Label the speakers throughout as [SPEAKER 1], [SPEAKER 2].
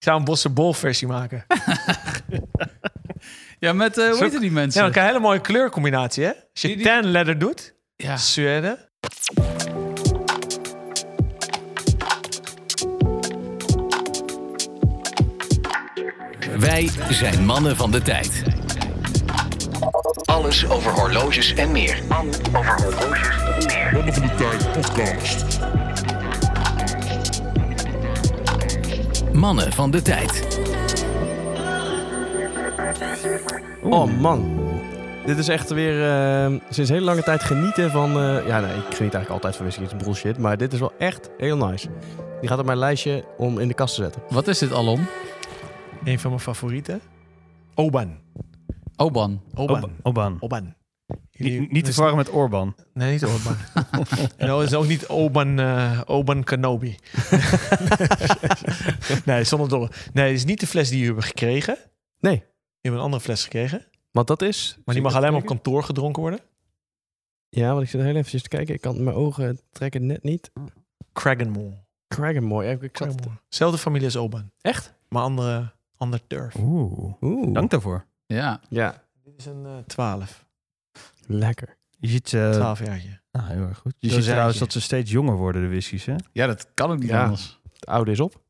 [SPEAKER 1] Ik zou een Bosse versie maken.
[SPEAKER 2] Ja, met, eh hoe
[SPEAKER 1] Zo-
[SPEAKER 2] heet die mensen?
[SPEAKER 1] Ja, dan krijg je een hele mooie kleurcombinatie, hè? Als je
[SPEAKER 2] Die- die-
[SPEAKER 1] tan leather doet,
[SPEAKER 2] Ja.
[SPEAKER 1] Zweden.
[SPEAKER 3] Wij zijn mannen van de tijd. Alles over horloges en meer.
[SPEAKER 4] Mannen van de Tijd podcast.
[SPEAKER 3] Mannen van de tijd.
[SPEAKER 5] Oh man. Dit is echt weer eh, sinds hele lange tijd genieten van. eh, ja, nee, ik geniet eigenlijk altijd van whisky. Het is bullshit. Maar dit is wel echt heel nice. Die gaat op mijn lijstje om in de kast te zetten.
[SPEAKER 2] Wat is dit, Alon?
[SPEAKER 1] Een van mijn favorieten. Oban.
[SPEAKER 2] Oban.
[SPEAKER 1] Oban.
[SPEAKER 6] Oban. Oban.
[SPEAKER 1] Oban. Jullie-
[SPEAKER 6] Niet, niet te verwarren met Orban.
[SPEAKER 1] Nee, niet Oban. en dat is ook niet Oban, eh, Oban Kenobi. nee, zonder dolle. Nee, het is niet de fles die jullie hebben gekregen.
[SPEAKER 5] Nee.
[SPEAKER 1] Je hebt een andere fles gekregen.
[SPEAKER 5] Want dat is.
[SPEAKER 1] Maar die mag alleen maar op kantoor gedronken worden.
[SPEAKER 5] Ja, want ik zit heel eventjes te kijken. Ik kan mijn ogen trekken net niet.
[SPEAKER 1] Kragenmore.
[SPEAKER 5] Kragenmoor. Ja, ik zat...
[SPEAKER 1] Zelfde familie als Oban.
[SPEAKER 5] Echt?
[SPEAKER 1] Maar andere, ander turf.
[SPEAKER 6] Oeh.
[SPEAKER 5] Oeh.
[SPEAKER 6] Dank daarvoor.
[SPEAKER 2] Ja.
[SPEAKER 5] Ja,
[SPEAKER 1] Dit is een eh 12.
[SPEAKER 5] lekker.
[SPEAKER 6] Je ziet, eh,
[SPEAKER 1] 12 jaartje.
[SPEAKER 6] ah, heel erg goed. Je
[SPEAKER 1] Zo
[SPEAKER 6] ziet
[SPEAKER 1] zijn
[SPEAKER 6] trouwens
[SPEAKER 1] je.
[SPEAKER 6] dat ze steeds jonger worden, de whiskies. Hè?
[SPEAKER 2] ja, dat kan ook niet
[SPEAKER 5] Ja.
[SPEAKER 2] anders.
[SPEAKER 5] Het oude is op.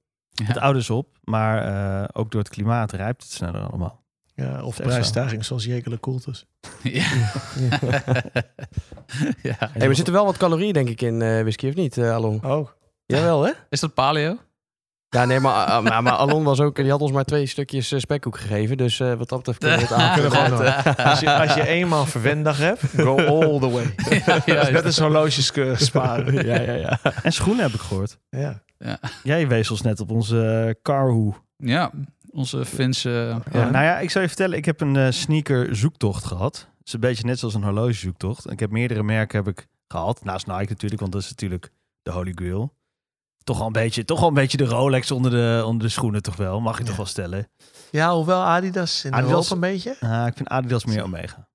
[SPEAKER 6] Het oude is op, maar eh, ook door het klimaat rijpt het sneller allemaal.
[SPEAKER 1] Ja, of
[SPEAKER 6] Echt zo.
[SPEAKER 1] prijsstijging zoals Jekele Koeltes.
[SPEAKER 2] Ja. ja.
[SPEAKER 5] Hey, er zitten wel wat calorieën, denk ik, in eh whisky, of niet, eh, Alon?
[SPEAKER 1] Oh.
[SPEAKER 5] Jawel, hè?
[SPEAKER 2] Is dat paleo?
[SPEAKER 5] Ja, nee, maar, eh, maar, maar Alon was ook, die had ons maar twee stukjes eh, spekkoek gegeven. Dus eh, wat dat betreft kunnen we het aan.
[SPEAKER 1] kunnen gewoon door. Als je, als je eenmaal verwendag hebt, go all the way.
[SPEAKER 2] ja, juist.
[SPEAKER 1] Dat is horloges eh, sparen.
[SPEAKER 5] ja, ja, ja.
[SPEAKER 6] En schoenen heb ik gehoord.
[SPEAKER 1] Ja.
[SPEAKER 6] Jij wees ons net op onze eh, Karhu.
[SPEAKER 2] Ja, onze Finse...
[SPEAKER 5] Ja.
[SPEAKER 6] Nou ja, ik zou je vertellen, ik heb een eh, sneaker zoektocht gehad. Het is een beetje net zoals een horlogezoektocht. En Ik heb meerdere merken heb ik gehad. Naast Nike natuurlijk, want dat is natuurlijk de holy grail. Toch al een beetje, toch al een beetje de Rolex onder de, onder de schoenen toch wel. Mag je toch
[SPEAKER 1] Ja.
[SPEAKER 6] wel stellen.
[SPEAKER 1] ja, hoewel Adidas in
[SPEAKER 6] Adidas-
[SPEAKER 1] Europa een beetje.
[SPEAKER 6] Ah, ik vind Adidas meer Omega.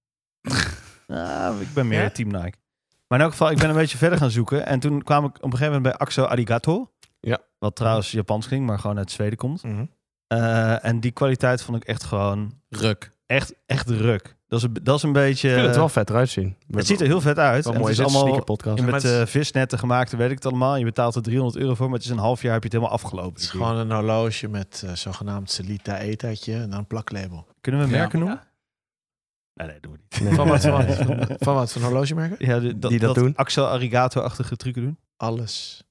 [SPEAKER 6] Ah, ik ben meer
[SPEAKER 1] Ja?
[SPEAKER 6] Team Nike. Maar in elk geval, ik ben een beetje verder gaan zoeken. En toen kwam ik op een gegeven moment bij Axo Arigato.
[SPEAKER 5] Ja.
[SPEAKER 6] Wat trouwens Japans klinkt, maar gewoon uit Zweden komt.
[SPEAKER 1] Mhm.
[SPEAKER 6] Eh, en die kwaliteit vond ik echt gewoon
[SPEAKER 2] Ruk.
[SPEAKER 6] echt, echt ruk. Dat is, een- dat is een beetje...
[SPEAKER 5] Ik vind het wel vet eruit zien.
[SPEAKER 6] het ziet er heel vet uit.
[SPEAKER 5] wel
[SPEAKER 6] en
[SPEAKER 5] mooi
[SPEAKER 6] het is allemaal
[SPEAKER 5] podcast.
[SPEAKER 6] met
[SPEAKER 1] Maar het is-
[SPEAKER 6] eh, visnetten gemaakt, weet ik het allemaal. Je betaalt er 300 euro voor, maar het is een half jaar heb je het helemaal
[SPEAKER 1] Het
[SPEAKER 6] afgelopen.
[SPEAKER 1] is gewoon een horloge met eh, zogenaamd Celita ethertje en dan een plaklabel.
[SPEAKER 6] Kunnen we
[SPEAKER 2] Ja.
[SPEAKER 6] merken noemen? Nee, nee, doen we niet.
[SPEAKER 1] Van wat, van, wat- van wat? Van horlogemerken?
[SPEAKER 6] Ja, de- dat,
[SPEAKER 5] Die dat doen.
[SPEAKER 6] Axel Arigato-achtige trucken doen.
[SPEAKER 1] Alles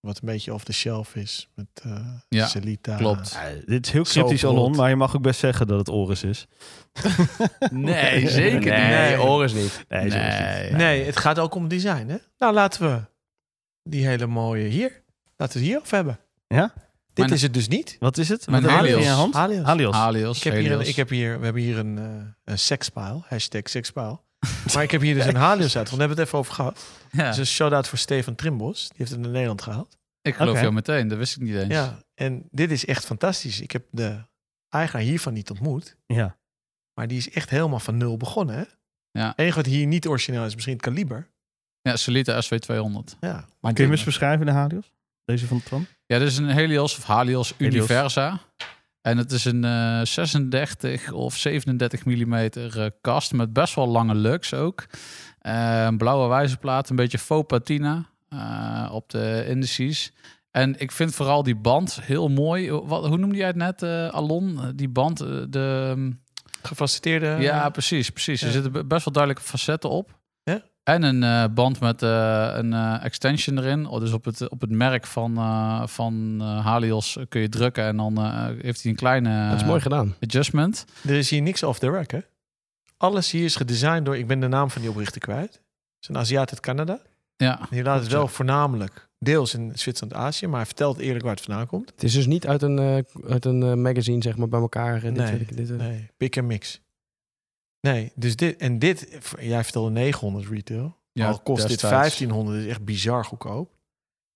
[SPEAKER 1] wat een beetje off the shelf is met eh
[SPEAKER 2] Ja,
[SPEAKER 1] Celita.
[SPEAKER 2] klopt.
[SPEAKER 6] Ja, Ah, dit is heel
[SPEAKER 1] Zo
[SPEAKER 6] cryptisch, Alon,
[SPEAKER 1] verrot.
[SPEAKER 6] maar je mag ook best zeggen dat het Oris is.
[SPEAKER 2] Nee, zeker
[SPEAKER 5] nee, Nee,
[SPEAKER 2] niet.
[SPEAKER 5] Oris niet.
[SPEAKER 6] Nee, zo is het.
[SPEAKER 1] Nee, het gaat ook om design, hè? Nou, laten we die hele mooie hier. Laten we het hier af hebben.
[SPEAKER 6] Ja?
[SPEAKER 1] Dit
[SPEAKER 2] Mijn-
[SPEAKER 1] is het dus niet.
[SPEAKER 6] Wat is het?
[SPEAKER 2] Mijn
[SPEAKER 6] Wat heb je in je
[SPEAKER 2] Helios.
[SPEAKER 6] hand?
[SPEAKER 1] Alias.
[SPEAKER 6] Halios.
[SPEAKER 2] Halios, Ah,
[SPEAKER 1] Ik heb, hier een,
[SPEAKER 2] Helios.
[SPEAKER 1] ik heb hier, we hebben hier een, eh een sekspile, hashtag sekspile. Maar ik heb hier dus een Halios uit, want we hebben het even over gehad.
[SPEAKER 2] Ja,
[SPEAKER 1] Dus een shout-out voor Stefan Trimbos, die heeft het naar Nederland gehaald.
[SPEAKER 2] ik geloof
[SPEAKER 6] Oké.
[SPEAKER 2] jou meteen, dat wist ik niet eens.
[SPEAKER 1] Ja, en dit is echt fantastisch. Ik heb de eigenaar hiervan niet ontmoet,
[SPEAKER 6] Ja.
[SPEAKER 1] maar die is echt helemaal van nul begonnen. Hè?
[SPEAKER 2] Ja.
[SPEAKER 1] Het enige wat hier niet origineel is, misschien het kaliber.
[SPEAKER 2] Ja, Solita SV200.
[SPEAKER 1] Ja,
[SPEAKER 2] Maar
[SPEAKER 6] Kun je me eens beschrijven, de Halios? Deze van Tram?
[SPEAKER 2] Ja, dit is een Helios of Halios
[SPEAKER 6] Helios.
[SPEAKER 2] Universa. En het is een eh, 36 of 37 millimeter eh, kast met best wel lange lux ook. Eh, een blauwe wijzerplaat, een beetje faux patina eh, op de indices. En ik vind vooral die band heel mooi. Wat, hoe noemde jij het net, eh, Alon? Die band, eh, de...
[SPEAKER 1] gefaceteerde.
[SPEAKER 2] ja, precies, precies.
[SPEAKER 1] Eh, ja.
[SPEAKER 2] Er zitten be- best wel duidelijke facetten op.
[SPEAKER 1] Ja.
[SPEAKER 2] En een eh, band met eh, een eh, extension erin. Oh, dus op het, op het merk van, eh, van eh, Halios kun je drukken en dan eh, heeft hij een kleine eh,
[SPEAKER 5] Dat is mooi gedaan.
[SPEAKER 2] adjustment.
[SPEAKER 1] Er is hier niks off the rack, hè? Alles hier is gedesigned door, ik ben de naam van die oprichter kwijt. Het is een Aziat uit Canada.
[SPEAKER 2] Ja,
[SPEAKER 1] En die laat het wel voornamelijk deels in Zwitserland-Azië, maar hij vertelt eerlijk waar het vandaan komt.
[SPEAKER 5] Het is dus niet uit een, eh, uit een eh, magazine, zeg maar, bij elkaar. eh, dit,
[SPEAKER 1] Nee,
[SPEAKER 5] weet ik, dit, eh.
[SPEAKER 1] Nee, pick en mix. Nee, dus dit en dit, jij vertelde 900 retail.
[SPEAKER 2] ja
[SPEAKER 1] al kost dit
[SPEAKER 2] destijds.
[SPEAKER 1] 1500, is echt bizar goedkoop.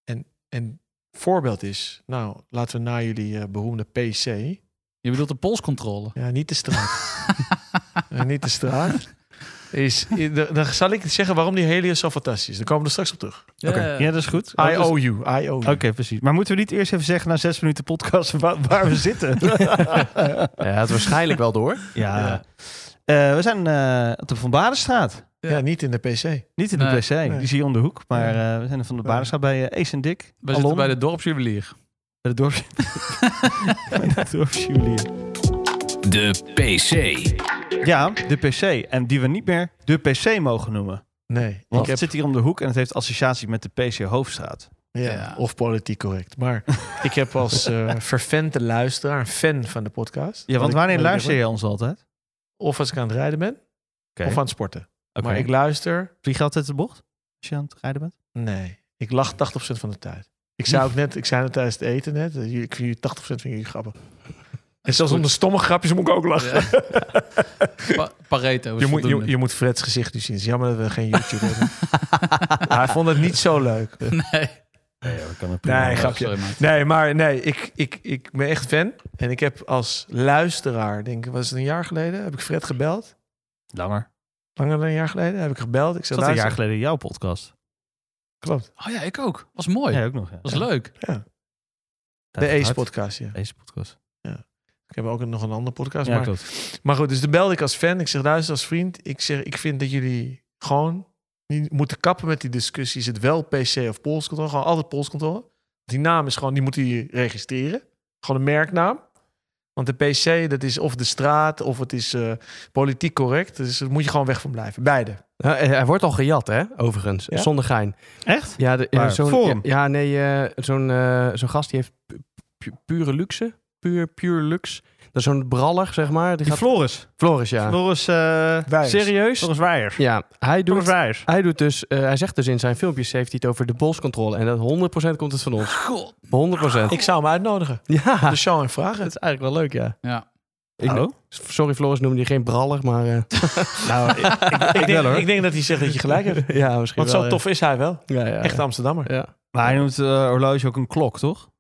[SPEAKER 1] En, en voorbeeld is, nou laten we naar jullie eh, beroemde PC,
[SPEAKER 2] Je bedoelt de polscontrole.
[SPEAKER 1] ja, niet de straat. Ja, niet de straat. Is, dan- dan zal ik zeggen waarom die Helios zo fantastisch is. Daar komen we er straks op terug.
[SPEAKER 6] Oké. Ja, dat is goed.
[SPEAKER 1] I owe you. I owe
[SPEAKER 6] Oké,
[SPEAKER 1] you.
[SPEAKER 6] precies. Maar moeten we niet eerst even zeggen na zes minuten podcast wa- waar, we zitten?
[SPEAKER 5] Ja, het waarschijnlijk wel door.
[SPEAKER 6] ja. Eh, we zijn eh, op de Van Badenstraat.
[SPEAKER 1] Ja, niet in de PC.
[SPEAKER 6] Niet in de
[SPEAKER 2] Nee.
[SPEAKER 6] PC, die zie je om de hoek. Maar eh, we zijn er van de
[SPEAKER 1] Ja.
[SPEAKER 6] Badenstraat bij eh, Ace en Dick.
[SPEAKER 2] We
[SPEAKER 6] Alon.
[SPEAKER 2] zitten bij de dorpsjuwelier.
[SPEAKER 6] Bij de dorps... bij de dorpsjuwelier.
[SPEAKER 3] De PC.
[SPEAKER 6] Ja, de PC. En die we niet meer de PC mogen noemen.
[SPEAKER 1] Nee.
[SPEAKER 6] Want
[SPEAKER 1] Ik heb,
[SPEAKER 6] het zit hier om de hoek en het heeft associatie met de PC Hoofdstraat.
[SPEAKER 1] ja,
[SPEAKER 2] Ja.
[SPEAKER 1] Of politiek correct. Maar ik heb als eh vervente luisteraar, een fan van de podcast.
[SPEAKER 6] Ja, want
[SPEAKER 1] ik-
[SPEAKER 6] wanneer
[SPEAKER 1] ik
[SPEAKER 6] luister
[SPEAKER 1] heb-
[SPEAKER 6] je ons altijd?
[SPEAKER 1] Of als ik aan het rijden ben,
[SPEAKER 6] Oké.
[SPEAKER 1] of aan het sporten.
[SPEAKER 6] Oké.
[SPEAKER 1] Maar ik luister...
[SPEAKER 6] Vlieg je altijd de bocht als je aan het rijden bent?
[SPEAKER 1] Nee. Ik lach 80% van de tijd. Ik zei ook net, ik zei het tijdens het eten net, eh, jullie- ik vind jullie 80% van jullie grappen. En zelfs om de stomme grapjes moet ik ook lachen.
[SPEAKER 2] Pa- Pareto is
[SPEAKER 1] Je moet, je,
[SPEAKER 2] voldoende.
[SPEAKER 1] je moet Freds gezicht nu zien. Het is jammer dat we geen YouTube hebben. Maar hij vond het niet zo leuk.
[SPEAKER 2] Nee.
[SPEAKER 6] Nee, dat kan
[SPEAKER 1] Nee,
[SPEAKER 2] Oh,
[SPEAKER 1] grapje.
[SPEAKER 2] sorry, maat.
[SPEAKER 1] Nee, maar nee, ik, ik, ik ben echt fan. En ik heb als luisteraar, denk ik, was het een jaar geleden? Heb ik Fred gebeld?
[SPEAKER 6] Langer.
[SPEAKER 1] Langer dan een jaar geleden heb ik gebeld. Ik
[SPEAKER 6] Dat
[SPEAKER 1] zei,
[SPEAKER 6] was een jaar
[SPEAKER 1] luister,
[SPEAKER 6] geleden jouw podcast.
[SPEAKER 1] klopt.
[SPEAKER 2] Oh ja, ik ook. Was mooi.
[SPEAKER 6] Ja, ook nog. Ja.
[SPEAKER 2] Was leuk.
[SPEAKER 1] De Ace podcast, ja.
[SPEAKER 6] Ace podcast.
[SPEAKER 1] Ik heb ook nog een andere podcast.
[SPEAKER 6] Ja,
[SPEAKER 1] maar,
[SPEAKER 6] klopt.
[SPEAKER 1] maar goed, dus dan belde ik als fan. Ik zeg, luister, als vriend. Ik zeg, ik vind dat jullie gewoon niet moeten kappen met die discussie. Is het wel PC of Pools Control? Gewoon altijd Pools Control. Die naam is gewoon, die moet hij registreren. Gewoon een merknaam. Want de PC, dat is of de straat of het is eh, politiek correct. Dus daar moet je gewoon weg van blijven. Beide.
[SPEAKER 5] Ja, eh, hij wordt al gejat, hè? Overigens.
[SPEAKER 1] Ja?
[SPEAKER 5] Zonder gein.
[SPEAKER 6] Echt?
[SPEAKER 5] Ja, de- eh,
[SPEAKER 6] Waar?
[SPEAKER 5] zo'n,
[SPEAKER 6] Forum?
[SPEAKER 5] Ja, ja, nee. eh, zo'n, eh, zo'n gast die heeft pu- pu- pure luxe. Puur, puur luxe. Dat is zo'n braller, zeg maar. Die
[SPEAKER 6] Die
[SPEAKER 5] gaat...
[SPEAKER 6] Floris.
[SPEAKER 5] Floris, ja.
[SPEAKER 6] Floris, eh
[SPEAKER 1] Wij.
[SPEAKER 5] Serieus?
[SPEAKER 6] Floris Weijers.
[SPEAKER 5] Ja, hij
[SPEAKER 6] Floris
[SPEAKER 5] doet,
[SPEAKER 6] Weijers.
[SPEAKER 5] hij doet dus... eh, hij zegt dus in zijn filmpjes, heeft hij het over de polscontrole. En dat 100% komt het van ons.
[SPEAKER 2] God.
[SPEAKER 5] 100%.
[SPEAKER 1] Ik zou hem uitnodigen.
[SPEAKER 5] ja,
[SPEAKER 1] De show en vragen.
[SPEAKER 5] dat is eigenlijk wel leuk, ja.
[SPEAKER 2] Ja.
[SPEAKER 5] Ik- Sorry, Floris noemde die geen braller, maar... eh,
[SPEAKER 6] Nou, ik, ik, ik
[SPEAKER 1] Ik
[SPEAKER 6] wel
[SPEAKER 1] denk,
[SPEAKER 6] hoor.
[SPEAKER 1] ik denk dat hij zegt dat je gelijk hebt.
[SPEAKER 5] ja, misschien
[SPEAKER 1] Want zo
[SPEAKER 5] wel, ja.
[SPEAKER 1] tof is hij wel.
[SPEAKER 5] Ja, ja,
[SPEAKER 1] Echt
[SPEAKER 5] ja.
[SPEAKER 1] Amsterdammer.
[SPEAKER 5] Ja.
[SPEAKER 6] Maar hij noemt eh, horloge ook een klok, toch?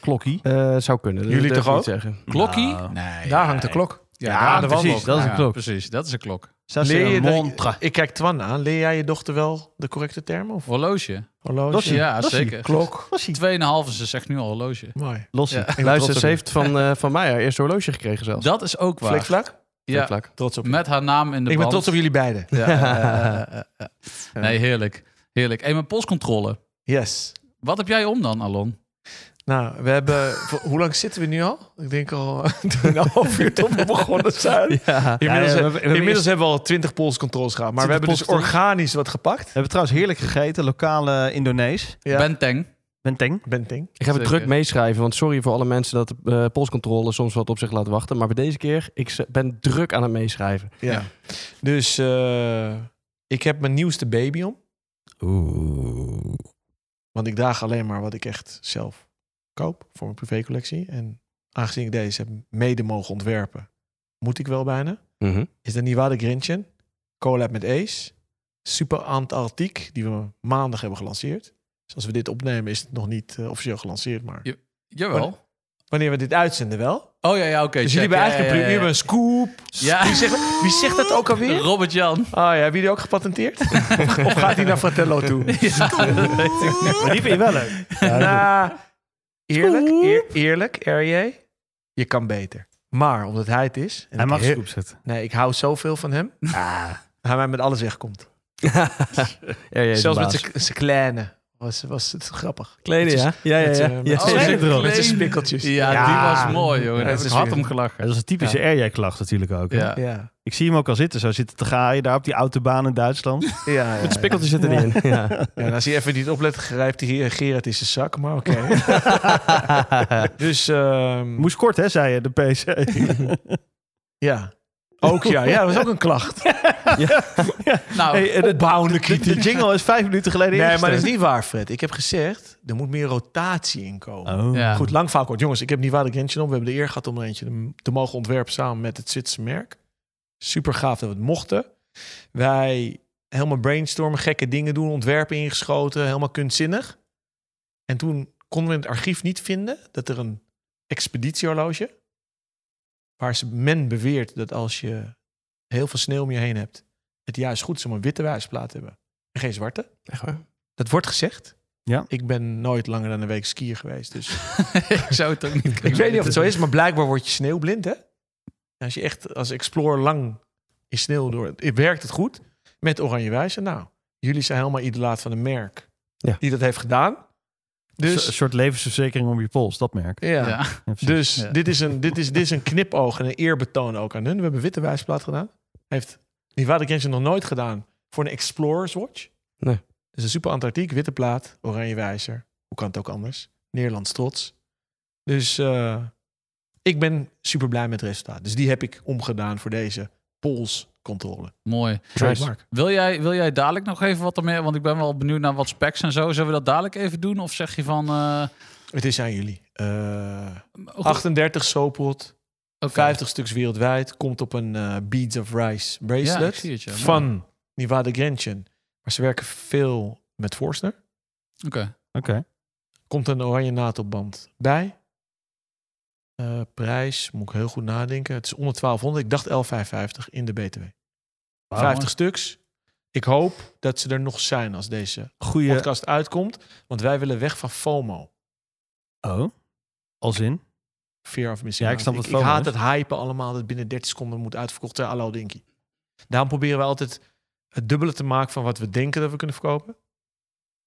[SPEAKER 6] Klokkie.
[SPEAKER 5] Eh, zou kunnen. Dat
[SPEAKER 1] Jullie
[SPEAKER 5] durf
[SPEAKER 1] toch
[SPEAKER 5] ik niet Zeggen.
[SPEAKER 2] Klokkie?
[SPEAKER 6] Nou.
[SPEAKER 2] Nee.
[SPEAKER 1] Daar hangt de klok.
[SPEAKER 2] Ja,
[SPEAKER 1] Ja,
[SPEAKER 2] daar
[SPEAKER 1] de wandel.
[SPEAKER 2] hangt-
[SPEAKER 6] Precies, dat is een
[SPEAKER 2] Ja,
[SPEAKER 6] klok.
[SPEAKER 2] Precies, dat is een klok.
[SPEAKER 6] Ça, c'est
[SPEAKER 1] Leer je
[SPEAKER 6] un
[SPEAKER 1] dat-
[SPEAKER 6] montre.
[SPEAKER 1] Ik kijk Twan aan. Leer jij je dochter wel de correcte termen? Of
[SPEAKER 2] Horloge.
[SPEAKER 1] horloge?
[SPEAKER 6] Lossie.
[SPEAKER 2] Ja,
[SPEAKER 6] Lossie.
[SPEAKER 2] zeker.
[SPEAKER 1] Klok.
[SPEAKER 6] Lossie.
[SPEAKER 2] Tweeënhalve, ze zegt nu al horloge.
[SPEAKER 1] Mooi.
[SPEAKER 6] Lossie.
[SPEAKER 2] Ja.
[SPEAKER 6] Ik ben
[SPEAKER 5] Luister,
[SPEAKER 6] trots
[SPEAKER 5] ze
[SPEAKER 6] op
[SPEAKER 5] heeft van, eh, van mij haar eerste horloge gekregen zelfs.
[SPEAKER 2] Dat is ook waar.
[SPEAKER 1] Flikvlak?
[SPEAKER 2] Ja,
[SPEAKER 5] Vlak.
[SPEAKER 1] Trots op.
[SPEAKER 2] met haar naam in de
[SPEAKER 1] Ik ben
[SPEAKER 2] band.
[SPEAKER 1] trots op jullie beiden.
[SPEAKER 2] Ja, eh, eh, eh, eh. Nee, heerlijk. Heerlijk. En mijn postcontrole.
[SPEAKER 1] Yes.
[SPEAKER 2] Wat heb jij om dan, Alon?
[SPEAKER 1] Nou, we hebben... voor- hoe lang zitten we nu al? Ik denk al een half uur tot we begonnen zijn.
[SPEAKER 6] Ja.
[SPEAKER 1] Inmiddels,
[SPEAKER 6] Ja, ja, we- we hebben
[SPEAKER 1] inmiddels
[SPEAKER 6] eerst-
[SPEAKER 1] hebben we al 20 polscontroles gehad. Maar we
[SPEAKER 6] 20
[SPEAKER 1] hebben dus organisch wat gepakt.
[SPEAKER 6] we hebben trouwens heerlijk gegeten. Lokale Indonees.
[SPEAKER 1] Ja.
[SPEAKER 2] Benteng.
[SPEAKER 6] Benteng.
[SPEAKER 1] Benting.
[SPEAKER 5] Ik ga het
[SPEAKER 2] Zeker.
[SPEAKER 5] druk meeschrijven, want sorry voor alle mensen dat de eh, polscontrole soms wat op zich laat wachten. Maar bij deze keer, ik z- ben druk aan het meeschrijven.
[SPEAKER 1] Ja.
[SPEAKER 2] Ja.
[SPEAKER 1] Dus eh, ik heb mijn nieuwste baby om.
[SPEAKER 6] Oeh.
[SPEAKER 1] Want ik draag alleen maar wat ik echt zelf koop voor mijn privécollectie. En aangezien ik deze heb mede mogen ontwerpen, moet ik wel bijna.
[SPEAKER 2] Mhm.
[SPEAKER 1] Is dat niet waar de Grinchen? Collab met Ace. Super Antarctiek, die we maandag hebben gelanceerd. Dus als we dit opnemen is het nog niet eh, officieel gelanceerd. Maar
[SPEAKER 2] Ja. Jawel.
[SPEAKER 1] wanneer we dit uitzenden wel.
[SPEAKER 2] Oh ja, ja, oké.
[SPEAKER 1] Oh. dus
[SPEAKER 2] check.
[SPEAKER 1] jullie hebben
[SPEAKER 2] Ja,
[SPEAKER 1] eigenlijk
[SPEAKER 2] ja,
[SPEAKER 1] een,
[SPEAKER 2] ja,
[SPEAKER 1] pri- jullie hebben een scoop.
[SPEAKER 2] Ja.
[SPEAKER 1] Wie, zegt, wie zegt dat ook
[SPEAKER 2] ja.
[SPEAKER 1] alweer? Oh
[SPEAKER 2] Robert Jan.
[SPEAKER 1] ja, hebben jullie ook gepatenteerd? of, of gaat hij naar Fratello toe?
[SPEAKER 6] Maar die vind je wel leuk.
[SPEAKER 1] Nou, eerlijk, eer- eerlijk, R.J., je kan beter. Maar omdat hij het is... en
[SPEAKER 6] Hij
[SPEAKER 1] ik
[SPEAKER 6] mag
[SPEAKER 1] heel-
[SPEAKER 6] scoop Ah. zetten.
[SPEAKER 1] Nee, ik hou zoveel van hem. Hij mij met alles wegkomt.
[SPEAKER 5] Ja, ja,
[SPEAKER 1] Zelfs met zijn- zijn kleine was, was het grappig.
[SPEAKER 5] kleden, ja? Ja,
[SPEAKER 1] Met
[SPEAKER 5] ja,
[SPEAKER 1] zijn-
[SPEAKER 5] ja.
[SPEAKER 1] met
[SPEAKER 5] ja.
[SPEAKER 1] zijn-
[SPEAKER 6] Oh,
[SPEAKER 1] met
[SPEAKER 6] zeker
[SPEAKER 1] zijn-
[SPEAKER 6] erop.
[SPEAKER 1] met zijn spikkeltjes.
[SPEAKER 2] Ja,
[SPEAKER 6] Ja.
[SPEAKER 2] die was mooi,
[SPEAKER 1] Ja,
[SPEAKER 2] jongen.
[SPEAKER 1] dat
[SPEAKER 2] ik
[SPEAKER 1] is
[SPEAKER 2] had
[SPEAKER 1] weer-
[SPEAKER 2] hem gelachen.
[SPEAKER 6] Dat is een typische RJ-klacht natuurlijk ook. hè?
[SPEAKER 2] Ja.
[SPEAKER 1] Ja,
[SPEAKER 6] Ik zie hem ook al zitten. Zo zitten te gaaien daar op die autobaan in Duitsland.
[SPEAKER 1] ja, ja, ja.
[SPEAKER 5] Spikkeltjes zitten erin. Ja.
[SPEAKER 1] Ja, en als hij even niet oplet, grijpt hij hier Gerard in zijn zak. Maar oké. dus ehm,
[SPEAKER 6] Moest kort, hè, zei je, de E. PC.
[SPEAKER 1] ja. Ook ja. Ja, dat was ook een klacht.
[SPEAKER 2] Nou,
[SPEAKER 6] Hey, eh, de,
[SPEAKER 1] Oh, Opbouwende
[SPEAKER 6] de- de
[SPEAKER 1] kritiek.
[SPEAKER 6] jingle is vijf minuten
[SPEAKER 1] Nee,
[SPEAKER 6] geleden
[SPEAKER 1] maar dat is
[SPEAKER 6] ingestart.
[SPEAKER 1] niet waar, Fred. Ik heb gezegd, er moet meer rotatie in komen.
[SPEAKER 6] Oh.
[SPEAKER 2] ja.
[SPEAKER 1] Goed, lang verhaal kort. Jongens, ik heb niet waar ik eentje om. We hebben de eer gehad om er eentje te mogen ontwerpen samen met het Zwitserse merk. Super gaaf dat we het mochten. Wij helemaal brainstormen, gekke dingen doen, ontwerpen ingeschoten, helemaal kunstzinnig. En toen konden we in het archief niet vinden dat er een expeditiehorloge, waar ze men beweert dat als je heel veel sneeuw om je heen hebt het juist goed is om een witte wijsplaat te hebben. En geen zwarte.
[SPEAKER 5] Echt waar?
[SPEAKER 1] Dat wordt gezegd.
[SPEAKER 6] Ja.
[SPEAKER 1] Ik ben nooit langer dan een week skier geweest. Dus
[SPEAKER 2] ik zou het ook niet kunnen
[SPEAKER 1] ik weet niet of
[SPEAKER 2] weten.
[SPEAKER 1] het zo is, maar blijkbaar word je sneeuwblind, hè? Als je echt als explorer lang in sneeuw door... Het werkt het goed met Oranje Wijze. Nou, jullie zijn helemaal idolaat van een merk
[SPEAKER 5] Ja.
[SPEAKER 1] die dat heeft gedaan. Dus,
[SPEAKER 6] een soort levensverzekering om je pols, dat merk.
[SPEAKER 1] ja.
[SPEAKER 2] Ja.
[SPEAKER 6] Ja, precies.
[SPEAKER 1] dus
[SPEAKER 2] ja.
[SPEAKER 1] dit, is een, dit, is, dit is een knipoog en een eerbetoon ook aan hun. We hebben witte wijsplaat gedaan. Heeft Nevada Genshin nog nooit gedaan voor een Explorer's Watch.
[SPEAKER 5] Nee.
[SPEAKER 1] Dus een super Antarctiek, witte plaat, oranje wijzer. Hoe kan het ook anders? Nederlands trots. Dus eh, ik ben super blij met het resultaat. Dus die heb ik omgedaan voor deze polscontrole.
[SPEAKER 2] Mooi.
[SPEAKER 1] Trademark.
[SPEAKER 2] Wil jij, wil jij dadelijk nog even wat ermee? Want ik ben wel benieuwd naar wat specs en zo. Zullen we dat dadelijk even doen? Of zeg je van... eh,
[SPEAKER 1] Het is aan jullie. Eh,
[SPEAKER 2] goed,
[SPEAKER 1] 38 Sopot,
[SPEAKER 2] oké.
[SPEAKER 1] 50 stuks wereldwijd. Komt op een eh, Beads of Rice
[SPEAKER 2] Ja, ik
[SPEAKER 1] bracelet.
[SPEAKER 2] zie het, ja.
[SPEAKER 1] van Nevada Gentian. Maar ze werken veel met Forstner.
[SPEAKER 2] Oké.
[SPEAKER 6] Oké.
[SPEAKER 1] Komt een oranje naaldband bij. Eh, prijs, moet ik heel goed nadenken. Het is onder 1200. Ik dacht 11,550 in de BTW.
[SPEAKER 2] Wauw,
[SPEAKER 1] 50
[SPEAKER 2] mooi.
[SPEAKER 1] stuks. Ik hoop dat ze er nog zijn als deze
[SPEAKER 6] Goeie...
[SPEAKER 1] podcast uitkomt. Want wij willen weg van FOMO.
[SPEAKER 6] Oh, als in?
[SPEAKER 1] Fear of missing
[SPEAKER 6] Ja, ik
[SPEAKER 1] out.
[SPEAKER 6] snap wat
[SPEAKER 1] ik,
[SPEAKER 6] FOMO
[SPEAKER 1] haat
[SPEAKER 6] is.
[SPEAKER 1] het hypen allemaal dat binnen 30 seconden moet uitverkocht zijn. Allo Dinky. Daarom proberen we altijd het dubbele te maken van wat we denken dat we kunnen verkopen.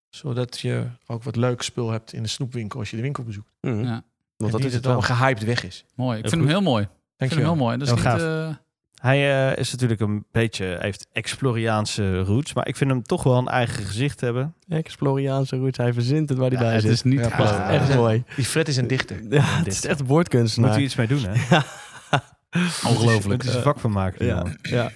[SPEAKER 1] Zodat je ook wat leuk spul hebt in de snoepwinkel als je de winkel bezoekt.
[SPEAKER 5] Mhm.
[SPEAKER 2] Ja.
[SPEAKER 5] Want
[SPEAKER 1] en
[SPEAKER 5] dat
[SPEAKER 1] niet
[SPEAKER 5] is het
[SPEAKER 1] dat
[SPEAKER 5] wel.
[SPEAKER 1] het allemaal gehyped weg is.
[SPEAKER 2] Mooi. Ik
[SPEAKER 6] Heel
[SPEAKER 2] vind hem
[SPEAKER 6] goed.
[SPEAKER 2] heel mooi. Ik
[SPEAKER 1] Dank
[SPEAKER 2] vind
[SPEAKER 1] je
[SPEAKER 2] hem
[SPEAKER 1] wel.
[SPEAKER 2] heel mooi. Dat is niet...
[SPEAKER 6] Heel
[SPEAKER 2] eh,
[SPEAKER 6] Hij eh, is natuurlijk een beetje, heeft Exploriaanse roots, maar ik vind hem toch wel een eigen gezicht hebben.
[SPEAKER 5] Exploriaanse roots, hij verzint het waar hij
[SPEAKER 2] ja,
[SPEAKER 5] bij
[SPEAKER 2] het
[SPEAKER 5] zit.
[SPEAKER 2] is niet...
[SPEAKER 1] Ja,
[SPEAKER 2] te
[SPEAKER 5] Wacht,
[SPEAKER 1] prachtig.
[SPEAKER 2] geloven.
[SPEAKER 5] echt mooi.
[SPEAKER 1] Die Fred is een dichter.
[SPEAKER 5] Ja, het is echt
[SPEAKER 6] Moet
[SPEAKER 5] woordkunstenaar.
[SPEAKER 6] hij iets mee doen, hè?
[SPEAKER 2] Ongelooflijk.
[SPEAKER 6] Het is een vak van maken.
[SPEAKER 5] Ja,
[SPEAKER 6] jongen.
[SPEAKER 5] ja.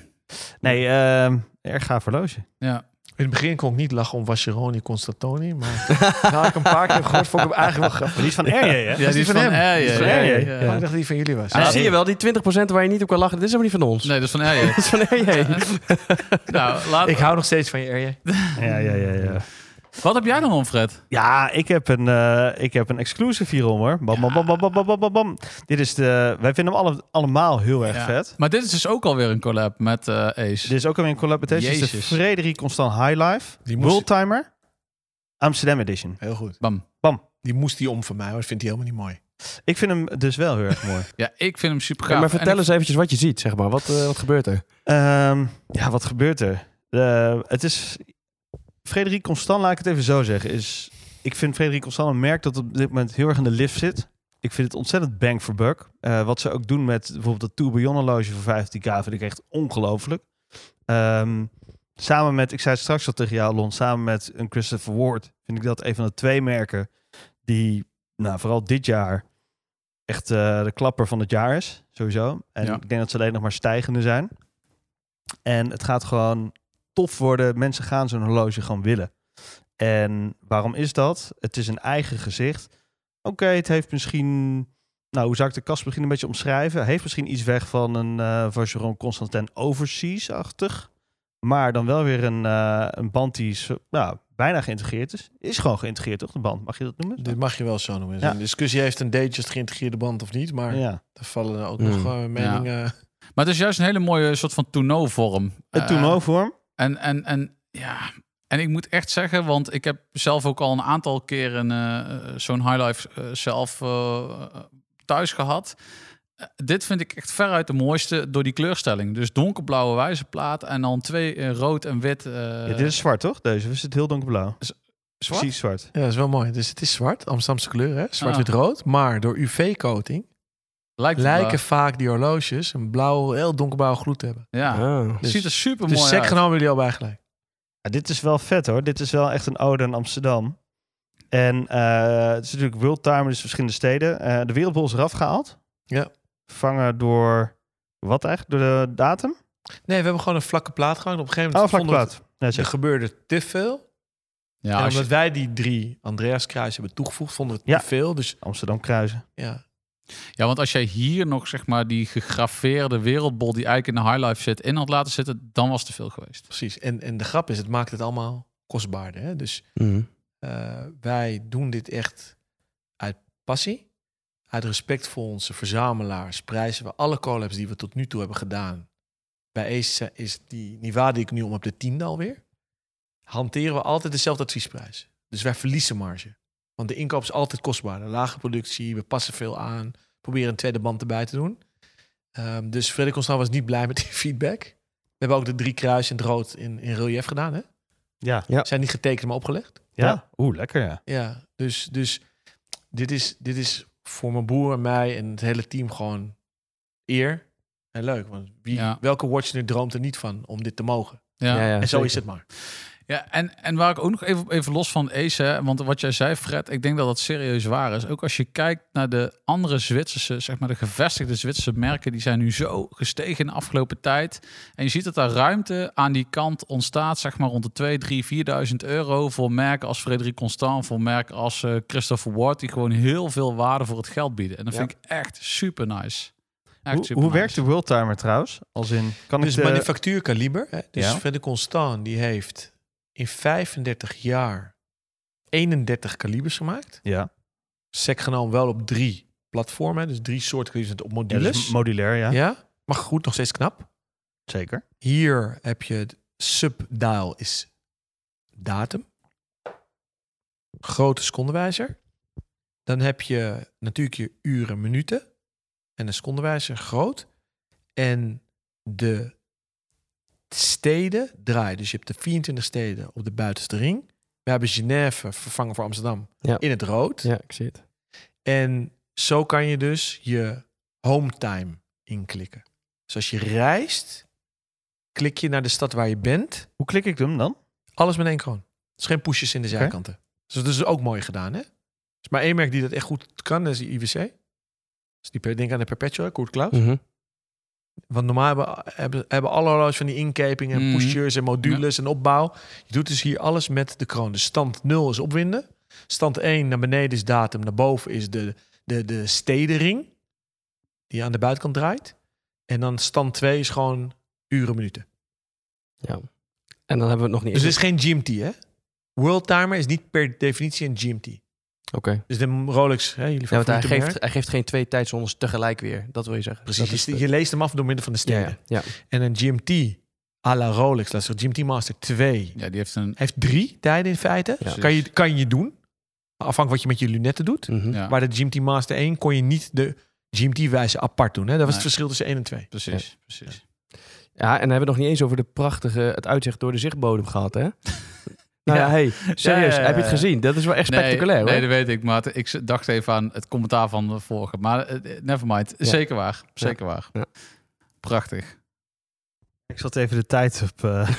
[SPEAKER 6] Nee, ehm erg gaaf horloge.
[SPEAKER 2] Ja.
[SPEAKER 1] In het begin kon ik niet lachen om Vacheroni Constantoni. Maar na ik een paar keer heb gehoord, vond ik hem eigenlijk wel grappig.
[SPEAKER 6] Maar die is van RJ, hè?
[SPEAKER 2] Ja, die is van hem.
[SPEAKER 1] Die is van
[SPEAKER 2] Ja,
[SPEAKER 1] RJ.
[SPEAKER 2] ja,
[SPEAKER 1] Maar
[SPEAKER 2] ja.
[SPEAKER 1] ik dacht dat die van jullie was.
[SPEAKER 5] Maar
[SPEAKER 2] Ja.
[SPEAKER 5] Ah, zie je wel, die 20% waar je niet op kan lachen, dit is helemaal niet van ons.
[SPEAKER 2] Nee, dat is van RJ.
[SPEAKER 5] Dat is van RJ.
[SPEAKER 2] nou, laat...
[SPEAKER 1] Ik hou nog steeds van je, Erje.
[SPEAKER 6] Ja, ja, ja, ja.
[SPEAKER 2] Wat heb jij dan om, Fred?
[SPEAKER 6] Ja, ik heb een, eh, ik heb een exclusive hierom, hoor. Bam, bam, bam, bam, bam, bam, bam, bam, bam. Dit is de... Wij vinden hem alle, allemaal heel erg
[SPEAKER 2] Ja.
[SPEAKER 6] vet.
[SPEAKER 2] Maar dit is dus ook alweer een collab met eh, Ace.
[SPEAKER 6] Dit is ook alweer een collaboratie. Dit is de
[SPEAKER 2] Jezus.
[SPEAKER 6] Frederik Constant High Life.
[SPEAKER 1] Die moest-
[SPEAKER 6] Worldtimer. Amsterdam Edition.
[SPEAKER 1] Heel goed.
[SPEAKER 2] Bam.
[SPEAKER 1] Die moest die om van mij, maar dat vindt hij helemaal niet mooi.
[SPEAKER 6] Ik vind hem dus wel heel erg mooi.
[SPEAKER 2] Ja, ik vind hem super gaaf.
[SPEAKER 5] Ja, maar
[SPEAKER 2] En
[SPEAKER 5] vertel
[SPEAKER 2] ik-
[SPEAKER 5] eens eventjes wat je ziet, zeg maar. Wat, eh, wat gebeurt er?
[SPEAKER 6] Ehm, ja, wat gebeurt er? Eh, het is. Frederik Constant, laat ik het even zo zeggen. Is, ik vind Frederik Constant een merk dat op dit moment heel erg in de lift zit. Ik vind het ontzettend bang for buck. Eh, wat ze ook doen met bijvoorbeeld dat Tourbillon horloge voor 15k vind ik echt ongelooflijk. Ehm, samen met, ik zei het straks al tegen jou, Lon, samen met een Christopher Ward vind ik dat een van de twee merken die, nou, vooral dit jaar echt eh, de klapper van het jaar is, sowieso. En
[SPEAKER 2] Ja.
[SPEAKER 6] ik denk dat ze alleen nog maar stijgende zijn. En het gaat gewoon tof worden. Mensen gaan zo'n horloge gewoon willen. En waarom is dat? Het is een eigen gezicht. Oké, het heeft misschien... Nou, hoe zou ik de kast misschien een beetje omschrijven? Hij heeft misschien iets weg van een eh Vacheron Constantin Overseas-achtig. Maar dan wel weer een, eh, een band die zo- nou, bijna geïntegreerd is. Is gewoon geïntegreerd, toch? De band, mag je dat noemen?
[SPEAKER 1] Dit mag je wel zo noemen.
[SPEAKER 6] Ja.
[SPEAKER 1] De discussie heeft een datejust geïntegreerde band of niet, maar
[SPEAKER 6] Ja.
[SPEAKER 1] daar vallen ook
[SPEAKER 5] Hmm.
[SPEAKER 2] Mm.
[SPEAKER 1] nog eh, meningen.
[SPEAKER 2] Maar het is juist een hele mooie soort van tourneau-vorm.
[SPEAKER 6] Het tournooi-vorm.
[SPEAKER 2] En, en, en ja. En ik moet echt zeggen, want ik heb zelf ook al een aantal keren eh, zo'n highlife eh, zelf eh, thuis gehad. Eh, dit vind ik echt veruit de mooiste door die kleurstelling. Dus donkerblauwe wijzerplaat en dan twee eh, rood en wit. eh,
[SPEAKER 6] Ja, dit is zwart, toch? Deze. Of is het heel donkerblauw?
[SPEAKER 2] zwart?
[SPEAKER 6] Precies zwart.
[SPEAKER 1] Ja, dat is wel mooi. Dus het is zwart, Amsterdamse kleur, hè? Zwart-wit-rood. Maar door UV-coating
[SPEAKER 2] Lijkt het
[SPEAKER 1] lijken vaak die horloges een blauw, heel donkerblauwe gloed te hebben.
[SPEAKER 2] wel. Ja.
[SPEAKER 5] Ah.
[SPEAKER 2] Het ziet er super mooi
[SPEAKER 1] Dus sec
[SPEAKER 2] uit.
[SPEAKER 1] genomen jullie al bij gelijk.
[SPEAKER 6] Ja, dit is wel vet, hoor. Dit is wel echt een ode aan Amsterdam. En eh, het is natuurlijk worldtimer, dus verschillende steden. Eh, de wereldbol is eraf gehaald.
[SPEAKER 1] Ja.
[SPEAKER 6] Vervangen door... Wat eigenlijk? Door de datum?
[SPEAKER 1] Nee, we hebben gewoon een vlakke plaat gehad. Op een gegeven
[SPEAKER 6] Oh,
[SPEAKER 1] moment
[SPEAKER 6] vlakke
[SPEAKER 1] vonden we
[SPEAKER 6] plaat. Ja,
[SPEAKER 1] het- er
[SPEAKER 6] zeg.
[SPEAKER 1] gebeurde te veel.
[SPEAKER 2] Ja,
[SPEAKER 1] en
[SPEAKER 2] als je-
[SPEAKER 1] omdat wij die drie Andreas Kruis hebben toegevoegd, vonden we het
[SPEAKER 6] Ja.
[SPEAKER 1] te veel. Dus
[SPEAKER 6] Amsterdam kruisen.
[SPEAKER 1] ja,
[SPEAKER 2] Ja, want als jij hier nog zeg maar die gegraveerde wereldbol die eigenlijk in de highlife zit in had laten zitten, dan was het te veel geweest.
[SPEAKER 1] precies. En, en de grap is, het maakt het allemaal kostbaarder. Hè? Dus
[SPEAKER 5] Mhm.
[SPEAKER 1] Eh, wij doen dit echt uit passie. Uit respect voor onze verzamelaars prijzen we alle collabs die we tot nu toe hebben gedaan Bij Ace is die Niva die ik nu om heb, de tiende alweer. Hanteren we altijd dezelfde adviesprijs. Dus wij verliezen marge. Want de inkoop is altijd kostbaarder. Lage productie, we passen veel aan. Proberen een tweede band erbij te doen. Ehm, dus Frederik Constant was niet blij met die feedback. We hebben ook de drie kruis in het rood in, in relief gedaan. Hè?
[SPEAKER 6] Ja.
[SPEAKER 1] Zijn niet getekend, maar opgelegd.
[SPEAKER 6] Ja.
[SPEAKER 5] Ja.
[SPEAKER 6] Oeh, lekker ja.
[SPEAKER 1] Ja, dus, dus dit, is, dit is voor mijn broer en mij en het hele team gewoon eer en leuk. Want wie,
[SPEAKER 2] Ja.
[SPEAKER 1] welke watcher droomt er niet van om dit te mogen?
[SPEAKER 2] Ja.
[SPEAKER 5] Ja, ja,
[SPEAKER 1] en zo
[SPEAKER 5] zeker.
[SPEAKER 1] is het maar.
[SPEAKER 2] Ja, en, en waar ik ook nog even, even los van Ace, hè, want wat jij zei, Fred, ik denk dat dat serieus waar is. Ook als je kijkt naar de andere Zwitserse, zeg maar de gevestigde Zwitserse merken, die zijn nu zo gestegen in de afgelopen tijd. En je ziet dat daar ruimte aan die kant ontstaat, zeg maar rond de 2, 3, 4000 euro voor merken als Frederik Constant, voor merken als eh, Christopher Ward, die gewoon heel veel waarde voor het geld bieden. En dat
[SPEAKER 5] Ja.
[SPEAKER 2] vind ik echt super nice. Echt
[SPEAKER 6] Hoe,
[SPEAKER 2] super
[SPEAKER 6] hoe
[SPEAKER 2] nice.
[SPEAKER 6] werkt de World Timer trouwens? Als in, kan
[SPEAKER 1] Dus
[SPEAKER 6] ik de-
[SPEAKER 1] manufactuurkaliber. Hè? Dus
[SPEAKER 6] Ja.
[SPEAKER 1] Fredde Constant die heeft in 35 jaar 31 kalibers gemaakt.
[SPEAKER 6] Ja,
[SPEAKER 1] Sec genomen wel op drie platformen. hè, Dus drie soorten kalibers op
[SPEAKER 6] ja
[SPEAKER 1] modules.
[SPEAKER 6] dus modulair, ja.
[SPEAKER 1] ja, maar goed, nog steeds knap.
[SPEAKER 6] Zeker.
[SPEAKER 1] Hier heb je het subdial is datum. Grote secondenwijzer. Dan heb je natuurlijk je uren, minuten. En een secondenwijzer groot. En de steden draaien. Dus je hebt de 24 steden op de buitenste ring. We hebben Genève vervangen voor Amsterdam
[SPEAKER 5] Ja.
[SPEAKER 1] in het rood.
[SPEAKER 5] Ja, ik zie het.
[SPEAKER 1] En zo kan je dus je home time inklikken. Dus als je reist, klik je naar de stad waar je bent.
[SPEAKER 6] Hoe klik ik hem dan?
[SPEAKER 1] Alles met één kroon. Het is geen pushes in de
[SPEAKER 6] Oké.
[SPEAKER 1] zijkanten. Dus dat is ook mooi gedaan, hè? Er is maar één merk die dat echt goed kan, dat is die IWC. Dus die per- denk aan de Perpetua, Koert Klaus.
[SPEAKER 5] Mhm.
[SPEAKER 1] Want normaal hebben, hebben, hebben alle horloges van die inkepingen,
[SPEAKER 5] Mm.
[SPEAKER 2] Mhm.
[SPEAKER 1] pushers en modules en opbouw. Je doet dus hier alles met de kroon. Dus stand 0 is opwinden. Stand 1 naar beneden is datum, naar boven is de, de, de stedenring die aan de buitenkant draait. En dan stand 2 is gewoon uren, minuten.
[SPEAKER 5] En dan hebben we het nog niet
[SPEAKER 1] Dus het
[SPEAKER 5] eens-
[SPEAKER 1] is geen GMT, hè? World Timer is niet per definitie een GMT.
[SPEAKER 5] Oké.
[SPEAKER 1] Dus de Rolex, hè, jullie
[SPEAKER 5] Ja, want hij
[SPEAKER 1] favoriete
[SPEAKER 5] geeft,
[SPEAKER 1] merk?
[SPEAKER 5] hij geeft geen twee tijdzones tegelijk weer. Dat wil je zeggen. Dat
[SPEAKER 1] Precies,
[SPEAKER 5] is
[SPEAKER 1] je,
[SPEAKER 5] de-
[SPEAKER 1] je leest hem af door middel van de
[SPEAKER 5] ja,
[SPEAKER 1] steden.
[SPEAKER 5] ja, ja.
[SPEAKER 1] En een GMT à la Rolex, laat zeggen GMT Master 2
[SPEAKER 2] Ja, die heeft een...
[SPEAKER 1] Hij heeft drie tijden in feite.
[SPEAKER 6] Dus-
[SPEAKER 5] Ja.
[SPEAKER 1] Kan, je, kan je doen. Afhankelijk wat je met je lunetten doet.
[SPEAKER 5] Mhm.
[SPEAKER 2] Ja,
[SPEAKER 1] Maar de GMT Master 1 kon je niet de GMT-wijze apart doen. Hè? Dat was
[SPEAKER 2] Nee.
[SPEAKER 1] het verschil tussen 1 en 2.
[SPEAKER 2] precies, precies.
[SPEAKER 5] Ja, en dan hebben we het nog niet eens over de prachtige, het uitzicht door de zichtbodem gehad, hè? Nou ja, hey, serieus,
[SPEAKER 2] Ja, ja, ja,
[SPEAKER 5] heb je het
[SPEAKER 2] ja.
[SPEAKER 5] gezien? Dat is wel echt spectaculair,
[SPEAKER 2] nee, Nee,
[SPEAKER 5] hoor.
[SPEAKER 2] dat weet ik. Maar t- ik z- dacht even aan het commentaar van de vorige. Maar eh, never mind.
[SPEAKER 5] Ja.
[SPEAKER 2] Zeker waar. Zeker waar.
[SPEAKER 5] Ja.
[SPEAKER 2] Prachtig.
[SPEAKER 6] Ik zat even de tijd op. eh,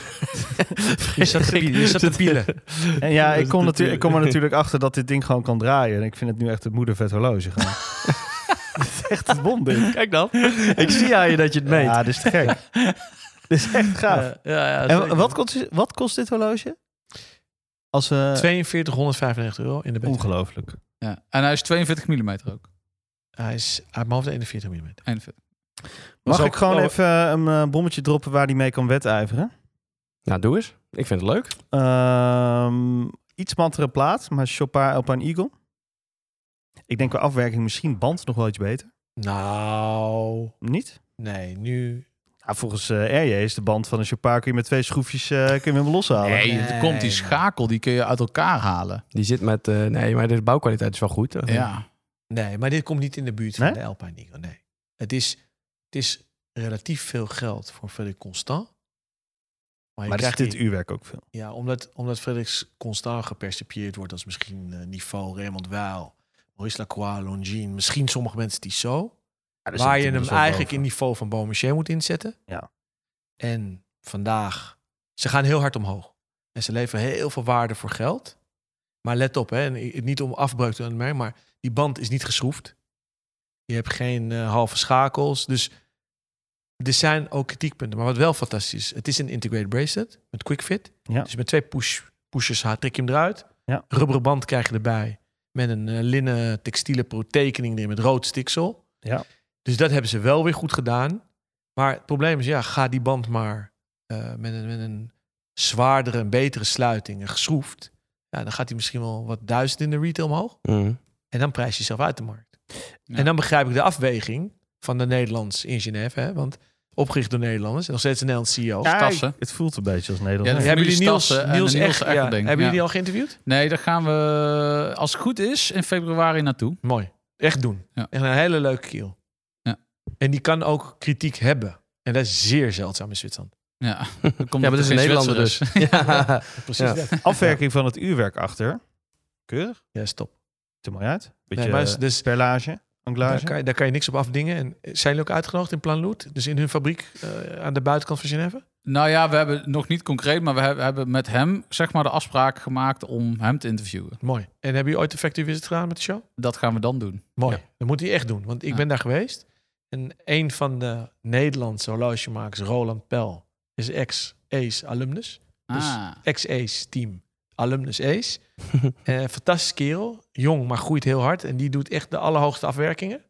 [SPEAKER 1] Je zat te pielen. Je zat te pielen.
[SPEAKER 6] En ja, ik
[SPEAKER 5] natuurlijk-
[SPEAKER 6] kom, natuurlijk, ik kom er natuurlijk achter dat dit ding gewoon kan draaien. En ik vind het nu echt het moedervet horloge gewoon. Het is echt het wonder.
[SPEAKER 5] Kijk dan. Ik zie aan je dat je het meet.
[SPEAKER 6] Ja, dit is te gek. dit is echt gaaf.
[SPEAKER 2] ja, ja,
[SPEAKER 6] en wat kost, wat kost dit horloge? Als we...
[SPEAKER 1] 4295 euro in de bed.
[SPEAKER 6] Ongelooflijk.
[SPEAKER 2] ja. En hij is 42 mm ook.
[SPEAKER 1] Hij is uit mijn hoofd 41 mm.
[SPEAKER 2] 41.
[SPEAKER 6] Mag
[SPEAKER 1] Zo-
[SPEAKER 6] ik gewoon
[SPEAKER 1] oh,
[SPEAKER 6] even een eh, bommetje droppen waar die mee kan wedijveren?
[SPEAKER 5] Nou, doe eens. Ik vind het leuk.
[SPEAKER 6] Ehm, iets mattere plaat, maar Chopin Alpine Eagle. Ik denk qua afwerking misschien band nog wel iets beter.
[SPEAKER 1] Nou,
[SPEAKER 6] Niet?
[SPEAKER 1] nee, nu...
[SPEAKER 6] Ja, volgens eh, RJ is de band van een Chopin kun je met twee schroefjes eh, kun je hem loshalen.
[SPEAKER 2] Nee, er
[SPEAKER 1] Nee,
[SPEAKER 2] komt die
[SPEAKER 1] man.
[SPEAKER 2] schakel. Die kun je uit elkaar halen.
[SPEAKER 5] Die zit met... eh, nee, maar de bouwkwaliteit is wel goed.
[SPEAKER 2] Ja.
[SPEAKER 1] Nee, maar dit komt niet in de buurt van
[SPEAKER 6] Nee?
[SPEAKER 1] de Alpine Eagle. Nee. Het is, het is relatief veel geld voor Frederik Constant. je
[SPEAKER 6] Maar er
[SPEAKER 1] krijgt
[SPEAKER 6] zit in het
[SPEAKER 1] hier-
[SPEAKER 6] uurwerk ook veel.
[SPEAKER 1] Ja, omdat, omdat Frederik Constant gepercipieerd wordt als misschien eh, Niveau, Raymond Weil, Maurice Lacroix, Longines. Misschien sommige mensen die zo. waar je
[SPEAKER 2] dus
[SPEAKER 1] hem eigenlijk in niveau van Beaumarchais moet inzetten.
[SPEAKER 6] Ja.
[SPEAKER 1] En vandaag, ze gaan heel hard omhoog. En ze leveren heel veel waarde voor geld. Maar let op, hè, en i- niet om afbreuk te doen, maar die band is niet geschroefd. Je hebt geen eh, halve schakels. Dus er zijn ook kritiekpunten. Maar wat wel fantastisch is, het is een integrated bracelet met quick fit.
[SPEAKER 6] Ja.
[SPEAKER 1] Dus met twee push, pushers ha- trek je hem eruit.
[SPEAKER 6] Ja.
[SPEAKER 1] Rubberen band krijg je erbij. Met een eh, linnen textiele protekening erin met rood stiksel.
[SPEAKER 6] Ja.
[SPEAKER 1] Dus dat hebben ze wel weer goed gedaan. Maar het probleem is, ja, ga die band maar eh, met, een, met een zwaardere, een betere sluiting en geschroefd. Ja, dan gaat hij misschien wel wat duizend in de retail omhoog.
[SPEAKER 5] Mhm.
[SPEAKER 1] En dan prijs je jezelf uit de markt.
[SPEAKER 2] Ja.
[SPEAKER 1] En dan begrijp ik de afweging van de Nederlands in Genève. Hè? Want Opgericht door Nederlanders. En nog steeds een Nederlands CEO.
[SPEAKER 2] Ja, Stassen.
[SPEAKER 6] Het voelt een beetje als
[SPEAKER 2] Ja,
[SPEAKER 6] Nederland.
[SPEAKER 2] de
[SPEAKER 1] hebben
[SPEAKER 2] familie
[SPEAKER 1] jullie Niels,
[SPEAKER 2] Stassen en
[SPEAKER 1] Niels,
[SPEAKER 2] Niels
[SPEAKER 1] echt, ja.
[SPEAKER 2] Eckerding,
[SPEAKER 1] Hebben jullie
[SPEAKER 2] ja.
[SPEAKER 1] die al geïnterviewd?
[SPEAKER 2] Nee, daar gaan we, als het goed is, in februari naartoe.
[SPEAKER 1] Mooi. Echt doen.
[SPEAKER 2] Ja.
[SPEAKER 1] Echt een hele leuke keel.
[SPEAKER 2] Ja.
[SPEAKER 1] En die kan ook kritiek hebben. En dat is zeer zeldzaam in Zwitserland.
[SPEAKER 2] Ja, Dan komt
[SPEAKER 5] Ja, maar dat is een Nederlander dus. ja.
[SPEAKER 1] Precies
[SPEAKER 5] Ja.
[SPEAKER 1] dat.
[SPEAKER 6] Afwerking van het uurwerk achter. Keurig.
[SPEAKER 1] Ja, stop.
[SPEAKER 6] Te mooi uit. Beetje
[SPEAKER 1] Nee, maar is- dus-
[SPEAKER 6] eh, perlage,
[SPEAKER 1] Daar
[SPEAKER 6] anglage.
[SPEAKER 1] kan, je, daar kan je niks op afdingen. En eh, zijn jullie ook uitgenodigd in Planloed? Dus in hun fabriek eh, aan de buitenkant van Genève?
[SPEAKER 2] Nou ja, we hebben nog niet concreet, maar we hebben- hebben met hem zeg maar de afspraak gemaakt om hem te interviewen.
[SPEAKER 1] Mooi. En hebben jullie ooit een factory visit gedaan met de show?
[SPEAKER 2] Dat gaan we dan doen.
[SPEAKER 1] Mooi.
[SPEAKER 2] Ja.
[SPEAKER 1] Dat moet hij echt doen. Want ik
[SPEAKER 2] Ja.
[SPEAKER 1] ben daar geweest. En een van de Nederlandse horlogemakers, Roland Pel, is ex-Ace alumnus. Dus-
[SPEAKER 2] Ah,
[SPEAKER 1] Ex-Ace team. Alumnus Ace. Eh fantastische kerel. Jong, maar groeit heel hard. En die doet echt de allerhoogste afwerkingen.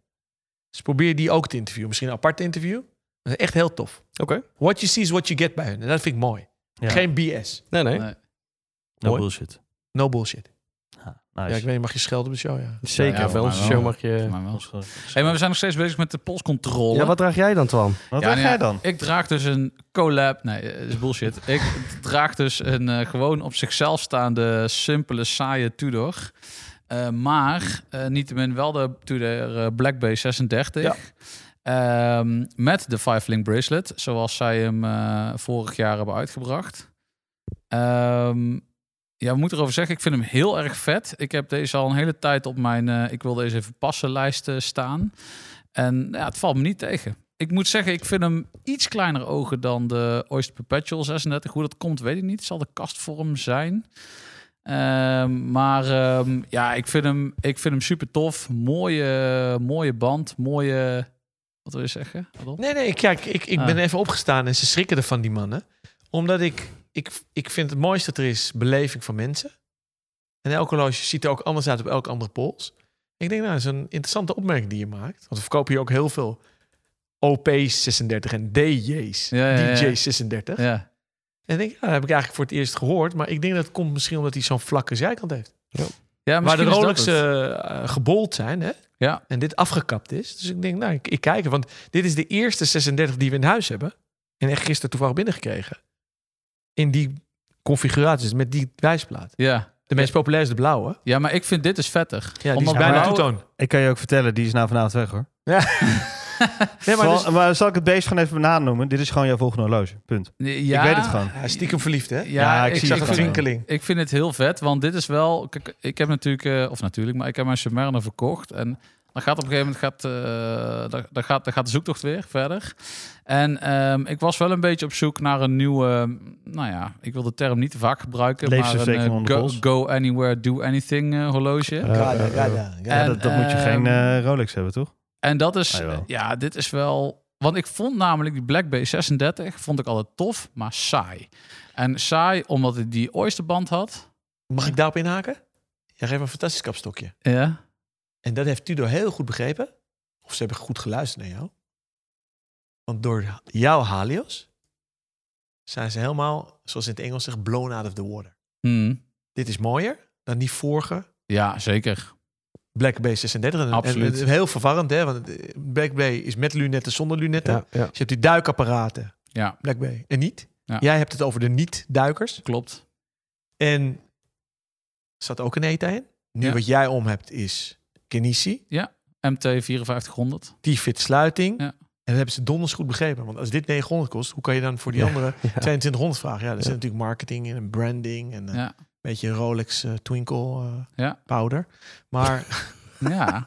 [SPEAKER 1] Dus probeer die ook te interviewen. Misschien een apart interview. Dat is echt heel tof.
[SPEAKER 5] Oké.
[SPEAKER 1] What you see is what you get bij hun. En dat vind ik mooi.
[SPEAKER 6] Ja.
[SPEAKER 1] Geen BS.
[SPEAKER 5] Nee, nee.
[SPEAKER 2] nee.
[SPEAKER 6] No
[SPEAKER 1] Mooi.
[SPEAKER 6] bullshit.
[SPEAKER 1] No bullshit.
[SPEAKER 6] Ja,
[SPEAKER 1] Ja,
[SPEAKER 6] nice.
[SPEAKER 1] ik weet niet, mag je schelden op de show, ja.
[SPEAKER 5] Zeker.
[SPEAKER 2] Nou ja,
[SPEAKER 5] bij
[SPEAKER 2] maar
[SPEAKER 5] onze
[SPEAKER 2] wel.
[SPEAKER 5] show mag
[SPEAKER 2] Volgens
[SPEAKER 5] je...
[SPEAKER 2] mij wel.
[SPEAKER 6] Dat was gewoon-
[SPEAKER 2] Hey, maar we zijn nog steeds bezig met de polscontrole.
[SPEAKER 5] Ja, wat draag jij dan, Twan?
[SPEAKER 6] Wat
[SPEAKER 2] Ja,
[SPEAKER 6] ja,
[SPEAKER 2] nou ja,
[SPEAKER 6] jij dan?
[SPEAKER 2] Ik draag dus een collab. Nee, eh, is bullshit. ik draag dus een eh, gewoon op zichzelf staande, simpele, saaie Tudor. Eh, maar eh niettemin wel de Tudor eh, Black Bay 36.
[SPEAKER 1] Ja.
[SPEAKER 2] Ehm, met de Five Link Bracelet, zoals zij hem eh, vorig jaar hebben uitgebracht. Ehm, ja, we moeten erover zeggen, ik vind hem heel erg vet. Ik heb deze al een hele tijd op mijn eh, ik wil deze even passen lijst eh, staan. En ja, het valt me niet tegen. Ik moet zeggen, ik vind hem iets kleiner ogen dan de Oyster Perpetual 36. Hoe dat komt, weet ik niet. Het zal de kastvorm zijn. Ehm, maar ehm, ja, ik vind, hem, ik vind hem super tof. Mooie, mooie band. Mooie. Wat wil je zeggen? Adolf?
[SPEAKER 1] Nee, nee, kijk, ik, ik
[SPEAKER 2] Ah.
[SPEAKER 1] ben even opgestaan en ze schrikken ervan, die mannen. Omdat ik, ik, ik vind het mooiste dat er is beleving van mensen. En elk horloge ziet er ook anders uit op elk andere pols. Ik denk, nou, dat is een interessante opmerking die je maakt. Want we verkopen hier ook heel veel OP's 36 en DJ's,
[SPEAKER 2] Ja, ja, ja.
[SPEAKER 1] DJ's 36.
[SPEAKER 2] Ja.
[SPEAKER 1] En ik denk, nou, dat heb ik eigenlijk voor het eerst gehoord. Maar ik denk dat het komt misschien omdat hij zo'n vlakke zijkant heeft.
[SPEAKER 2] ja,
[SPEAKER 1] Waar
[SPEAKER 2] misschien
[SPEAKER 1] de
[SPEAKER 2] is dat
[SPEAKER 1] Rolex
[SPEAKER 2] het.
[SPEAKER 1] eh, eh, gebold zijn, hè?
[SPEAKER 2] Ja.
[SPEAKER 1] En dit afgekapt is. Dus ik denk, nou, ik, ik kijk er. Want dit is de eerste 36 die we in huis hebben. En echt gisteren toevallig binnengekregen. In die configuraties, met die wijsplaat.
[SPEAKER 2] Ja.
[SPEAKER 1] De meest populaire is de blauwe.
[SPEAKER 2] ja, maar ik vind dit is vettiger.
[SPEAKER 1] eh, Ja, die
[SPEAKER 2] Omdat
[SPEAKER 1] is bijna
[SPEAKER 2] blauw-
[SPEAKER 1] toetoon.
[SPEAKER 6] Ik kan je ook vertellen, die is na vanavond weg hoor.
[SPEAKER 1] Nee, maar
[SPEAKER 6] maar,
[SPEAKER 1] dus,
[SPEAKER 6] maar zal ik het beest gewoon even benoemen? Dit is gewoon jouw volgende horloge. Punt.
[SPEAKER 2] Ja,
[SPEAKER 6] Ik weet het gewoon.
[SPEAKER 1] hij is stiekem verliefd, hè?
[SPEAKER 2] Ja,
[SPEAKER 6] Ja, ik
[SPEAKER 2] ik,
[SPEAKER 6] zie
[SPEAKER 2] zag
[SPEAKER 6] het
[SPEAKER 2] het
[SPEAKER 1] een
[SPEAKER 6] wel.
[SPEAKER 1] twinkeling.
[SPEAKER 2] Ik vind het heel vet, want dit is wel... Kijk, ik heb natuurlijk, eh, of natuurlijk, maar ik heb mijn Submariner verkocht. En dan gaat op een gegeven moment gaat, eh, dan, dan gaat, dan gaat de zoektocht weer verder. En ehm, ik was wel een beetje op zoek naar een nieuwe... ehm, Nou ja, ik wil de term niet te vaak gebruiken, maar een
[SPEAKER 6] Levensverzekering
[SPEAKER 2] eh,
[SPEAKER 6] onder
[SPEAKER 2] go,
[SPEAKER 6] bos.
[SPEAKER 2] go anywhere, do anything eh, horloge.
[SPEAKER 6] Ja,
[SPEAKER 2] En,
[SPEAKER 6] dat, dat moet je
[SPEAKER 2] ehm,
[SPEAKER 6] geen eh, Rolex hebben, toch?
[SPEAKER 2] En dat is,
[SPEAKER 6] Ah, jawel.
[SPEAKER 2] ja, dit is wel. Want ik vond namelijk die Black Bay 36 vond ik altijd tof, maar saai. En saai omdat het die oysterband had.
[SPEAKER 1] Mag ik daarop inhaken? Ja, geef een fantastisch kapstokje.
[SPEAKER 2] Ja.
[SPEAKER 1] En dat heeft Tudor heel goed begrepen. Of ze hebben goed geluisterd naar jou. Want door jouw Halios zijn ze helemaal, zoals in het Engels zegt, blown out of the water.
[SPEAKER 2] Hmm.
[SPEAKER 1] Dit is mooier dan die vorige
[SPEAKER 2] Ja, zeker.
[SPEAKER 1] Black Bay 36. En-
[SPEAKER 2] Absoluut.
[SPEAKER 1] En, het is heel verwarrend, hè? Want eh, Black Bay is met lunetten, zonder lunetten.
[SPEAKER 5] Ja, ja.
[SPEAKER 1] Dus je hebt die duikapparaten,
[SPEAKER 2] Ja,
[SPEAKER 1] Black Bay, en niet.
[SPEAKER 2] Ja.
[SPEAKER 1] Jij hebt het over de niet-duikers.
[SPEAKER 2] klopt.
[SPEAKER 1] En er zat ook een ETA in. Nu
[SPEAKER 2] Ja.
[SPEAKER 1] wat jij om hebt is Kenissi.
[SPEAKER 2] MT 5400.
[SPEAKER 1] die fit sluiting.
[SPEAKER 2] Ja.
[SPEAKER 1] En dat hebben ze donders goed begrepen. Want als dit 900 kost, hoe kan je dan voor die andere 2200 vragen? Ja, er zit natuurlijk marketing in en branding en eh,
[SPEAKER 2] Ja.
[SPEAKER 1] een beetje Rolex eh, twinkle eh,
[SPEAKER 2] Ja.
[SPEAKER 1] powder. Maar
[SPEAKER 2] Ja,
[SPEAKER 1] ja,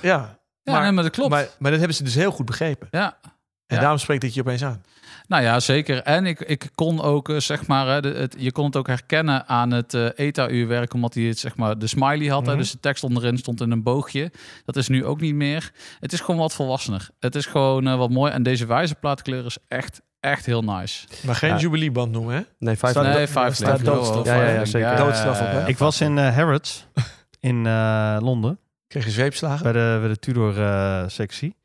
[SPEAKER 2] ja
[SPEAKER 1] Maar-
[SPEAKER 2] nee, maar dat klopt.
[SPEAKER 1] maar, maar dat hebben ze dus heel goed begrepen.
[SPEAKER 2] ja.
[SPEAKER 1] En
[SPEAKER 2] Ja.
[SPEAKER 1] daarom spreekt dit je opeens aan.
[SPEAKER 2] Nou ja, zeker. En ik, ik kon ook, eh, zeg maar, hè, de- het, je kon het ook herkennen aan het eh ETA-uurwerk, omdat hij het, zeg maar, de smiley had. hè.
[SPEAKER 1] Mhm.
[SPEAKER 2] Dus de tekst onderin stond in een boogje. Dat is nu ook niet meer. Het is gewoon wat volwassener. Het is gewoon eh, wat mooi. En deze wijzerplaatkleur is echt, echt heel nice.
[SPEAKER 1] Maar geen
[SPEAKER 5] Ja.
[SPEAKER 1] jubileeband noemen, hè?
[SPEAKER 5] Nee, vijf
[SPEAKER 1] Staat-
[SPEAKER 2] nee,
[SPEAKER 1] dood-
[SPEAKER 2] vijf
[SPEAKER 1] staat doodstraf.
[SPEAKER 5] Ja, ja, ja, zeker.
[SPEAKER 1] Doodstraf op, hè?
[SPEAKER 6] ik was in eh, Harrods in eh, Londen
[SPEAKER 1] Kreeg je zweepslagen?
[SPEAKER 6] bij de, bij de Tudor-sectie.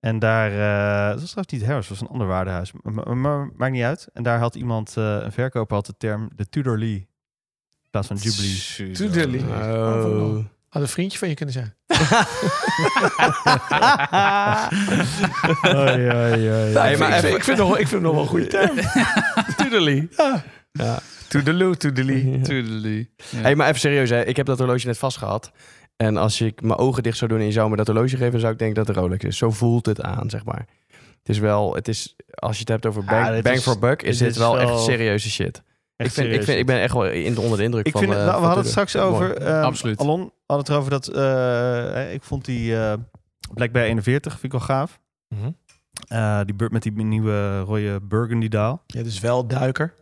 [SPEAKER 6] en daar, eh dat was trouwens niet Harrods, dat was een ander waardehuis. Maar, maar- maar maakt niet uit. En daar had iemand, eh, een verkoper had de term de Tudor Lee. In plaats van Jubilee.
[SPEAKER 1] Tudelie.
[SPEAKER 5] Oh.
[SPEAKER 1] Had een vriendje van je kunnen zijn.
[SPEAKER 6] Oh,
[SPEAKER 5] Hey,
[SPEAKER 1] ik, vind, ik,
[SPEAKER 5] maar even-
[SPEAKER 1] vind- ik vind nog, ik vind hem nog wel een goede term. Toedelie. Ja.
[SPEAKER 5] Ja.
[SPEAKER 1] Toedeloe, toedelie.
[SPEAKER 2] Tudelie. Ja.
[SPEAKER 5] Hey, maar even serieus, hè. ik heb dat horloge net vastgehad. En als ik mijn ogen dicht zou doen en je zou me dat horloge geven, zou ik denken dat het een Rolex is. Zo voelt het aan, zeg maar. Het is wel, het is, als je het hebt over bang,
[SPEAKER 6] Ja, dit
[SPEAKER 5] bang
[SPEAKER 6] is-
[SPEAKER 5] for buck, is
[SPEAKER 6] dit
[SPEAKER 5] dit
[SPEAKER 6] is
[SPEAKER 5] wel, echt
[SPEAKER 6] wel-
[SPEAKER 5] serieuze shit.
[SPEAKER 1] Echt
[SPEAKER 5] ik, vind, ik,
[SPEAKER 1] serieus.
[SPEAKER 5] vind, ik ben echt wel in, onder de indruk
[SPEAKER 6] Ik
[SPEAKER 5] van
[SPEAKER 6] vind het-
[SPEAKER 5] eh,
[SPEAKER 6] nou, we
[SPEAKER 5] van
[SPEAKER 6] hadden
[SPEAKER 5] Tudor.
[SPEAKER 6] het straks over. eh,
[SPEAKER 2] Absoluut.
[SPEAKER 6] Alon had het erover dat. eh, hè, ik vond die eh, Blackberry 41 vind ik wel gaaf.
[SPEAKER 1] Mhm.
[SPEAKER 6] Eh, die bur- met die nieuwe rode burgundy daal.
[SPEAKER 1] Ja, dus wel duiker.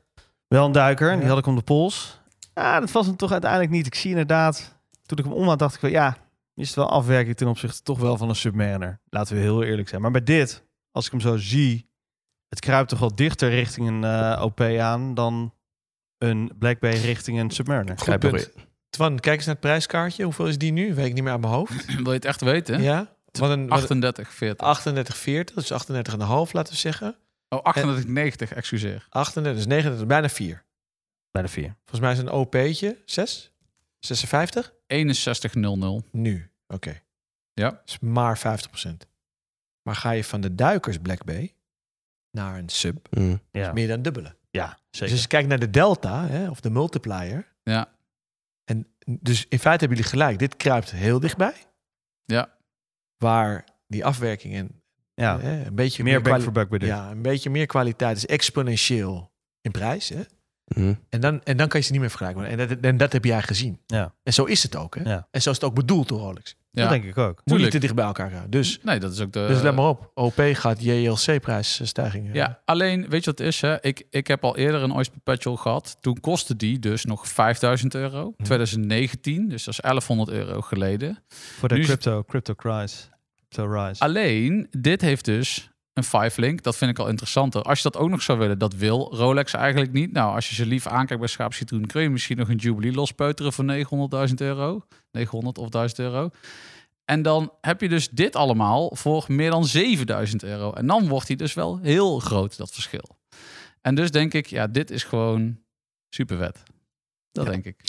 [SPEAKER 6] Wel een duiker, en
[SPEAKER 1] Ja.
[SPEAKER 6] die had ik om de pols. Ah, dat was hem toch uiteindelijk niet. Ik zie inderdaad, toen ik hem om had, dacht ik wel, ja, is het wel afwerking ten opzichte toch wel van een Submariner. Laten we heel eerlijk zijn. Maar bij dit, als ik hem zo zie, het kruipt toch wel dichter richting een eh, OP aan dan een Blackberry richting een Submariner.
[SPEAKER 1] Goed
[SPEAKER 5] Grijp
[SPEAKER 1] punt. Twan, kijk eens naar het prijskaartje. Hoeveel is die nu? Weet ik niet meer uit mijn hoofd.
[SPEAKER 2] Wil je het echt weten?
[SPEAKER 1] Ja. Wat een, wat
[SPEAKER 2] 38, 40.
[SPEAKER 1] 38,40, dus 38,5 laten we zeggen.
[SPEAKER 2] Oh, 38, 90, excuseer.
[SPEAKER 1] 38, dus 39, bijna 4.
[SPEAKER 6] Bij de vier.
[SPEAKER 1] Volgens mij is een OP'tje 6, 56.
[SPEAKER 2] 61, 00.
[SPEAKER 1] Nu, oké.
[SPEAKER 2] Ja.
[SPEAKER 1] is maar 50%. Maar ga je van de duikers Black Bay naar een sub,
[SPEAKER 5] Mm.
[SPEAKER 6] Ja,
[SPEAKER 1] meer dan dubbele.
[SPEAKER 6] ja
[SPEAKER 1] Dus
[SPEAKER 6] zeker.
[SPEAKER 1] als je kijkt naar de delta, hè, of de multiplier.
[SPEAKER 2] Ja.
[SPEAKER 1] En dus in feite hebben jullie gelijk. Dit kruipt heel dichtbij.
[SPEAKER 2] Ja.
[SPEAKER 1] Waar die afwerking en
[SPEAKER 6] ja.
[SPEAKER 1] hè, een beetje
[SPEAKER 6] Meer back
[SPEAKER 1] kwali-
[SPEAKER 6] for buck bij dit.
[SPEAKER 1] Ja, een beetje meer kwaliteit is exponentieel in prijs. Hè?
[SPEAKER 2] Mhm.
[SPEAKER 5] Mm.
[SPEAKER 1] En, dan, en dan kan je ze niet meer vergelijken. En dat, en dat heb jij gezien.
[SPEAKER 6] Ja.
[SPEAKER 1] En zo is het ook. Hè?
[SPEAKER 6] Ja.
[SPEAKER 1] En zo is het ook bedoeld door Rolex.
[SPEAKER 6] Dat
[SPEAKER 2] Ja.
[SPEAKER 6] denk ik ook.
[SPEAKER 1] Moet je
[SPEAKER 2] Tuurlijk. Eh,
[SPEAKER 1] niet te dicht bij elkaar gaan. Dus,
[SPEAKER 2] Nee, dat is ook de...
[SPEAKER 1] dus let maar op. OP gaat JLC-prijsstijgingen.
[SPEAKER 2] Ja, alleen, weet je wat het is? Hè? Ik, ik heb al eerder een Oyster Perpetual gehad. Toen kostte die dus nog 5000 euro. 2019, dus dat is 1100 euro geleden.
[SPEAKER 6] Voor de
[SPEAKER 2] Nu is-
[SPEAKER 6] crypto, crypto cries. Crypto rise.
[SPEAKER 2] Alleen, dit heeft dus een five link. Dat vind ik al interessanter. Als je dat ook nog zou willen, dat wil Rolex eigenlijk niet. Nou, als je ze lief aankijkt bij Schaap Citroen, kun je misschien nog een Jubilee lospeuteren voor 900.000 euro. 900 of 1000 euro. En dan heb je dus dit allemaal voor meer dan 7000 euro. En dan wordt hij dus wel heel groot, dat verschil. En dus denk ik, ja, dit is gewoon super vet. Dat
[SPEAKER 1] Ja.
[SPEAKER 2] denk ik.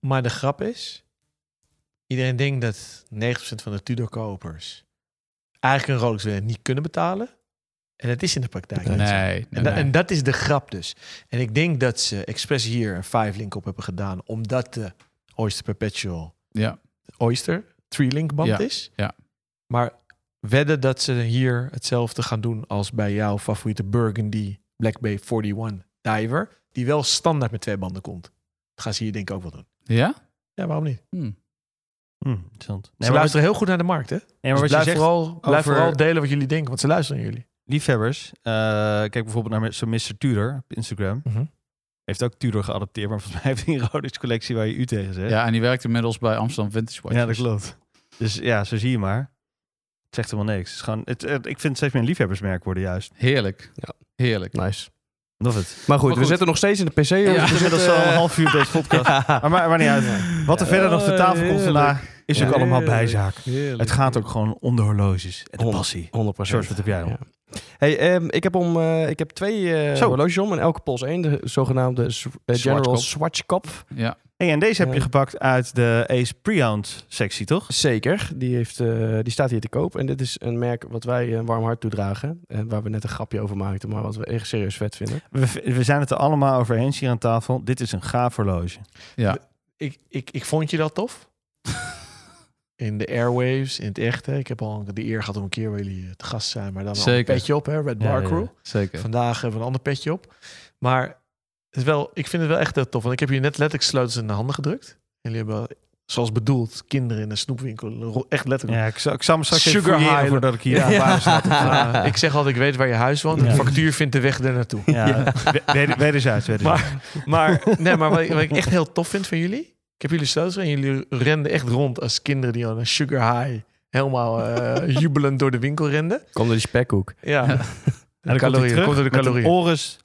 [SPEAKER 1] Maar de grap is, iedereen denkt dat 90% van de Tudor-kopers eigenlijk een Rolex willen niet kunnen betalen. En dat is in de praktijk
[SPEAKER 5] Nee.
[SPEAKER 1] niet zo.
[SPEAKER 2] Nee,
[SPEAKER 1] En,
[SPEAKER 2] nee,
[SPEAKER 1] da-
[SPEAKER 2] nee.
[SPEAKER 1] en dat is de grap dus. En ik denk dat ze expres hier een 5-link op hebben gedaan, omdat de Oyster Perpetual
[SPEAKER 2] Ja.
[SPEAKER 1] Oyster 3-link band
[SPEAKER 2] Ja,
[SPEAKER 1] is.
[SPEAKER 2] ja.
[SPEAKER 1] Maar wedden dat ze hier hetzelfde gaan doen als bij jouw favoriete Burgundy Black Bay 41 diver, die wel standaard met twee banden komt. Dat gaan ze hier denk ik ook wel doen.
[SPEAKER 2] Ja?
[SPEAKER 1] Ja, waarom niet?
[SPEAKER 2] Hm.
[SPEAKER 6] Hm, interessant.
[SPEAKER 1] Ze luisteren heel goed naar de markt, hè?
[SPEAKER 6] nee, maar
[SPEAKER 1] Dus
[SPEAKER 6] wat je
[SPEAKER 1] blijf,
[SPEAKER 6] zegt,
[SPEAKER 1] vooral, blijf
[SPEAKER 6] over-
[SPEAKER 1] vooral delen wat jullie denken, want ze luisteren naar jullie.
[SPEAKER 6] liefhebbers. eh, kijk bijvoorbeeld naar zo'n Mr. Tudor op Instagram.
[SPEAKER 1] Mhm.
[SPEAKER 6] Heeft ook Tudor geadopteerd, maar volgens mij heeft hij een Rolex collectie waar je u tegen zegt.
[SPEAKER 2] Ja, en die werkt inmiddels bij Amsterdam Vintage Watch.
[SPEAKER 6] Ja, dat klopt. Dus ja, zo zie je maar. Het zegt helemaal niks. Het is gewoon, het, het- ik vind het steeds meer een liefhebbersmerk worden juist.
[SPEAKER 2] Heerlijk.
[SPEAKER 5] Ja.
[SPEAKER 2] Heerlijk.
[SPEAKER 5] Nice. Maar
[SPEAKER 6] Of het.
[SPEAKER 5] goed,
[SPEAKER 2] Maar
[SPEAKER 5] we
[SPEAKER 2] goed.
[SPEAKER 5] zitten nog steeds in de PC. jongens.
[SPEAKER 2] Ja,
[SPEAKER 5] We
[SPEAKER 6] Het is Dus inmiddels
[SPEAKER 5] zitten,
[SPEAKER 6] al een
[SPEAKER 5] eh,
[SPEAKER 6] half uur deze podcast. Eh, Maar, maar, maar niet uit. Wat er verder nog te tafel komt vandaag, is ook
[SPEAKER 5] Ja.
[SPEAKER 6] allemaal bijzaak.
[SPEAKER 2] Heerlijk.
[SPEAKER 6] Het gaat ook gewoon om de horloges en de
[SPEAKER 5] Honderd.
[SPEAKER 6] passie.
[SPEAKER 5] 100%.
[SPEAKER 6] George, wat heb jij?
[SPEAKER 5] Ja.
[SPEAKER 6] Ja.
[SPEAKER 5] Hey, ehm, ik, heb om, eh, ik heb twee eh,
[SPEAKER 6] Zo.
[SPEAKER 5] horloges om en elke pols één. De zogenaamde zw- eh, General
[SPEAKER 2] Schwarzkopf.
[SPEAKER 5] Schwarzkopf.
[SPEAKER 2] Ja,
[SPEAKER 6] Hey, en deze heb
[SPEAKER 5] Ja.
[SPEAKER 6] je gepakt uit de Ace Pre-owned sectie, toch?
[SPEAKER 5] Zeker, die, heeft, eh, die staat hier te koop. En dit is een merk wat wij een warm hart toedragen. En waar we net een grapje over maakten, maar wat we echt serieus vet vinden.
[SPEAKER 6] We, we zijn het er allemaal over eens hier aan tafel. Dit is een gaaf horloge.
[SPEAKER 1] Ik, ik, ik vond je dat tof. in de airwaves, in het echt. Hè? Ik heb al de eer gehad om een keer bij jullie eh, te gast te zijn, maar dan al
[SPEAKER 2] Zeker.
[SPEAKER 1] een petje op, hè? Red
[SPEAKER 6] Ja,
[SPEAKER 1] Bar
[SPEAKER 6] ja.
[SPEAKER 1] Crew.
[SPEAKER 2] zeker.
[SPEAKER 1] Vandaag hebben we een ander petje op. Maar het is wel, ik vind het wel echt heel tof, want ik heb hier net letterlijk sleutels in de handen gedrukt. En jullie hebben, zoals bedoeld, kinderen in een snoepwinkel. ro- Echt letterlijk.
[SPEAKER 6] Ja, ik zal, ik zal me straks even
[SPEAKER 1] Sugar
[SPEAKER 6] fouilleren
[SPEAKER 1] high.
[SPEAKER 6] voordat ik hier
[SPEAKER 1] Ja.
[SPEAKER 6] aan waar staat. Ja.
[SPEAKER 1] Ah, ik zeg altijd, ik weet waar je huis woont.
[SPEAKER 6] Ja.
[SPEAKER 1] De factuur vindt de weg er naartoe.
[SPEAKER 6] we- weder- Wederzijds, wederzijds.
[SPEAKER 1] Maar, maar, nee, maar wat, ik, wat ik echt heel tof vind van jullie. Ik heb jullie sleutels en jullie renden echt rond als kinderen die aan een sugar high helemaal eh, jubelend door de winkel renden.
[SPEAKER 5] Komt door die spekhoek.
[SPEAKER 1] Ja,
[SPEAKER 6] en dan komt hij
[SPEAKER 1] calorieën,
[SPEAKER 6] terug
[SPEAKER 1] komt door de
[SPEAKER 6] met een
[SPEAKER 1] calorieën.
[SPEAKER 6] Oris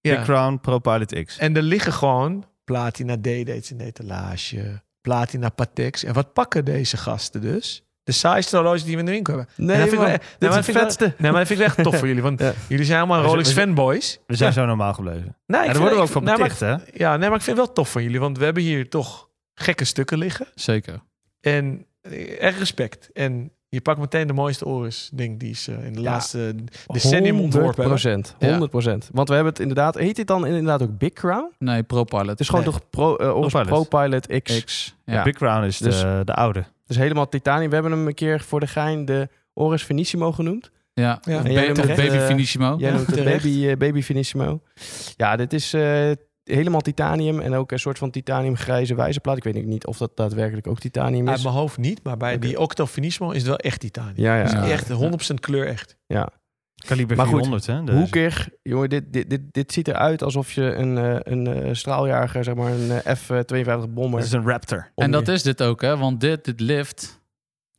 [SPEAKER 1] ja.
[SPEAKER 6] Big Crown Pro Pilot X.
[SPEAKER 1] En er liggen gewoon platina D-dates in de etalage, platina Patex. En wat pakken deze gasten dus? De saaiste horloge die we in de winkel hebben.
[SPEAKER 5] Nee,
[SPEAKER 1] En dat vind ik wel-
[SPEAKER 5] man, dit
[SPEAKER 1] nee,
[SPEAKER 5] is
[SPEAKER 1] maar
[SPEAKER 5] het
[SPEAKER 1] dat vind ik wel-
[SPEAKER 5] vetste.
[SPEAKER 1] Nee, maar dat vind ik wel echt tof voor jullie, want
[SPEAKER 5] Ja.
[SPEAKER 1] jullie zijn allemaal
[SPEAKER 6] zijn-
[SPEAKER 1] Rolex
[SPEAKER 6] we zijn-
[SPEAKER 1] fanboys.
[SPEAKER 6] We zijn zo normaal gebleven.
[SPEAKER 1] Nee, ik
[SPEAKER 6] En
[SPEAKER 1] vind-
[SPEAKER 6] daar worden we ook
[SPEAKER 1] ik-
[SPEAKER 6] van
[SPEAKER 1] nee, maar-
[SPEAKER 6] beticht, hè?
[SPEAKER 1] Ja, nee, maar ik vind het wel tof van jullie, want we hebben hier toch gekke stukken liggen.
[SPEAKER 2] Zeker.
[SPEAKER 1] En eh, echt respect. En je pakt meteen de mooiste Oris, denk ik, die is eh, in de
[SPEAKER 5] Ja.
[SPEAKER 1] laatste decennium ontworpen. hebben.
[SPEAKER 5] 100%.
[SPEAKER 2] Ja.
[SPEAKER 5] 100%. Want we hebben het inderdaad... Heet dit dan inderdaad ook Big Crown?
[SPEAKER 2] Nee, ProPilot.
[SPEAKER 5] Het is gewoon
[SPEAKER 2] Nee,
[SPEAKER 5] toch Pro, eh, Oris
[SPEAKER 6] Pro-Pilot.
[SPEAKER 5] ProPilot X.
[SPEAKER 2] X.
[SPEAKER 6] Ja.
[SPEAKER 2] Ja.
[SPEAKER 6] Big Crown is de,
[SPEAKER 5] Dus-
[SPEAKER 6] de oude.
[SPEAKER 5] Dus helemaal titanium. We hebben hem een keer voor de gein de Oris Finissimo genoemd.
[SPEAKER 2] Ja.
[SPEAKER 1] Ja.
[SPEAKER 2] Of
[SPEAKER 1] En
[SPEAKER 5] jij
[SPEAKER 2] ba-
[SPEAKER 5] noemt
[SPEAKER 2] of
[SPEAKER 5] het,
[SPEAKER 2] Baby
[SPEAKER 5] eh,
[SPEAKER 2] Finissimo.
[SPEAKER 5] Jij
[SPEAKER 1] Ja,
[SPEAKER 5] noemt het
[SPEAKER 1] terecht.
[SPEAKER 5] baby, eh, baby Finissimo. Ja, dit is eh, helemaal titanium en ook een soort van titaniumgrijze wijzerplaat. Ik weet ook niet of dat daadwerkelijk ook titanium
[SPEAKER 1] Uit
[SPEAKER 5] is.
[SPEAKER 1] mijn hoofd niet, maar bij
[SPEAKER 5] Oké.
[SPEAKER 1] die Octo Finismo is het wel echt titanium.
[SPEAKER 5] Ja, ja.
[SPEAKER 1] Dus
[SPEAKER 2] Ja.
[SPEAKER 1] echt 100% kleur echt.
[SPEAKER 6] Kaliber
[SPEAKER 5] Maar goed,
[SPEAKER 6] 400, hè? de-
[SPEAKER 5] Hoekig, jongen, dit, dit, dit, dit ziet eruit alsof je een, eh, een eh, straaljager, zeg maar, een eh, F-52 bomber.
[SPEAKER 6] Het is een Raptor.
[SPEAKER 2] En dat is dit ook, hè? Want dit, dit lift,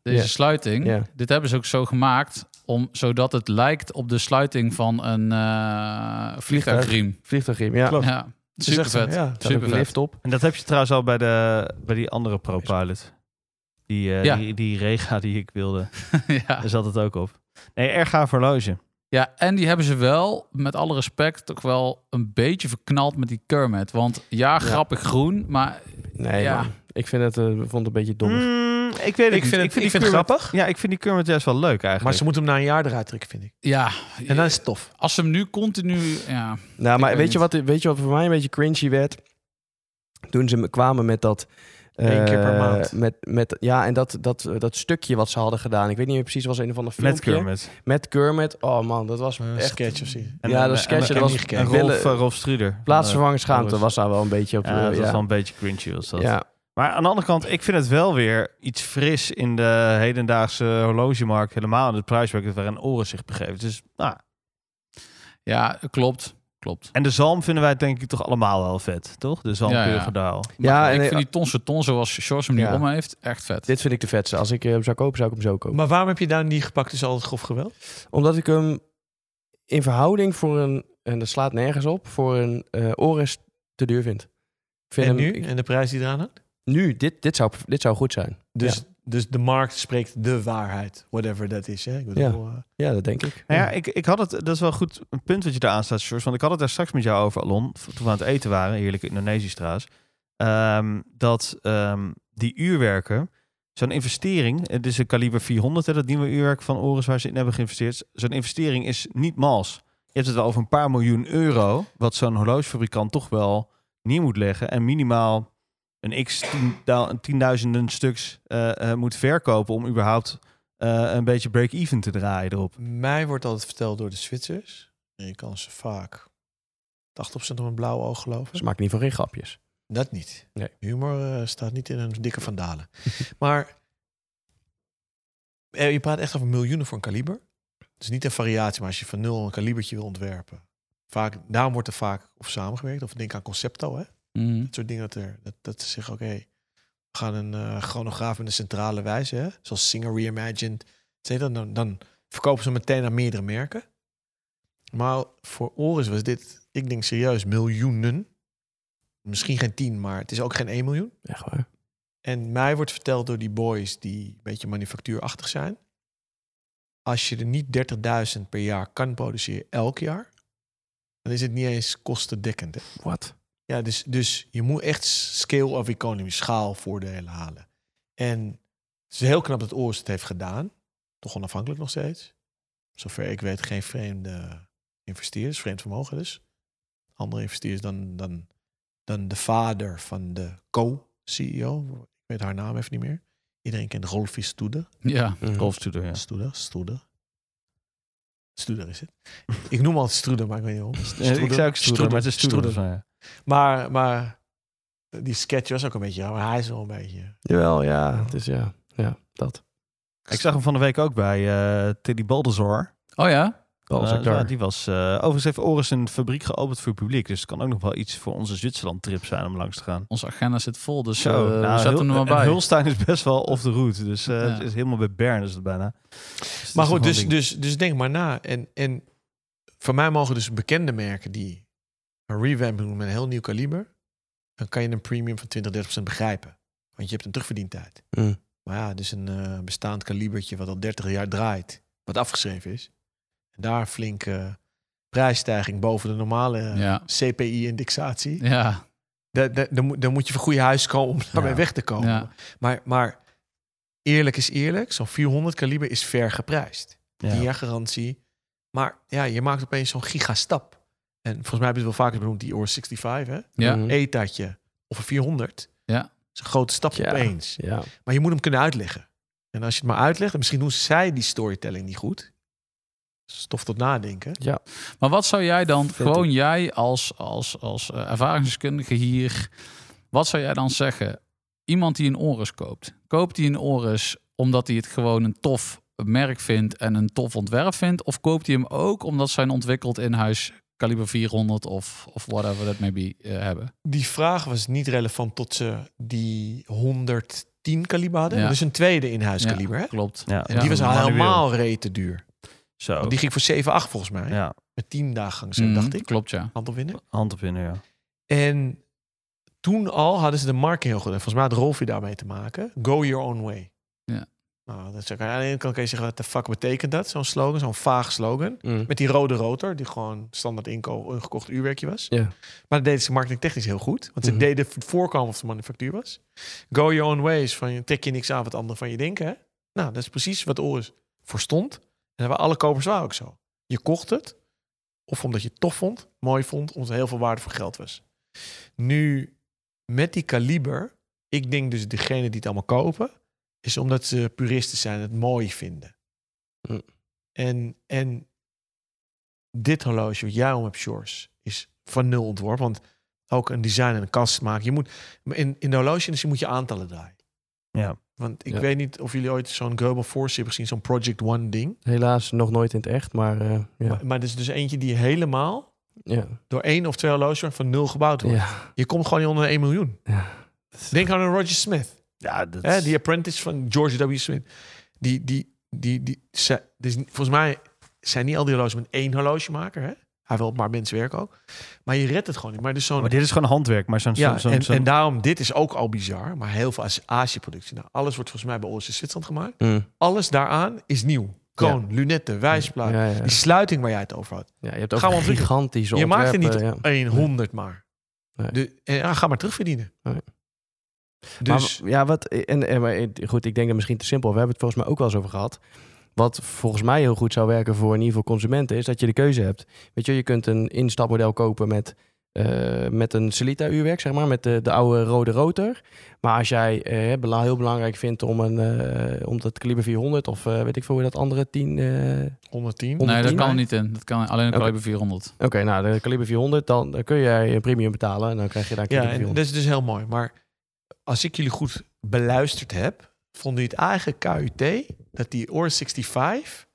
[SPEAKER 2] deze
[SPEAKER 5] Ja.
[SPEAKER 2] sluiting,
[SPEAKER 5] Ja.
[SPEAKER 2] dit hebben ze ook zo gemaakt, om, zodat het lijkt op de sluiting van een eh vliegtuigriem.
[SPEAKER 5] vliegtuigriem, ja.
[SPEAKER 1] Klopt.
[SPEAKER 2] Ja,
[SPEAKER 1] Het is
[SPEAKER 2] super
[SPEAKER 1] echt,
[SPEAKER 2] vet.
[SPEAKER 1] Ja.
[SPEAKER 5] Daar staat ook
[SPEAKER 2] Super vet.
[SPEAKER 5] lift op.
[SPEAKER 6] En dat heb je trouwens al bij, de, bij die andere ProPilot. Die, eh,
[SPEAKER 2] Ja.
[SPEAKER 6] die, die Rega die ik wilde,
[SPEAKER 2] ja.
[SPEAKER 6] daar zat het ook op. Nee, erg gaaf horloge.
[SPEAKER 2] ja, en die hebben ze wel, met alle respect, toch wel een beetje verknald met die Kermit. Want ja, grappig groen, maar
[SPEAKER 5] Nee,
[SPEAKER 2] Ja.
[SPEAKER 5] man. Ik vind het, eh, vond het een beetje dommer.
[SPEAKER 6] Mm, ik weet het
[SPEAKER 1] Ik
[SPEAKER 6] niet.
[SPEAKER 1] vind het, ik vind het
[SPEAKER 6] Kermit-
[SPEAKER 1] grappig,
[SPEAKER 6] Ja, ik vind die Kermit juist wel leuk eigenlijk.
[SPEAKER 1] maar ze moeten hem na een jaar eruit trekken, vind ik.
[SPEAKER 2] ja,
[SPEAKER 1] En dan is het tof.
[SPEAKER 2] als ze hem nu continu... Ja,
[SPEAKER 5] Nou, maar
[SPEAKER 2] weet
[SPEAKER 5] weet je,
[SPEAKER 2] niet.
[SPEAKER 5] wat, weet je wat voor mij een beetje cringy werd? Toen ze me- kwamen met dat... eh,
[SPEAKER 1] Eén keer per maand.
[SPEAKER 5] Met, met, ja, en dat, dat, dat stukje wat ze hadden gedaan. Ik weet niet meer precies, was een of ander
[SPEAKER 6] Met
[SPEAKER 5] filmpje.
[SPEAKER 6] Kermit.
[SPEAKER 5] Met Kermit. Oh man, dat was
[SPEAKER 1] Een
[SPEAKER 5] echt...
[SPEAKER 1] sketch of zoiets.
[SPEAKER 5] Ja,
[SPEAKER 6] een-
[SPEAKER 5] dat
[SPEAKER 6] en-
[SPEAKER 5] sketch,
[SPEAKER 6] en-
[SPEAKER 5] dat was
[SPEAKER 6] en
[SPEAKER 1] gekeken.
[SPEAKER 6] Rolf,
[SPEAKER 5] Willen-
[SPEAKER 6] eh, Rolf Struder.
[SPEAKER 5] Plaatsvervangend schaamte
[SPEAKER 6] Anders.
[SPEAKER 5] was daar wel een beetje op.
[SPEAKER 6] Ja, dat
[SPEAKER 5] eh,
[SPEAKER 6] was
[SPEAKER 5] ja.
[SPEAKER 6] wel een beetje cringy was dat.
[SPEAKER 5] Ja.
[SPEAKER 6] Maar aan de andere kant, ik vind het wel weer iets fris in de hedendaagse horlogemarkt. Helemaal in het prijswerk waarin Oren zich begeeft. Dus, nou,
[SPEAKER 2] ja klopt. Klopt.
[SPEAKER 6] en de zalm vinden wij denk ik toch allemaal wel vet, toch? De zalm
[SPEAKER 2] Ja, ja.
[SPEAKER 6] Burgendaal.
[SPEAKER 2] Maar
[SPEAKER 5] Ja,
[SPEAKER 2] ik
[SPEAKER 5] en- eh,
[SPEAKER 2] vind die Tonse Ton zoals George hem nu
[SPEAKER 5] Ja.
[SPEAKER 2] om heeft, echt vet.
[SPEAKER 5] Dit vind ik de vetste. Als ik eh, hem zou kopen, zou ik hem zo kopen.
[SPEAKER 1] Maar waarom heb je daar niet gepakt dus al het grof geweld?
[SPEAKER 5] Omdat ik hem in verhouding voor een... En dat slaat nergens op. Voor een eh Ores te duur vind. Ik vind
[SPEAKER 1] En
[SPEAKER 5] hem-
[SPEAKER 1] nu?
[SPEAKER 5] ik-
[SPEAKER 1] En de prijs die eraan hangt?
[SPEAKER 5] nu, dit, dit, zou, dit zou goed zijn.
[SPEAKER 1] Dus, dus de markt spreekt de waarheid. Whatever dat is. Hè? Ik bedoel, eh,
[SPEAKER 5] Ja, dat denk ik.
[SPEAKER 6] Nou ja, ik, ik had het, dat is wel goed een punt wat je daar aanstaat, Sjors. Want ik had het daar straks met jou over, Alon, v- toen we aan het eten waren, heerlijke Indonesisch trouwens. ehm, dat ehm, die uurwerken, zo'n investering, het is een kaliber 400, hè, dat nieuwe uurwerk van Oris waar ze in hebben geïnvesteerd. Zo'n investering is niet mals. Je hebt het wel over een paar miljoen euro, wat zo'n horlogefabrikant toch wel neer moet leggen. En minimaal een x tienduizenden stuks eh, eh, moet verkopen om überhaupt eh, een beetje break-even te draaien erop.
[SPEAKER 1] Mij wordt altijd verteld door de Zwitsers. En je kan ze vaak 80% om een blauw oog geloven.
[SPEAKER 5] Ze maken niet voor geen grapjes.
[SPEAKER 1] Dat niet.
[SPEAKER 5] Nee.
[SPEAKER 1] Humor eh, staat niet in een dikke vandalen. maar eh, je praat echt over miljoenen voor een kaliber. Dus niet een variatie, maar als je van nul een kalibertje wil ontwerpen. Vaak, daarom wordt er vaak of samengewerkt. Of denk aan Concepto, hè?
[SPEAKER 2] Mhm.
[SPEAKER 1] Dat soort dingen dat er. Dat, dat ze zeggen, oké, we gaan een eh, chronograaf in de centrale wijze, hè? zoals Singer Reimagined. Zeg dat, dan, dan verkopen ze meteen aan meerdere merken. Maar voor Oris was dit, ik denk serieus, miljoenen. Misschien geen tien, maar het is ook geen 1 miljoen.
[SPEAKER 5] Echt waar.
[SPEAKER 1] En mij wordt verteld door die boys die een beetje manufactuurachtig zijn. Als je er niet 30.000 per jaar kan produceren elk jaar, dan is het niet eens kostendekkend. hè.
[SPEAKER 5] Wat?
[SPEAKER 1] Ja, dus, dus je moet echt scale of economy, schaalvoordelen halen. En het is heel knap dat Oors het heeft gedaan. Toch onafhankelijk nog steeds. Zover ik weet geen vreemde investeerders, vreemd vermogen dus. Andere investeerders dan, dan, dan de vader van de co-CEO. Ik weet haar naam even niet meer. Iedereen kent Rolfie Stoeder.
[SPEAKER 2] Ja.
[SPEAKER 5] Mm. Hm.
[SPEAKER 6] Rolf Tudor, ja.
[SPEAKER 1] Stoeder, Stoeder. Stoeder is het. Ik noem altijd Stoeder, maar ik weet niet waarom. Stoeder,
[SPEAKER 6] Ik zou ook Stoeder, maar het is Stoeder.
[SPEAKER 1] Stoeder. Maar, maar die sketch was ook een beetje raar, maar hij is wel een beetje...
[SPEAKER 5] Jawel, ja. Het is ja. Ja, dat.
[SPEAKER 6] Ik zag hem van de week ook bij eh Teddy Baldassar.
[SPEAKER 2] Oh ja?
[SPEAKER 5] Dat
[SPEAKER 6] Eh, ja, die was eh, overigens heeft Oris een fabriek geopend voor het publiek. Dus het kan ook nog wel iets voor onze Zwitserland-trip zijn om langs te gaan.
[SPEAKER 2] Onze agenda zit vol, dus eh,
[SPEAKER 6] nou,
[SPEAKER 2] we zetten
[SPEAKER 6] Hul-
[SPEAKER 2] hem er
[SPEAKER 6] en
[SPEAKER 2] maar bij.
[SPEAKER 6] Hulstein is best wel off the route. Dus eh,
[SPEAKER 2] Ja.
[SPEAKER 6] het is helemaal bij Bern is het bijna. Dus het is
[SPEAKER 1] Maar
[SPEAKER 6] toch
[SPEAKER 1] goed,
[SPEAKER 6] wel
[SPEAKER 1] dus,
[SPEAKER 6] een
[SPEAKER 1] dus, dus denk maar na. En, en voor mij mogen dus bekende merken die een revamp doen met een heel nieuw kaliber, dan kan je een premium van 20, 30 begrijpen. Want je hebt een terugverdientijd.
[SPEAKER 5] Mm.
[SPEAKER 1] Maar ja, dus een eh, bestaand kalibertje wat al 30 jaar draait, wat afgeschreven is. En daar flinke prijsstijging boven de normale eh,
[SPEAKER 2] Ja.
[SPEAKER 1] CPI-indexatie.
[SPEAKER 2] Ja,
[SPEAKER 1] Da- da- Dan moet- dan moet je van goede huis komen om daarmee
[SPEAKER 6] Ja.
[SPEAKER 1] weg te komen.
[SPEAKER 2] ja.
[SPEAKER 1] Maar, maar eerlijk is eerlijk, zo'n 400 kaliber is ver geprijsd.
[SPEAKER 6] Ja.
[SPEAKER 1] 10 jaar garantie. Maar ja, je maakt opeens zo'n gigastap. En volgens mij heb je het wel vaker benoemd, die OR 65, hè?
[SPEAKER 2] Ja.
[SPEAKER 5] Mhm.
[SPEAKER 1] ETA'tje of een 400.
[SPEAKER 2] Ja.
[SPEAKER 1] Dat is een grote stap
[SPEAKER 5] Ja.
[SPEAKER 1] opeens.
[SPEAKER 5] Ja.
[SPEAKER 1] Maar je moet hem kunnen uitleggen. En als je het maar uitlegt, en misschien doen zij die storytelling niet goed. Stof tot nadenken.
[SPEAKER 2] Maar wat zou jij dan,
[SPEAKER 5] Vind
[SPEAKER 2] gewoon jij als, als, als eh, ervaringsdeskundige hier, wat zou jij dan zeggen? Iemand die een Oris koopt, koopt hij een Oris omdat hij het gewoon een tof merk vindt en een tof ontwerp vindt? Of koopt hij hem ook omdat zij een ontwikkeld in huis kaliber 400 of, of whatever dat maybe eh, hebben?
[SPEAKER 1] Die vraag was niet relevant tot ze die 110 kaliber hadden.
[SPEAKER 2] Ja.
[SPEAKER 1] Dus een tweede in-huis kaliber. hè?
[SPEAKER 2] Klopt.
[SPEAKER 6] Ja,
[SPEAKER 1] En die was
[SPEAKER 6] manueel.
[SPEAKER 1] helemaal rete duur.
[SPEAKER 6] Zo.
[SPEAKER 1] Want Die ging voor 7,8 volgens mij.
[SPEAKER 6] Ja,
[SPEAKER 1] Met 10 dagen,
[SPEAKER 2] Mhm,
[SPEAKER 1] dacht ik.
[SPEAKER 2] Klopt, ja.
[SPEAKER 1] Handel winnen.
[SPEAKER 6] hand op in, ja.
[SPEAKER 1] En toen al hadden ze de marketing heel goed. En volgens mij had Rolfie daarmee te maken. Go your own way.
[SPEAKER 2] Ja.
[SPEAKER 1] Nou, dat zou ik aan de ene kant kan je zeggen, wat de fuck betekent dat? Zo'n slogan, zo'n vaag slogan.
[SPEAKER 5] Mm.
[SPEAKER 1] Met die rode rotor, die gewoon standaard inko- ingekocht uurwerkje was.
[SPEAKER 5] Ja.
[SPEAKER 1] Maar dat deden ze marketingtechnisch heel goed. Want ze
[SPEAKER 5] Mhm.
[SPEAKER 1] deden het voorkomen of de manufactuur was. Go your own way is van, je trek je niks aan wat anderen van je denken. Hè? Nou, dat is precies wat Oris voor stond. En dat alle kopers waren ook zo. Je kocht het, of omdat je het tof vond, mooi vond, omdat er heel veel waarde voor geld was. Nu, met die kaliber, ik denk dus degene die het allemaal kopen, is omdat ze puristen zijn en het mooi vinden.
[SPEAKER 5] Hm.
[SPEAKER 1] En, en dit horloge wat jij om hebt, Shores, is van nul ontworpen. Want ook een design en een kast maken. Je moet, in, in de horloge moet je aantallen draaien.
[SPEAKER 6] Ja.
[SPEAKER 1] Want ik
[SPEAKER 5] Ja.
[SPEAKER 1] weet niet of jullie ooit zo'n Goebel Force hebben gezien, zo'n Project One ding.
[SPEAKER 5] Helaas nog nooit in het echt, maar eh, ja.
[SPEAKER 1] Maar, maar dat is dus eentje die helemaal
[SPEAKER 5] Ja.
[SPEAKER 1] door één of twee horloges van nul gebouwd wordt.
[SPEAKER 5] ja.
[SPEAKER 1] Je komt gewoon niet onder de 1 miljoen.
[SPEAKER 5] Ja.
[SPEAKER 1] Denk aan een Roger Smith.
[SPEAKER 6] Ja, dat
[SPEAKER 1] Hè, die apprentice van George W. Smith. Die, die, die, die, ze- dus volgens mij zijn niet al die horloges met één horlogemaker. Hè? Hij wil op maar mensen werken ook. Maar je redt het gewoon niet. Maar dus zo'n.
[SPEAKER 6] Maar dit is gewoon handwerk, maar zo'n...
[SPEAKER 1] ja,
[SPEAKER 6] zo'n-
[SPEAKER 1] en,
[SPEAKER 6] zo'n-
[SPEAKER 1] en daarom, dit is ook al bizar. Maar heel veel Azi- Azië-productie. Nou, alles wordt volgens mij bij ons in Zwitserland gemaakt.
[SPEAKER 5] Mm.
[SPEAKER 1] Alles daaraan is nieuw. Kroon, lunetten, wijsplaat.
[SPEAKER 5] Ja, ja.
[SPEAKER 1] Die sluiting waar jij het over had.
[SPEAKER 5] Ja, je hebt ook
[SPEAKER 1] Gaan we ontwikkelen.
[SPEAKER 5] gigantische
[SPEAKER 1] je maakt er niet
[SPEAKER 5] ontwerpen, ja.
[SPEAKER 1] 100 maar.
[SPEAKER 5] Nee.
[SPEAKER 1] De, en, ja, ga maar terugverdienen.
[SPEAKER 5] Nee.
[SPEAKER 1] Dus
[SPEAKER 5] Maar, ja, wat, en, en, maar, eh, goed, ik denk dat misschien te simpel. We hebben het volgens mij ook wel eens over gehad. Wat volgens mij heel goed zou werken voor in ieder geval consumenten, is dat je de keuze hebt. Weet je, je kunt een instapmodel kopen met, eh, met een Celita-uurwerk, zeg maar, met de, de oude rode rotor. Maar als jij eh, bela- heel belangrijk vindt om, een, eh, om dat kaliber 400 of eh, weet ik veel hoe dat andere 10. eh,
[SPEAKER 1] 110.
[SPEAKER 5] Om-
[SPEAKER 2] Nee, dat kan
[SPEAKER 5] 110, maar-
[SPEAKER 2] niet in. Dat kan alleen een
[SPEAKER 5] Oké.
[SPEAKER 2] kaliber 400.
[SPEAKER 5] Oké, nou, de kaliber 400, dan, dan kun jij een premium betalen en dan krijg je daar een
[SPEAKER 1] Ja,
[SPEAKER 5] kaliber
[SPEAKER 1] en
[SPEAKER 5] 400.
[SPEAKER 1] dat is dus heel mooi. Maar als ik jullie goed beluisterd heb, vonden jullie het eigen KUT dat die OR 65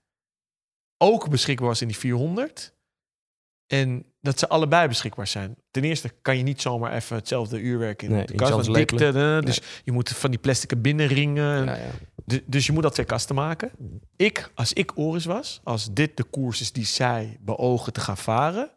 [SPEAKER 1] ook beschikbaar was in die 400. En dat ze allebei beschikbaar zijn. Ten eerste kan je niet zomaar even hetzelfde uurwerk in
[SPEAKER 5] Nee,
[SPEAKER 1] de
[SPEAKER 5] in
[SPEAKER 1] kast.
[SPEAKER 5] hetzelfde
[SPEAKER 1] want dikte, eh, dus je moet van die plastic binnenringen.
[SPEAKER 5] Ja, ja.
[SPEAKER 1] Du- Dus je moet dat twee kasten maken. Ik, als ik Oris was, als dit de koers is die zij beogen te gaan varen,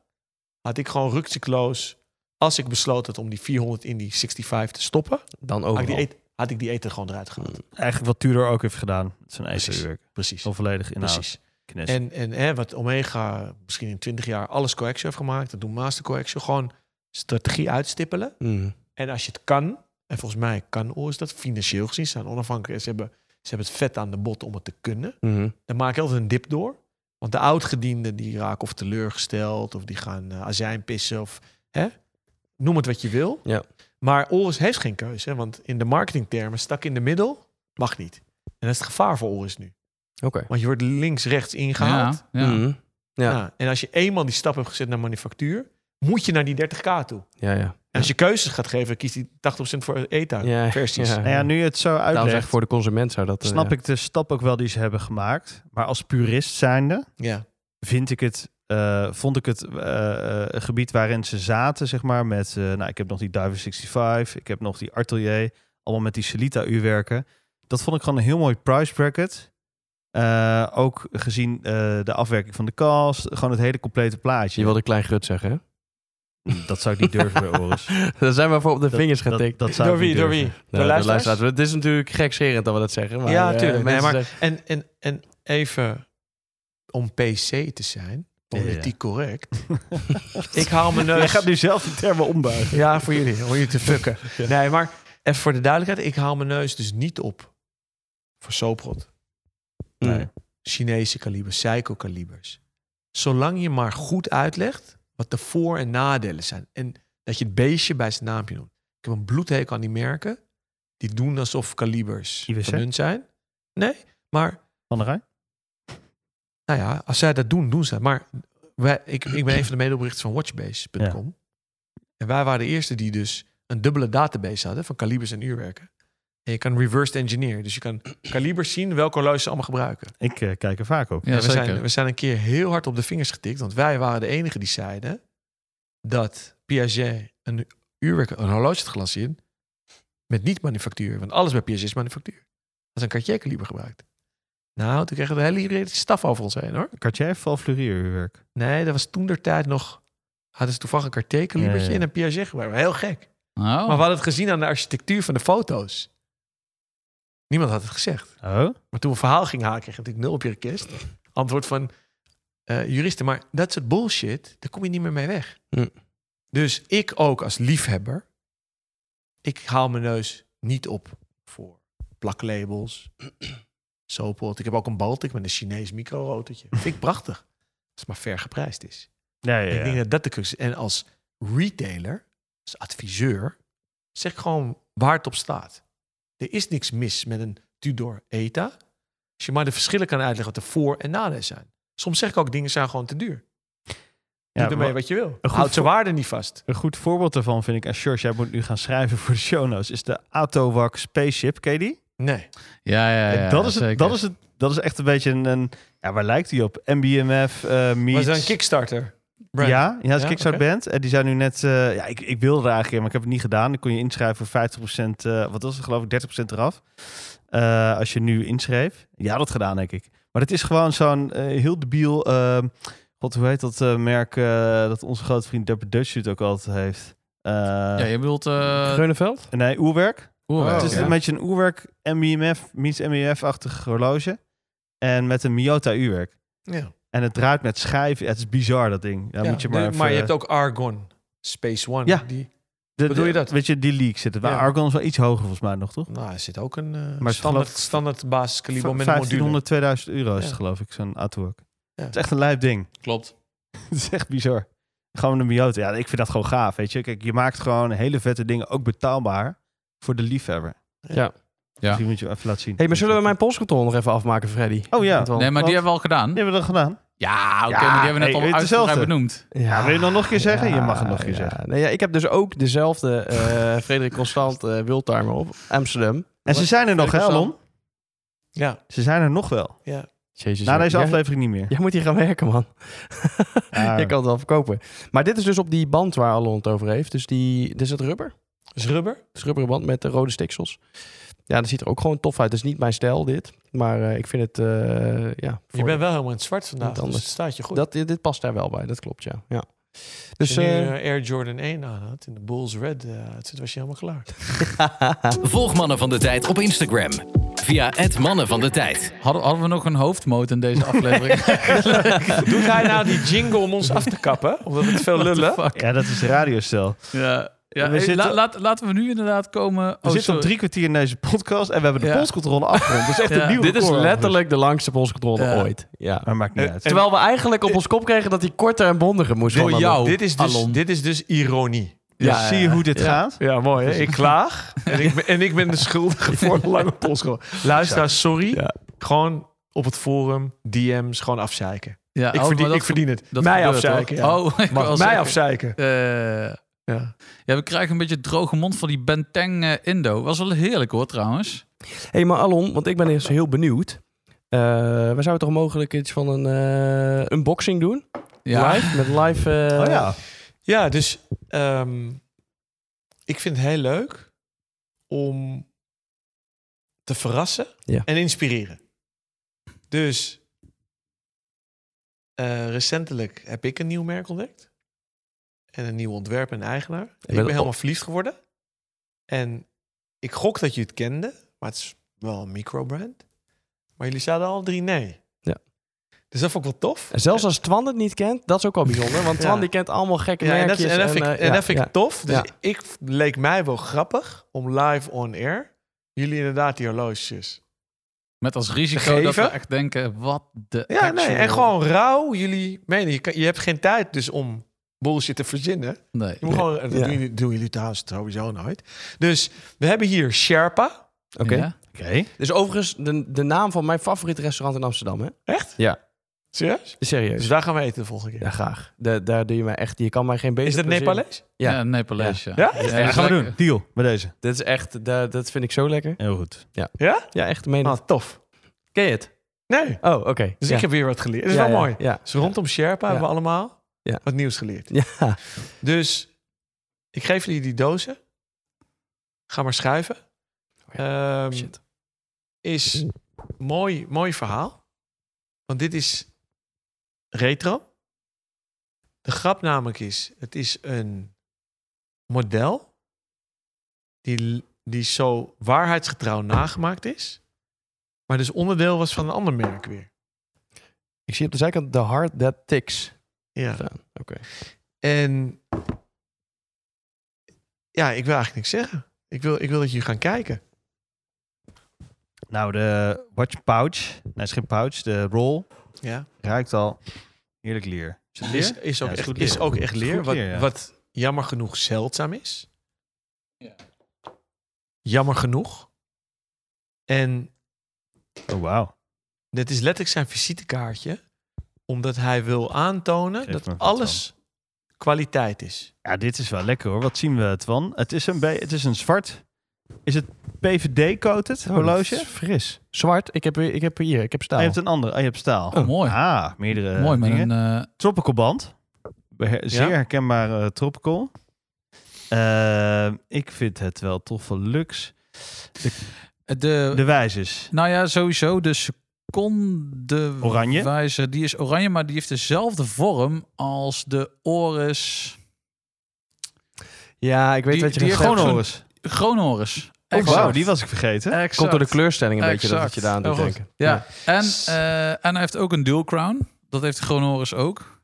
[SPEAKER 1] had ik gewoon rukziekloos, als ik besloot had om die 400 in die 65 te stoppen,
[SPEAKER 5] Dan
[SPEAKER 1] had ik, die
[SPEAKER 5] overal.
[SPEAKER 1] eten, had ik die eten gewoon eruit gehaald.
[SPEAKER 6] Eigenlijk wat Tudor ook heeft gedaan. Zijn
[SPEAKER 1] Precies.
[SPEAKER 6] ijzerwerk.
[SPEAKER 1] Precies.
[SPEAKER 6] Zo volledig in
[SPEAKER 1] Precies. En, en hè, wat Omega misschien in 20 jaar alles coaxial heeft gemaakt, dat doen Master Coaxial, gewoon strategie uitstippelen.
[SPEAKER 5] Mm.
[SPEAKER 1] En als je het kan, en volgens mij kan Oris dat financieel gezien, ze zijn onafhankelijk en ze hebben, ze hebben het vet aan de bot om het te kunnen.
[SPEAKER 5] Mhm.
[SPEAKER 1] dan maak je altijd een dip door. Want de oudgedienden die raken of teleurgesteld of die gaan eh, azijn pissen of hè? noem het wat je wil.
[SPEAKER 5] Ja.
[SPEAKER 1] Maar Oris heeft geen keuze, hè, want in de marketingtermen stak in de middel mag niet. En dat is het gevaar voor Oris nu.
[SPEAKER 5] Oké.
[SPEAKER 1] Want je wordt links-rechts ingehaald.
[SPEAKER 2] Ja, ja.
[SPEAKER 5] Mhm. ja.
[SPEAKER 1] Nou, en als je eenmaal die stap hebt gezet naar manufactuur, moet je naar die 30k toe.
[SPEAKER 5] Ja, ja.
[SPEAKER 1] En als je keuzes gaat geven, kies die 80% voor ETA.
[SPEAKER 5] ja,
[SPEAKER 1] versies.
[SPEAKER 5] Ja,
[SPEAKER 1] Nou
[SPEAKER 6] Nou ja, nu je het zo
[SPEAKER 5] Nou,
[SPEAKER 6] uitlegt,
[SPEAKER 5] zeg, voor de consument zou dat... eh,
[SPEAKER 6] snap
[SPEAKER 5] ja.
[SPEAKER 6] ik de stap ook wel die ze hebben gemaakt. Maar als purist zijnde
[SPEAKER 1] Ja.
[SPEAKER 6] vind ik het, eh, vond ik het eh, eh, een gebied waarin ze zaten, zeg maar, met, eh, nou, ik heb nog die Diver 65, ik heb nog die Atelier, allemaal met die Celita-uurwerken. Dat vond ik gewoon een heel mooi price bracket. Eh, ook gezien eh, de afwerking van de kast, gewoon het hele complete plaatje.
[SPEAKER 5] Je wilde klein grut zeggen, hè?
[SPEAKER 6] Dat zou ik niet durven bij Oris.
[SPEAKER 5] Dan zijn we voor op de
[SPEAKER 6] Dat-
[SPEAKER 5] vingers
[SPEAKER 6] dat-
[SPEAKER 5] getikt.
[SPEAKER 6] dat zou
[SPEAKER 1] door
[SPEAKER 6] ik niet
[SPEAKER 1] wie? Door wie?
[SPEAKER 5] Nou,
[SPEAKER 6] durven.
[SPEAKER 1] Door luisteraars?
[SPEAKER 5] Het is natuurlijk gekscherend dat we dat zeggen. Maar,
[SPEAKER 1] Ja,
[SPEAKER 5] eh,
[SPEAKER 1] tuurlijk. Nee,
[SPEAKER 5] mensen
[SPEAKER 1] maar-
[SPEAKER 5] zeggen-
[SPEAKER 1] En, en, en even om PC te zijn, politiek correct. ik haal mijn
[SPEAKER 6] Jij
[SPEAKER 5] Dus-
[SPEAKER 1] neus.
[SPEAKER 6] gaat nu zelf de termen ombuigen.
[SPEAKER 1] Ja, voor jullie, om jullie te fucken. Nee, maar even voor de duidelijkheid, ik haal mijn neus dus niet op voor soaprot.
[SPEAKER 5] Nee.
[SPEAKER 1] Chinese kalibers, psycho-kalibers. Zolang je maar goed uitlegt wat de voor- en nadelen zijn. En dat je het beestje bij zijn naampje noemt. Ik heb een bloedhekel aan die merken. Die doen alsof kalibers
[SPEAKER 6] IWC?
[SPEAKER 1] van hun zijn. Nee, maar
[SPEAKER 6] Van der Rijn?
[SPEAKER 1] nou ja, als zij dat doen, doen ze dat. Maar wij, ik, ik ben een van de medeoprichters van Watchbase.com. En wij waren de eerste die dus een dubbele database hadden van kalibers en uurwerken. En je kan reversed engineer. Dus je kan kalibers zien welke horloges ze allemaal gebruiken.
[SPEAKER 6] Ik eh, kijk er vaak op.
[SPEAKER 2] Ja,
[SPEAKER 1] En we,
[SPEAKER 2] zeker.
[SPEAKER 1] zijn, we zijn een keer heel hard op de vingers getikt. Want wij waren de enigen die zeiden dat Piaget een uurwerk, een horloge had gelanceerd met niet-manufactuur. Want alles bij Piaget is manufactuur. Dat is een Cartier-kaliber gebruikt. Nou, toen kregen we de hele staf over ons heen hoor.
[SPEAKER 6] Cartier heeft Val Fleury uurwerk.
[SPEAKER 1] Nee, dat was toen der tijd nog. Hadden ze toevallig een Cartier-kalibertje
[SPEAKER 6] Ja, ja.
[SPEAKER 1] en een Piaget gebruikt. Heel gek.
[SPEAKER 2] Oh.
[SPEAKER 1] Maar we hadden het gezien aan de architectuur van de foto's. Niemand had het gezegd.
[SPEAKER 6] Oh?
[SPEAKER 1] Maar toen we verhaal gingen halen, kreeg je natuurlijk nul op je request. Antwoord van eh, juristen. Maar dat soort bullshit, daar kom je niet meer mee weg.
[SPEAKER 5] Hm.
[SPEAKER 1] Dus ik ook als liefhebber, ik haal mijn neus niet op voor plaklabels, soapot. Ik heb ook een Baltic met een Chinees micro-rotertje. Vind ik prachtig. Als het maar ver geprijsd is.
[SPEAKER 6] Ja, ja,
[SPEAKER 1] Ik
[SPEAKER 6] ja.
[SPEAKER 1] denk dat dat de crux is. En als retailer, als adviseur, zeg gewoon waar het op staat. Er is niks mis met een Tudor ETA. Als je maar de verschillen kan uitleggen wat de voor- en nadelen zijn. Soms zeg ik ook dingen zijn gewoon te duur. Doe
[SPEAKER 6] Ja,
[SPEAKER 1] ermee
[SPEAKER 6] maar
[SPEAKER 1] wat je wil.
[SPEAKER 6] een goed
[SPEAKER 1] Houd zijn
[SPEAKER 6] voor-
[SPEAKER 1] waarde niet vast.
[SPEAKER 6] Een goed voorbeeld daarvan vind ik, en George, jij moet nu gaan schrijven voor de show notes, is de Autowac Spaceship, ken je die?
[SPEAKER 1] Nee.
[SPEAKER 2] ja, ja, ja,
[SPEAKER 6] En dat, is
[SPEAKER 2] zeker.
[SPEAKER 6] het, dat, is het, dat is echt een beetje een, een- ja, waar lijkt die op? MBMF, eh
[SPEAKER 1] Maar
[SPEAKER 6] meets...
[SPEAKER 1] ze een Kickstarter. brand.
[SPEAKER 6] Ja, ja, als
[SPEAKER 1] Ja,
[SPEAKER 6] Kickstart
[SPEAKER 1] oké.
[SPEAKER 6] band. En die zijn nu net... eh, ja, ik, ik wilde er eigenlijk in, maar ik heb het niet gedaan. Dan kon je inschrijven voor 50%, eh, wat was het geloof ik, 30% eraf. Eh, als je nu inschreef. Ja, dat gedaan denk ik. Maar het is gewoon zo'n eh, heel debiel... ehm God, hoe heet dat eh, merk eh, dat onze grote vriend Dapper Dutch het ook altijd heeft? Eh,
[SPEAKER 2] Ja, Oh, je bedoelt... eh
[SPEAKER 5] Greunenveld?
[SPEAKER 6] Nee, Oerwerk.
[SPEAKER 5] Oh,
[SPEAKER 2] oerwerk,
[SPEAKER 6] het is
[SPEAKER 2] ja.
[SPEAKER 6] een beetje een oerwerk MIMF, meets MIMF-achtig horloge. En met een Miyota uurwerk.
[SPEAKER 1] Ja.
[SPEAKER 6] En het draait met schijven. Ja, het is bizar, dat ding. Daar
[SPEAKER 1] Ja,
[SPEAKER 6] moet je maar
[SPEAKER 1] nee,
[SPEAKER 6] even-
[SPEAKER 1] je hebt ook Argon. Space One.
[SPEAKER 6] Ja.
[SPEAKER 1] Die,
[SPEAKER 6] de-
[SPEAKER 1] bedoel je dat?
[SPEAKER 6] Weet je, die leak zit het. Maar
[SPEAKER 1] Ja.
[SPEAKER 6] Argon is wel iets hoger volgens mij nog, toch?
[SPEAKER 1] nou, er zit ook een eh,
[SPEAKER 6] geloof-
[SPEAKER 1] standaard, standaard basiskaliber met een module.
[SPEAKER 6] 1500, 2000 euro is het,
[SPEAKER 1] Ja.
[SPEAKER 6] geloof ik, zo'n artwork.
[SPEAKER 1] Ja.
[SPEAKER 6] Het is echt een lijp ding.
[SPEAKER 2] Klopt.
[SPEAKER 6] het is echt bizar. Gewoon een Miyota. Ja, ik vind dat gewoon gaaf, weet je. Kijk, je maakt gewoon hele vette dingen ook betaalbaar voor de liefhebber.
[SPEAKER 5] Ja.
[SPEAKER 6] Misschien moet je hem even laten zien.
[SPEAKER 5] hey, maar zullen we mijn postkantoor nog even afmaken, Freddy?
[SPEAKER 6] Oh ja.
[SPEAKER 5] Want
[SPEAKER 2] Nee, maar
[SPEAKER 5] wel-
[SPEAKER 2] die
[SPEAKER 6] Want-
[SPEAKER 2] hebben we al gedaan.
[SPEAKER 6] Die hebben we dat gedaan?
[SPEAKER 2] Ja, oké, maar die
[SPEAKER 6] Ja,
[SPEAKER 2] hebben we net
[SPEAKER 6] hey,
[SPEAKER 2] al
[SPEAKER 6] het is
[SPEAKER 2] uitgebreid
[SPEAKER 6] hetzelfde.
[SPEAKER 2] benoemd.
[SPEAKER 6] Ja, wil je dan nog een keer zeggen?
[SPEAKER 5] Ja,
[SPEAKER 6] Je mag het nog een keer
[SPEAKER 5] ja.
[SPEAKER 6] zeggen.
[SPEAKER 5] Nee, ja, ik heb dus ook dezelfde eh Frederik Constant eh Wildtimer op Amsterdam.
[SPEAKER 6] En ze zijn er nog, hè,
[SPEAKER 5] Interessant.
[SPEAKER 6] Alon?
[SPEAKER 1] Ja,
[SPEAKER 6] Ze zijn er nog wel.
[SPEAKER 5] Jezus,
[SPEAKER 6] Na
[SPEAKER 5] ja.
[SPEAKER 6] deze
[SPEAKER 5] Jij-
[SPEAKER 6] aflevering Ah. niet meer.
[SPEAKER 5] Jij moet hier gaan werken, man.
[SPEAKER 6] Ja.
[SPEAKER 5] Je kan het wel verkopen. Maar dit is dus op die band waar Alon het over heeft. Dus die, dit is het rubber.
[SPEAKER 1] is rubber.
[SPEAKER 5] Het is rubberen band met de rode stiksels. Ja, dat ziet er ook gewoon tof uit. Het is niet mijn stijl, dit. Maar eh, ik vind het, eh, ja...
[SPEAKER 1] Je bent wel helemaal in het zwart vandaag.
[SPEAKER 5] Niet
[SPEAKER 1] Dus
[SPEAKER 5] anders.
[SPEAKER 1] het staat je goed.
[SPEAKER 5] Dat, dit dit past daar wel bij, dat klopt, ja. ja. Dus,
[SPEAKER 1] Als je nu
[SPEAKER 5] eh,
[SPEAKER 1] eh, Air Jordan 1 aan had en de Bulls Red eh, uitzet, was je helemaal klaar.
[SPEAKER 3] Volg Mannen van de Tijd op Instagram. Via het Mannen van de Tijd.
[SPEAKER 2] Hadden, hadden we nog een hoofdmoot in deze aflevering?
[SPEAKER 1] Doet hij nou die jingle om ons af te kappen? Omdat het veel lullen?
[SPEAKER 2] Fuck.
[SPEAKER 6] Ja, dat is de radiostel.
[SPEAKER 2] Ja, ja
[SPEAKER 6] We
[SPEAKER 2] hey,
[SPEAKER 6] zitten-
[SPEAKER 2] la- laat, laten we nu inderdaad komen...
[SPEAKER 6] We
[SPEAKER 2] Oh,
[SPEAKER 6] zitten op
[SPEAKER 2] sorry.
[SPEAKER 6] drie kwartier in deze podcast en we hebben de
[SPEAKER 2] Ja.
[SPEAKER 6] polscontrole afgerond. Dat is echt
[SPEAKER 2] Ja.
[SPEAKER 6] een nieuw
[SPEAKER 5] dit is
[SPEAKER 6] record.
[SPEAKER 5] letterlijk de langste polscontrole
[SPEAKER 2] Ja.
[SPEAKER 5] ooit. Ja.
[SPEAKER 6] Maar maakt niet uit.
[SPEAKER 5] Terwijl we eigenlijk op ons kop kregen dat hij korter en bondiger moest.
[SPEAKER 2] Door
[SPEAKER 5] van Alon.
[SPEAKER 2] jou.
[SPEAKER 1] dit, is dus,
[SPEAKER 2] Alon.
[SPEAKER 1] dit is dus ironie.
[SPEAKER 6] Dus
[SPEAKER 2] ja,
[SPEAKER 6] zie je
[SPEAKER 2] ja.
[SPEAKER 6] hoe dit
[SPEAKER 5] Ja.
[SPEAKER 6] gaat?
[SPEAKER 1] Ja, mooi.
[SPEAKER 5] Dus-
[SPEAKER 1] Hè? Ik klaag en ik, ben, en ik ben de schuldige voor een lange polschool. Luisteraar, sorry.
[SPEAKER 5] Ja.
[SPEAKER 1] Gewoon op het forum, DM's, gewoon afzeiken.
[SPEAKER 2] Ja, oh,
[SPEAKER 1] Ik
[SPEAKER 2] maar
[SPEAKER 1] verdien,
[SPEAKER 2] dat
[SPEAKER 1] ik verdien het.
[SPEAKER 2] Dat
[SPEAKER 1] Mij
[SPEAKER 2] gebeurt,
[SPEAKER 1] afzeiken.
[SPEAKER 2] hoor.
[SPEAKER 1] Ja.
[SPEAKER 2] Oh,
[SPEAKER 1] Mag
[SPEAKER 2] ik wou
[SPEAKER 1] mij
[SPEAKER 2] zeggen.
[SPEAKER 1] afzeiken.
[SPEAKER 2] Eh,
[SPEAKER 1] Ja.
[SPEAKER 2] ja, we krijgen een beetje droge mond van die Benteng eh, Indo. Was wel heerlijk hoor, trouwens.
[SPEAKER 5] hey, maar Alon, want ik ben eerst heel benieuwd. Eh, we zouden toch mogelijk iets van een eh, unboxing doen?
[SPEAKER 2] Ja,
[SPEAKER 5] Live? Met live... eh,
[SPEAKER 6] oh ja.
[SPEAKER 1] Ja, dus ehm, ik vind het heel leuk om te verrassen
[SPEAKER 5] Ja.
[SPEAKER 1] en inspireren. Dus eh, recentelijk heb ik een nieuw merk ontdekt. En een nieuw ontwerp en eigenaar. ik ben
[SPEAKER 5] op-
[SPEAKER 1] helemaal verliefd geworden. En ik gok dat je het kende, maar het is wel een microbrand. Maar jullie zeiden al drie nee.
[SPEAKER 5] Ja.
[SPEAKER 1] Dus dat vond ik wel tof.
[SPEAKER 5] En Zelfs als Twan het niet kent, dat is ook al bijzonder. Want
[SPEAKER 1] Ja.
[SPEAKER 5] Twan die kent allemaal gekke
[SPEAKER 1] Ja, en dat,
[SPEAKER 5] merkjes.
[SPEAKER 1] is- en dat vind ik,
[SPEAKER 5] eh,
[SPEAKER 1] en
[SPEAKER 5] ja,
[SPEAKER 1] dat vind ik
[SPEAKER 5] ja.
[SPEAKER 1] tof. Dus
[SPEAKER 5] Ja.
[SPEAKER 1] ik leek mij wel grappig om live on air jullie inderdaad die horloges
[SPEAKER 2] Met als risico dat we
[SPEAKER 1] Geven?
[SPEAKER 2] echt denken, wat de
[SPEAKER 1] Ja, nee.
[SPEAKER 2] actual-
[SPEAKER 1] En gewoon rauw jullie menen. Je, kan- je hebt geen tijd dus om bullshit te verzinnen.
[SPEAKER 2] Nee.
[SPEAKER 1] Je moet gewoon, dat
[SPEAKER 5] Ja.
[SPEAKER 1] doen, jullie, doen jullie thuis sowieso nooit. Dus we hebben hier Sherpa.
[SPEAKER 5] Oké.
[SPEAKER 2] Ja?
[SPEAKER 6] Oké.
[SPEAKER 5] Dus overigens de, de naam van mijn favoriete restaurant in Amsterdam, hè?
[SPEAKER 1] Echt?
[SPEAKER 5] Ja.
[SPEAKER 1] Serieus? Dus
[SPEAKER 5] Serieus.
[SPEAKER 1] daar gaan we eten de volgende keer.
[SPEAKER 5] Ja, graag. Da- daar doe je mij echt... Je kan mij geen beter
[SPEAKER 1] Is dat
[SPEAKER 5] plezier-
[SPEAKER 1] Nepalees?
[SPEAKER 5] Ja.
[SPEAKER 2] Ja, Nepalees, ja.
[SPEAKER 1] Ja?
[SPEAKER 2] Ja, dat
[SPEAKER 6] Ja,
[SPEAKER 2] is
[SPEAKER 6] gaan we
[SPEAKER 2] lekker.
[SPEAKER 6] doen. Deal. Bij deze.
[SPEAKER 5] Dit is echt... da- dat vind ik zo lekker.
[SPEAKER 6] Heel goed.
[SPEAKER 5] Ja, echt. Meen
[SPEAKER 1] Ah, tof.
[SPEAKER 5] Ken je het?
[SPEAKER 1] Nee.
[SPEAKER 5] Oh, oké.
[SPEAKER 1] Dus
[SPEAKER 5] ja.
[SPEAKER 1] ik heb weer wat geleerd. Dat is
[SPEAKER 5] Ja,
[SPEAKER 1] wel
[SPEAKER 5] ja,
[SPEAKER 1] mooi.
[SPEAKER 5] Ja.
[SPEAKER 1] Dus rondom Sherpa
[SPEAKER 5] Ja.
[SPEAKER 1] hebben we allemaal
[SPEAKER 5] Ja.
[SPEAKER 1] wat nieuws geleerd.
[SPEAKER 5] Ja.
[SPEAKER 1] Dus ik geef jullie die dozen. Ga maar schuiven. Ehm,
[SPEAKER 5] Oh Shit.
[SPEAKER 1] Is mooi, mooi verhaal. Want dit is retro. De grap namelijk is, het is een model die, die zo waarheidsgetrouw nagemaakt is. Maar dus onderdeel was van een ander merk weer.
[SPEAKER 5] Ik zie op de zijkant The Heart That Ticks
[SPEAKER 1] Ja.
[SPEAKER 5] staan. Oké.
[SPEAKER 1] En ja, ik wil eigenlijk niks zeggen. Ik wil, ik wil dat jullie gaan kijken.
[SPEAKER 6] Nou, de watch pouch. Nee, het is geen pouch. De roll.
[SPEAKER 1] Ja.
[SPEAKER 6] Ruikt al. Heerlijk leer. Is het
[SPEAKER 1] Is,
[SPEAKER 6] leer?
[SPEAKER 1] is, ook,
[SPEAKER 6] Ja, is
[SPEAKER 1] echt,
[SPEAKER 6] goed
[SPEAKER 1] is
[SPEAKER 6] leer.
[SPEAKER 1] ook echt
[SPEAKER 6] Is
[SPEAKER 1] leer,
[SPEAKER 6] goed
[SPEAKER 1] wat,
[SPEAKER 6] leer, ja.
[SPEAKER 1] wat jammer genoeg zeldzaam is. Jammer genoeg. En
[SPEAKER 6] Oh, wauw.
[SPEAKER 1] dit is letterlijk zijn visitekaartje, omdat hij wil aantonen
[SPEAKER 6] Geef me
[SPEAKER 1] dat
[SPEAKER 6] wat
[SPEAKER 1] alles kwaliteit is.
[SPEAKER 6] Ja, dit is wel lekker hoor. Wat zien we het van? Het is een, be- het is een zwart... Is het PVD-coated horloge?
[SPEAKER 5] Dat is Fris. Zwart. Ik heb, hier- ik heb hier. Ik heb
[SPEAKER 6] Ah,
[SPEAKER 5] staal.
[SPEAKER 6] je hebt een andere. Ah, je hebt staal.
[SPEAKER 2] Oh, mooi.
[SPEAKER 6] Ah, meerdere
[SPEAKER 2] Mooi, met
[SPEAKER 6] dingen.
[SPEAKER 2] een... eh,
[SPEAKER 6] Tropical band. Beher- Zeer
[SPEAKER 1] Ja.
[SPEAKER 6] herkenbaar eh, tropical. Eh, ik vind het wel tof van luxe.
[SPEAKER 2] de,
[SPEAKER 6] De wijzers.
[SPEAKER 2] Nou ja, sowieso de seconde
[SPEAKER 6] Oranje?
[SPEAKER 2] wijzer, die is oranje, maar die heeft dezelfde vorm als de Oris
[SPEAKER 5] Ja, ik weet
[SPEAKER 2] Die-
[SPEAKER 5] wat je
[SPEAKER 2] die heeft
[SPEAKER 5] gaat zeggen.
[SPEAKER 2] gewoon
[SPEAKER 6] Chronoris.
[SPEAKER 2] Chronoris.
[SPEAKER 6] Oh,
[SPEAKER 2] Exact.
[SPEAKER 6] wauw, die was ik vergeten.
[SPEAKER 2] Exact.
[SPEAKER 5] Komt door de kleurstelling een beetje dat
[SPEAKER 2] Exact.
[SPEAKER 5] het je daar aan doet
[SPEAKER 2] Oh, goed.
[SPEAKER 5] denken.
[SPEAKER 2] Ja, en, eh, en hij heeft ook een dual crown. Dat heeft de Chronoris ook.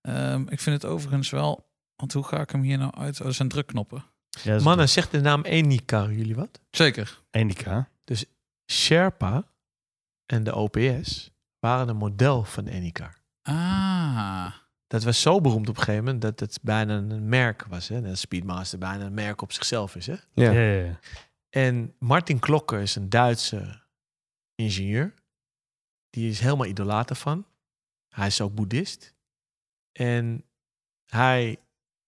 [SPEAKER 2] Ehm, ik vind het overigens wel... Want hoe ga ik hem hier nou uit? Oh, dat zijn drukknoppen.
[SPEAKER 6] Ja, dat is
[SPEAKER 1] Mannen, zegt de naam Enika jullie wat?
[SPEAKER 2] Zeker.
[SPEAKER 6] een Indica.
[SPEAKER 1] Sherpa en de OPS waren een model van Enika.
[SPEAKER 2] Ah.
[SPEAKER 1] Dat was zo beroemd op een gegeven moment dat het bijna een merk was. Hè? Dat Speedmaster bijna een merk op zichzelf is. Hè?
[SPEAKER 5] Ja.
[SPEAKER 6] Ja, ja, ja.
[SPEAKER 1] En Martin Klokker is een Duitse ingenieur. Die is helemaal idolater van. Hij is ook boeddhist. En hij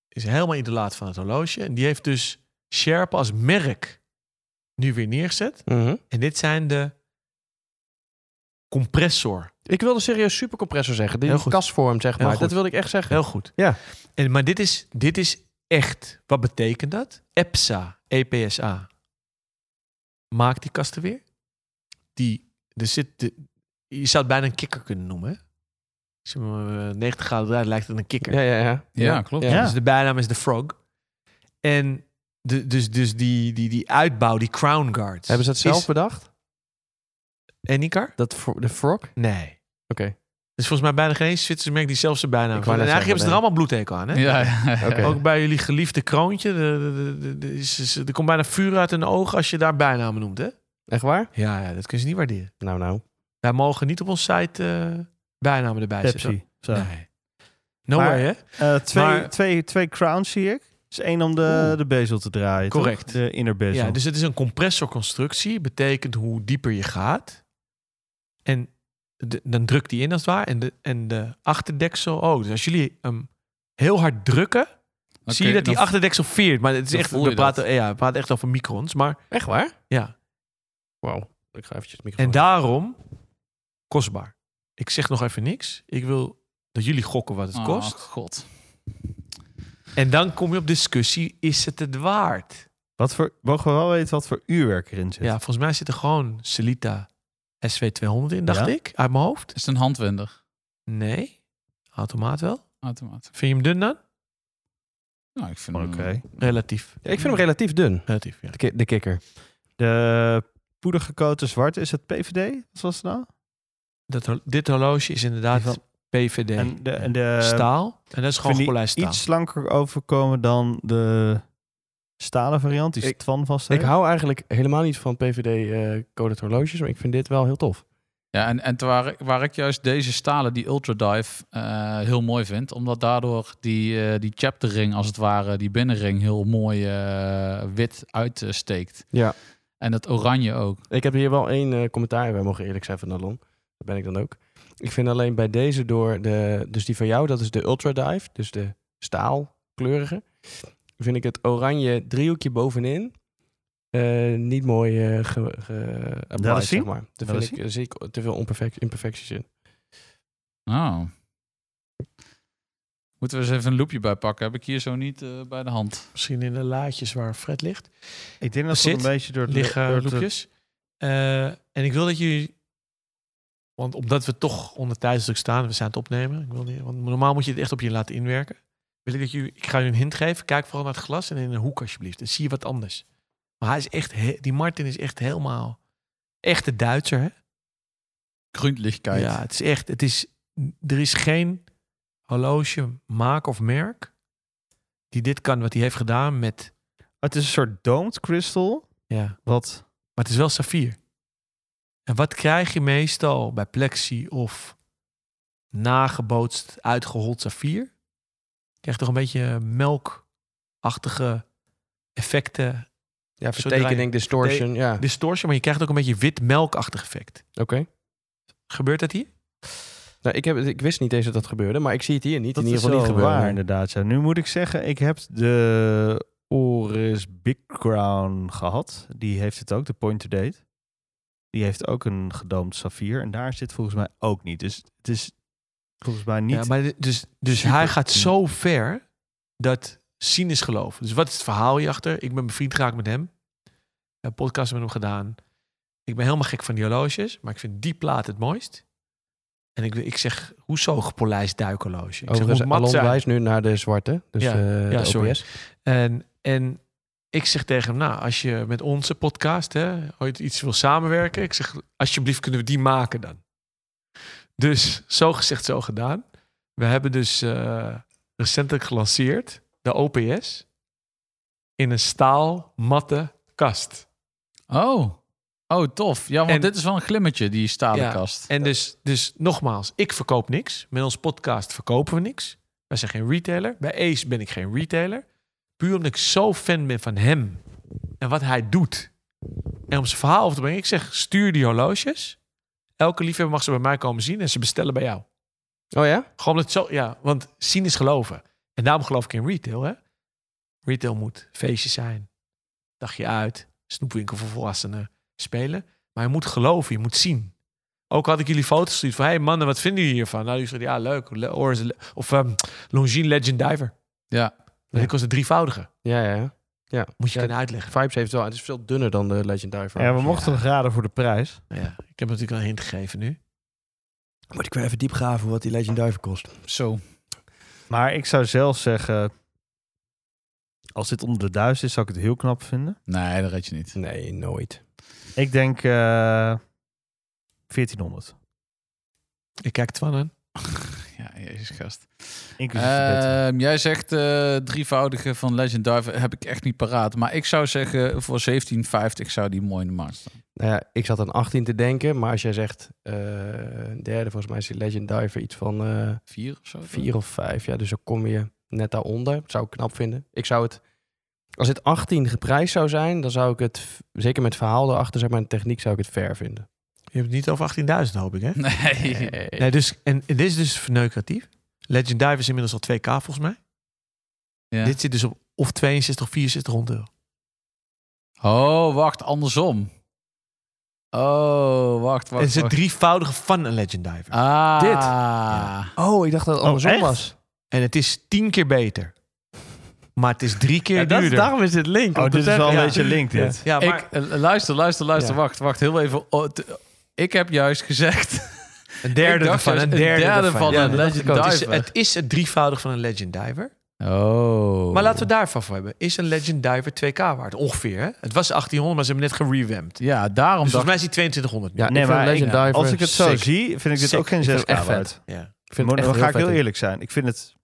[SPEAKER 1] is helemaal idolaat van het horloge. En die heeft dus Sherpa als merk nu weer neergezet.
[SPEAKER 5] Mhm.
[SPEAKER 1] En dit zijn de compressor.
[SPEAKER 5] Ik wilde serieus supercompressor zeggen.
[SPEAKER 1] Heel
[SPEAKER 5] Die
[SPEAKER 1] goed.
[SPEAKER 5] kastvorm, zeg
[SPEAKER 1] Heel
[SPEAKER 5] maar.
[SPEAKER 1] goed.
[SPEAKER 5] Dat wilde ik echt zeggen.
[SPEAKER 1] Heel goed.
[SPEAKER 5] Ja.
[SPEAKER 1] En, maar dit is, dit is echt. Wat betekent dat? E EPSA, EPSA. Maak die kasten weer. Die, er zit, de- je zou het bijna een kikker kunnen noemen. hè? Als je hem, eh, 90 graden draait, lijkt het een kikker.
[SPEAKER 5] Ja, ja, ja.
[SPEAKER 2] Ja, klopt.
[SPEAKER 5] Ja.
[SPEAKER 1] Dus de bijnaam is de Frog. En de, dus, dus die, die, die uitbouw, die crown guards.
[SPEAKER 5] Hebben ze dat zelf bedacht?
[SPEAKER 1] En die kar?
[SPEAKER 5] Dat voor- de frog? Oké.
[SPEAKER 1] Nee. Dus volgens mij bijna geen eens Zwitserse merk die zelfs zijn bijnaam
[SPEAKER 5] Ik
[SPEAKER 1] En
[SPEAKER 5] wou net
[SPEAKER 1] eigenlijk hebben ze er
[SPEAKER 5] zeggen,
[SPEAKER 1] allemaal bloedhekel aan. Hè?
[SPEAKER 2] Ja, ja.
[SPEAKER 5] Oké.
[SPEAKER 1] Ook bij jullie geliefde kroontje. de- de- de- de- is- is- er komt bijna vuur uit hun ogen als je daar bijnamen noemt, hè?
[SPEAKER 5] Echt waar?
[SPEAKER 1] Ja, ja, dat kunnen ze niet waarderen.
[SPEAKER 5] Nou, nou.
[SPEAKER 1] Wij mogen niet op ons site eh, bijnamen erbij zetten.
[SPEAKER 6] Pepsi. Zo.
[SPEAKER 1] Nee. No
[SPEAKER 6] Maar-
[SPEAKER 1] way, hè?
[SPEAKER 6] Eh, twee,
[SPEAKER 1] Maar-
[SPEAKER 6] twee, twee crowns zie ik. Dus één om de, de bezel te draaien. toch?
[SPEAKER 1] Correct.
[SPEAKER 6] De inner bezel.
[SPEAKER 1] Ja, dus het is een compressorconstructie. Betekent hoe dieper je gaat. En de- dan drukt die in als het ware. En de, en de achterdeksel ook. Dus als jullie hem heel hard drukken, zie je dat die achterdeksel veert. Maar het is
[SPEAKER 2] dan
[SPEAKER 1] echt,
[SPEAKER 2] voel
[SPEAKER 1] we
[SPEAKER 2] je
[SPEAKER 1] praten, ja, we praten echt over microns. Maar
[SPEAKER 5] Echt waar?
[SPEAKER 1] ja,
[SPEAKER 5] Wauw. Ik ga eventjes het microfoon...
[SPEAKER 1] En daarom kostbaar. Ik zeg nog even niks. Ik wil dat jullie gokken wat
[SPEAKER 6] Ah.
[SPEAKER 1] het kost.
[SPEAKER 2] Oh, god.
[SPEAKER 1] En dan kom je op discussie: is het het waard?
[SPEAKER 6] Wat voor, mogen we wel weten wat voor uurwerk erin zit?
[SPEAKER 1] Ja, volgens mij zit er gewoon Celita SW200 in, dacht
[SPEAKER 6] Ja.
[SPEAKER 1] ik, uit mijn hoofd.
[SPEAKER 2] Is het een handwender?
[SPEAKER 1] Nee, automaat wel.
[SPEAKER 2] Automaat.
[SPEAKER 1] Vind je hem dun dan?
[SPEAKER 2] Nou, ik vind
[SPEAKER 6] Oké.
[SPEAKER 2] hem-
[SPEAKER 1] Relatief.
[SPEAKER 5] Ja, ik vind hem relatief dun.
[SPEAKER 1] Relatief, ja.
[SPEAKER 5] De, ki- de kikker.
[SPEAKER 6] De poedergekoten zwart, is het PVD? Wat was het nou?
[SPEAKER 1] Dat, hor- dit horloge is inderdaad
[SPEAKER 6] Die van-
[SPEAKER 1] PVD.
[SPEAKER 6] En de, en de
[SPEAKER 1] staal. En dat is gewoon
[SPEAKER 6] vind die
[SPEAKER 1] gepolijst staal.
[SPEAKER 6] iets slanker overkomen dan de stalen variant, die
[SPEAKER 5] Ik-
[SPEAKER 6] Twan vast
[SPEAKER 5] Ik
[SPEAKER 6] heeft.
[SPEAKER 5] hou eigenlijk helemaal niet van PVD-coded eh, horloges, maar ik vind dit wel heel tof.
[SPEAKER 2] Ja, en, en waar, ik- waar ik juist deze stalen, die Ultra Dive, eh, heel mooi vind. Omdat daardoor die, eh, die chapter ring, als het ware, die binnenring, heel mooi eh, wit uitsteekt.
[SPEAKER 5] Ja.
[SPEAKER 2] En het oranje ook.
[SPEAKER 5] Ik heb hier wel één eh, commentaar. Wij mogen eerlijk zijn van Nalon. Dat ben ik dan ook. Ik vind alleen bij deze door de... Dus die van jou, dat is de Ultra Dive. Dus de staalkleurige. Vind ik het oranje driehoekje bovenin eh, niet mooi eh ge, ge applied,
[SPEAKER 6] dat
[SPEAKER 5] zeg
[SPEAKER 6] zien.
[SPEAKER 5] maar. Daar
[SPEAKER 6] Ja, dat
[SPEAKER 5] vind ik, eh, zie ik te veel onperfect, imperfecties in.
[SPEAKER 2] Oh. Moeten we eens even een loopje bij pakken. Heb ik hier zo niet eh, bij de hand.
[SPEAKER 1] Misschien in de laadjes waar Fred ligt,
[SPEAKER 6] Ik denk dat het een
[SPEAKER 1] Zit,
[SPEAKER 6] beetje door het
[SPEAKER 1] liggen
[SPEAKER 6] door het-
[SPEAKER 1] loepjes. Eh, en ik wil dat jullie... Want omdat we toch onder tijdsdruk staan, we zijn aan het opnemen. Ik wil niet, want normaal moet je het echt op je laten inwerken. Wil ik dat jullie... Ik ga jullie een hint geven. Kijk vooral naar het glas en in een hoek alsjeblieft. En zie je wat anders. Maar hij is echt... he- die Martin is echt helemaal... Echte Duitser, hè?
[SPEAKER 2] Groenlichtkeit.
[SPEAKER 1] Ja, het is echt. Het is, er is geen horloge, maak of merk die dit kan, wat hij heeft gedaan met.
[SPEAKER 6] het is een soort domed crystal,
[SPEAKER 1] Ja.
[SPEAKER 6] wat
[SPEAKER 1] Maar het is wel saffier. En wat krijg je meestal bij plexi of nagebootst, uitgehold saffier? Je krijgt toch een beetje melkachtige effecten,
[SPEAKER 5] Ja,
[SPEAKER 1] zodra
[SPEAKER 5] vertekening, distortion. Ja, oké.
[SPEAKER 1] distortion, maar je krijgt ook een beetje wit melkachtig effect. Gebeurt dat hier?
[SPEAKER 5] Nou, ik, heb, het- ik wist niet eens dat dat gebeurde, maar ik zie het hier niet.
[SPEAKER 6] Dat
[SPEAKER 5] in ieder geval niet
[SPEAKER 6] is wel
[SPEAKER 5] gebeuren.
[SPEAKER 6] waar, inderdaad. Ja. Nu moet ik zeggen, ik heb de Oris Big Crown gehad. Die heeft het ook, de Point to Date. Die heeft ook een gedoomd saffier. En daar zit volgens mij ook niet. Dus het is volgens mij niet...
[SPEAKER 1] Ja, maar d- dus dus
[SPEAKER 6] super
[SPEAKER 1] hij gaat
[SPEAKER 6] clean.
[SPEAKER 1] zo ver dat zien is geloof. Dus wat is het verhaal hierachter? Ik ben mijn vriend geraakt met hem. Ik heb een podcast met hem gedaan. Ik ben helemaal gek van die horloges, maar ik vind die plaat het mooist. En ik, ik zeg, hoezo gepolijst duikhorloge? Ik zeg,
[SPEAKER 5] Overigens,
[SPEAKER 1] moet mat
[SPEAKER 5] Alon
[SPEAKER 1] zijn.
[SPEAKER 5] wijst nu naar de zwarte. Dus
[SPEAKER 1] Ja.
[SPEAKER 5] ja,
[SPEAKER 1] Ja,
[SPEAKER 5] de
[SPEAKER 1] sorry.
[SPEAKER 5] OPS.
[SPEAKER 1] En, en ik zeg tegen hem, nou, als je met onze podcast hè, ooit iets wil samenwerken, ik zeg, alsjeblieft kunnen we die maken dan. Dus zo gezegd, zo gedaan. We hebben dus eh, recentelijk gelanceerd de OPS in een staal matte kast.
[SPEAKER 2] Oh. Oh, tof. Ja, want
[SPEAKER 1] En-
[SPEAKER 2] dit is wel een glimmetje, die
[SPEAKER 1] Ja.
[SPEAKER 2] stalen kast.
[SPEAKER 1] En dus, dus nogmaals, ik verkoop niks. Met ons podcast verkopen we niks. Wij zijn geen retailer. Bij Ace ben ik geen retailer. Puur omdat ik zo fan ben van hem en wat hij doet. En om zijn verhaal over te brengen, ik zeg: stuur die horloges. Elke liefhebber mag ze bij mij komen zien en ze bestellen bij jou.
[SPEAKER 5] Oh ja?
[SPEAKER 1] Gewoon omdat het zo, ja, want zien is geloven. En daarom geloof ik in retail, hè? Retail moet feestjes zijn, dagje uit, snoepwinkel voor volwassenen, spelen. Maar je moet geloven, je moet zien. Ook had ik jullie foto's gestuurd van, hey mannen, wat vinden jullie hiervan? Nou, jullie zeiden, ja, leuk. Le- Oris- le- of ehm, Longines Legend Diver.
[SPEAKER 2] Ja.
[SPEAKER 1] Dat was de drievoudige.
[SPEAKER 5] Ja, ja, ja.
[SPEAKER 1] Moet je
[SPEAKER 5] Ja.
[SPEAKER 1] kunnen uitleggen.
[SPEAKER 5] Vibes heeft wel. Het is veel dunner dan de Legend Diver.
[SPEAKER 6] Ja, we mochten nog raden voor de prijs.
[SPEAKER 1] Nou ja, ik heb natuurlijk al een hint gegeven nu.
[SPEAKER 5] Moet ik weer even diep graven wat die Legend Diver kost.
[SPEAKER 2] Zo.
[SPEAKER 6] Maar ik zou zelf zeggen... Als dit onder de duizend is, zou ik het heel knap vinden.
[SPEAKER 2] Nee, dat red je niet.
[SPEAKER 5] Nee, nooit.
[SPEAKER 6] Ik denk eh 1400.
[SPEAKER 1] Ik kijk Twan aan.
[SPEAKER 2] Ja, jezus gast.
[SPEAKER 6] Inclusief
[SPEAKER 5] Eh,
[SPEAKER 6] de beta.
[SPEAKER 2] Ehm, jij zegt eh, drievoudige van Legend Diver heb ik echt niet paraat. Maar ik zou zeggen voor 17,50 zou die mooi in de markt staan.
[SPEAKER 5] Nou ja, ik zat aan 18 te denken, maar als jij zegt eh, een derde, volgens mij is die Legend Diver iets van eh
[SPEAKER 2] Vier of zo?
[SPEAKER 5] vier of vijf. Ja, dus dan kom je net daaronder. Dat zou ik knap vinden. Ik zou het, als het 18 geprijsd zou zijn, dan zou ik het, v- zeker met verhaal erachter, zeg maar, en techniek zou ik het fair vinden.
[SPEAKER 1] Je hebt het niet over 18.000, hoop ik, hè?
[SPEAKER 2] Nee.
[SPEAKER 1] Nee, dus, en, en dit is dus verneukeratief. Legend Diver is inmiddels al 2K volgens mij.
[SPEAKER 2] Ja.
[SPEAKER 1] Dit zit dus op of 62 of 64 rond euro.
[SPEAKER 2] Oh, wacht, andersom. Oh, wacht,
[SPEAKER 1] Het
[SPEAKER 2] wacht.
[SPEAKER 1] is het
[SPEAKER 2] wacht.
[SPEAKER 1] drievoudige van een Legend Diver.
[SPEAKER 2] Ah.
[SPEAKER 5] Dit?
[SPEAKER 2] Ja.
[SPEAKER 5] Oh, ik dacht dat het andersom
[SPEAKER 6] echt?
[SPEAKER 5] was.
[SPEAKER 1] En het is 10 keer beter. Maar het is drie keer
[SPEAKER 5] Ja, dat is-
[SPEAKER 1] duurder.
[SPEAKER 5] daarom is het link. om
[SPEAKER 6] Oh,
[SPEAKER 5] te
[SPEAKER 6] dit is wel een
[SPEAKER 1] ja.
[SPEAKER 6] beetje link dit.
[SPEAKER 1] Ja, Ah, maar
[SPEAKER 2] Ik, eh, luister, luister, luister.
[SPEAKER 1] Ja.
[SPEAKER 2] Wacht, wacht, heel even. Oh, t- ik heb juist gezegd...
[SPEAKER 1] een derde
[SPEAKER 2] ik dacht
[SPEAKER 1] ervan. Een
[SPEAKER 2] juist,
[SPEAKER 1] derde, ervan.
[SPEAKER 2] van
[SPEAKER 1] Ja,
[SPEAKER 2] een
[SPEAKER 1] dat-
[SPEAKER 2] Legend
[SPEAKER 5] ik ook.
[SPEAKER 1] het, is,
[SPEAKER 2] Diver.
[SPEAKER 1] het is het drievoudige van een Legend Diver.
[SPEAKER 2] Oh.
[SPEAKER 1] Maar laten we daarvan voor hebben. Is een Legend Diver 2K waard? Ongeveer, hè? Het was 1800, maar ze hebben net gerevamped.
[SPEAKER 2] Ja, daarom
[SPEAKER 1] Dus volgens
[SPEAKER 2] dacht
[SPEAKER 1] mij is die 2200. nu.
[SPEAKER 5] Ja,
[SPEAKER 6] Nee,
[SPEAKER 5] ik vind
[SPEAKER 6] maar
[SPEAKER 5] Legend
[SPEAKER 2] ik-
[SPEAKER 5] Diver
[SPEAKER 6] Als ik het zo
[SPEAKER 5] sick.
[SPEAKER 6] zie, vind ik dit
[SPEAKER 5] Sick.
[SPEAKER 6] ook geen
[SPEAKER 5] Ik vind
[SPEAKER 6] 6K
[SPEAKER 5] het echt vet.
[SPEAKER 6] waard.
[SPEAKER 1] ja.
[SPEAKER 5] Ik vind
[SPEAKER 6] Maar
[SPEAKER 5] het
[SPEAKER 6] dan
[SPEAKER 5] echt heel
[SPEAKER 6] ga ik heel
[SPEAKER 5] vet in.
[SPEAKER 6] eerlijk zijn. Ik vind het...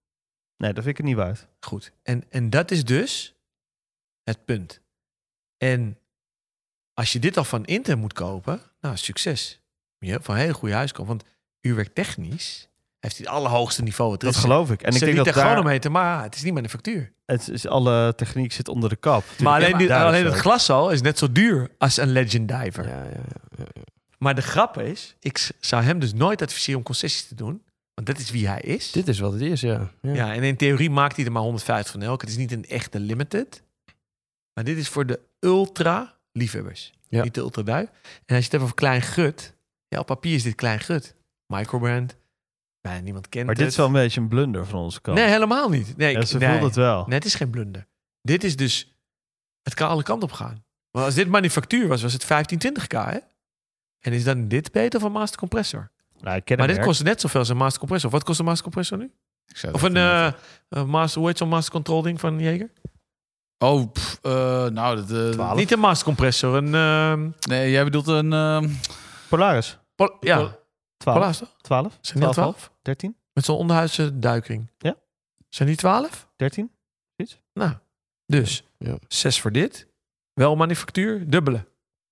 [SPEAKER 6] Nee, dat vind ik het niet waard.
[SPEAKER 1] Goed. En, en dat is dus het punt. En als je dit al van Inter moet kopen, nou, succes. Je hebt van een hele goede huis komen. Want uurwerktechnisch heeft hij het allerhoogste niveau. Het
[SPEAKER 6] Dat geloof ik. En ik denk dat daar,
[SPEAKER 1] meter, maar het is niet meer de factuur.
[SPEAKER 6] het is, alle techniek zit onder de kap.
[SPEAKER 1] Maar alleen, die-
[SPEAKER 6] Daar is
[SPEAKER 1] alleen
[SPEAKER 6] het.
[SPEAKER 1] het glas al is net zo duur als een Legend Diver.
[SPEAKER 5] ja, ja.
[SPEAKER 1] Maar de grap is, ik s- zou hem dus nooit adviseren om concessies te doen. Want dat is wie hij is.
[SPEAKER 5] Dit is wat het is, ja. Ja,
[SPEAKER 1] Ja, en in theorie maakt hij er maar 150 van elk. Het is niet een echte limited. Maar dit is voor de ultra liefhebbers.
[SPEAKER 5] Ja.
[SPEAKER 1] Niet de ultra duif. En als je het hebt over klein gut. Ja, op papier is dit klein gut. Microbrand. Bijna niemand kent
[SPEAKER 6] Maar dit
[SPEAKER 1] het.
[SPEAKER 6] is wel een beetje een blunder van onze kant.
[SPEAKER 1] Nee, helemaal niet. Nee,
[SPEAKER 6] ja,
[SPEAKER 1] ik-
[SPEAKER 6] ze
[SPEAKER 1] nee.
[SPEAKER 6] voelt het wel.
[SPEAKER 1] Nee, het is geen blunder. Dit is dus... Het kan alle kanten op gaan. Maar als dit manufactuur was, was het 15, 20k, hè? En is dan dit beter van Master Compressor?
[SPEAKER 6] Nou, ik ken
[SPEAKER 1] Maar
[SPEAKER 6] hem
[SPEAKER 1] dit
[SPEAKER 6] werk.
[SPEAKER 1] kost net zoveel als een Master Compressor. Wat kost een Master Compressor nu?
[SPEAKER 2] Ik zou
[SPEAKER 1] Of
[SPEAKER 2] het
[SPEAKER 1] een,
[SPEAKER 2] even
[SPEAKER 1] eh, eh, master, hoe heet zo'n master control ding van Jager?
[SPEAKER 2] weten. Oh, pff, eh, nou, dat, eh,
[SPEAKER 1] Niet een master compressor, een... ehm,
[SPEAKER 2] nee, jij bedoelt een... ehm,
[SPEAKER 6] Polaris.
[SPEAKER 1] pol- ja,
[SPEAKER 6] Pol- 12.
[SPEAKER 1] Polaris toch?
[SPEAKER 6] 12?
[SPEAKER 1] Zijn die al
[SPEAKER 6] 12?
[SPEAKER 1] twaalf?
[SPEAKER 6] 13?
[SPEAKER 1] Met zo'n onderhuidse duikring.
[SPEAKER 6] Ja.
[SPEAKER 1] Zijn die twaalf?
[SPEAKER 6] 13?
[SPEAKER 1] Nou, dus.
[SPEAKER 5] Ja.
[SPEAKER 1] Zes voor dit. Wel manufactuur, dubbele.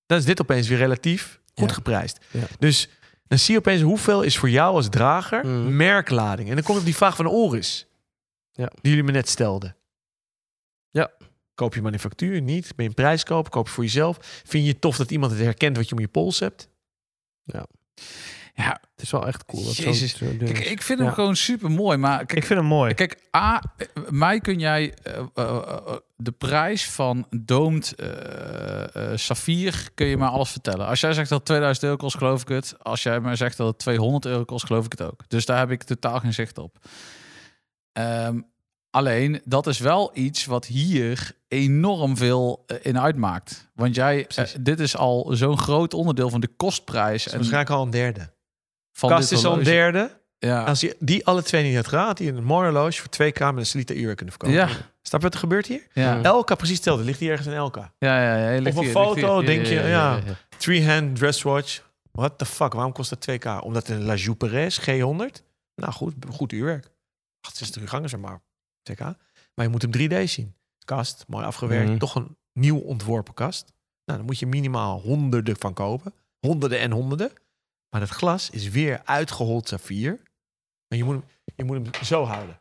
[SPEAKER 1] Dan is dit opeens weer relatief goed
[SPEAKER 5] Ja.
[SPEAKER 1] geprijsd.
[SPEAKER 5] Ja.
[SPEAKER 1] Dus dan zie je opeens hoeveel is voor jou als drager
[SPEAKER 5] Mm.
[SPEAKER 1] merklading. En dan komt op die vraag van Oris.
[SPEAKER 5] Ja.
[SPEAKER 1] Die jullie me net stelden.
[SPEAKER 5] Ja.
[SPEAKER 1] Koop je manufactuur niet? Ben je een prijskoop? Koop je voor jezelf? Vind je het tof dat iemand het herkent wat je om je pols hebt?
[SPEAKER 2] ja,
[SPEAKER 5] Het is wel echt cool. Dat zo'n-
[SPEAKER 1] Jezus.
[SPEAKER 5] zo'n ding
[SPEAKER 2] ik,
[SPEAKER 5] is.
[SPEAKER 2] ik vind hem
[SPEAKER 5] Ja.
[SPEAKER 2] gewoon super mooi, maar kijk,
[SPEAKER 6] Ik vind hem mooi.
[SPEAKER 2] Kijk, A, eh, mij kun jij eh, eh, eh, de prijs van doomd eh, eh, Safir, kun je mij alles vertellen. Als jij zegt dat het 2000 euro kost, geloof ik het. Als jij mij zegt dat het 200 euro kost, geloof ik het ook. Dus daar heb ik totaal geen zicht op. Ehm, alleen, dat is wel iets wat hier enorm veel eh, in uitmaakt. Want jij, eh, dit is al zo'n groot onderdeel van de kostprijs.
[SPEAKER 1] Dat is
[SPEAKER 2] en
[SPEAKER 1] Dus waarschijnlijk al een derde.
[SPEAKER 2] van
[SPEAKER 1] Kast
[SPEAKER 2] dit
[SPEAKER 1] is al een
[SPEAKER 2] horloge.
[SPEAKER 1] derde.
[SPEAKER 2] Ja.
[SPEAKER 1] Als je die alle twee niet had gehad, had hij een mooi horloge voor 2k met een Slita uur kunnen verkopen.
[SPEAKER 2] Ja,
[SPEAKER 1] Snap je wat er gebeurt hier?
[SPEAKER 2] ja,
[SPEAKER 1] Elka precies hetzelfde. Ligt hier ergens een Elka?
[SPEAKER 2] ja, ja, ja, ja, ligt
[SPEAKER 1] Op een
[SPEAKER 2] hier, ligt hier.
[SPEAKER 1] foto denk je, ja. Three-hand dresswatch. What the fuck? Waarom kost dat 2k? Omdat een La Jouperes G100? Nou goed, goed uurwerk. 68 uur gangen zeg maar. 2k. Maar je moet hem 3D zien. Kast, mooi afgewerkt.
[SPEAKER 5] Mhm.
[SPEAKER 1] Toch een nieuw ontworpen kast. Nou, dan moet je minimaal honderden van kopen. Honderden en honderden. Maar dat glas is weer uitgehold saffier. En je moet hem, je moet hem zo houden.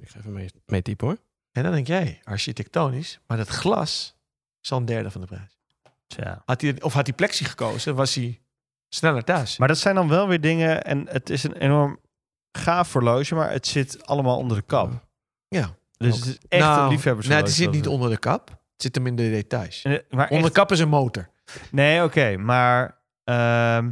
[SPEAKER 5] Ik ga even mee, mee typen hoor.
[SPEAKER 1] En dan denk jij, architectonisch, maar dat glas is al een derde van de prijs.
[SPEAKER 6] Tja.
[SPEAKER 1] Had hij, of had hij plexi gekozen, was hij sneller thuis.
[SPEAKER 6] Maar dat zijn dan wel weer dingen. En het is een enorm gaaf horloge, maar het zit allemaal onder de kap.
[SPEAKER 1] Ja.
[SPEAKER 6] Dus
[SPEAKER 1] Ook.
[SPEAKER 6] het is echt een liefhebbers.
[SPEAKER 1] Nou, Nee, die zit niet onder de kap. Het zit hem in de details.
[SPEAKER 6] Maar
[SPEAKER 1] Onder
[SPEAKER 6] echt-
[SPEAKER 1] de kap is een motor.
[SPEAKER 6] nee, oké. maar ehm,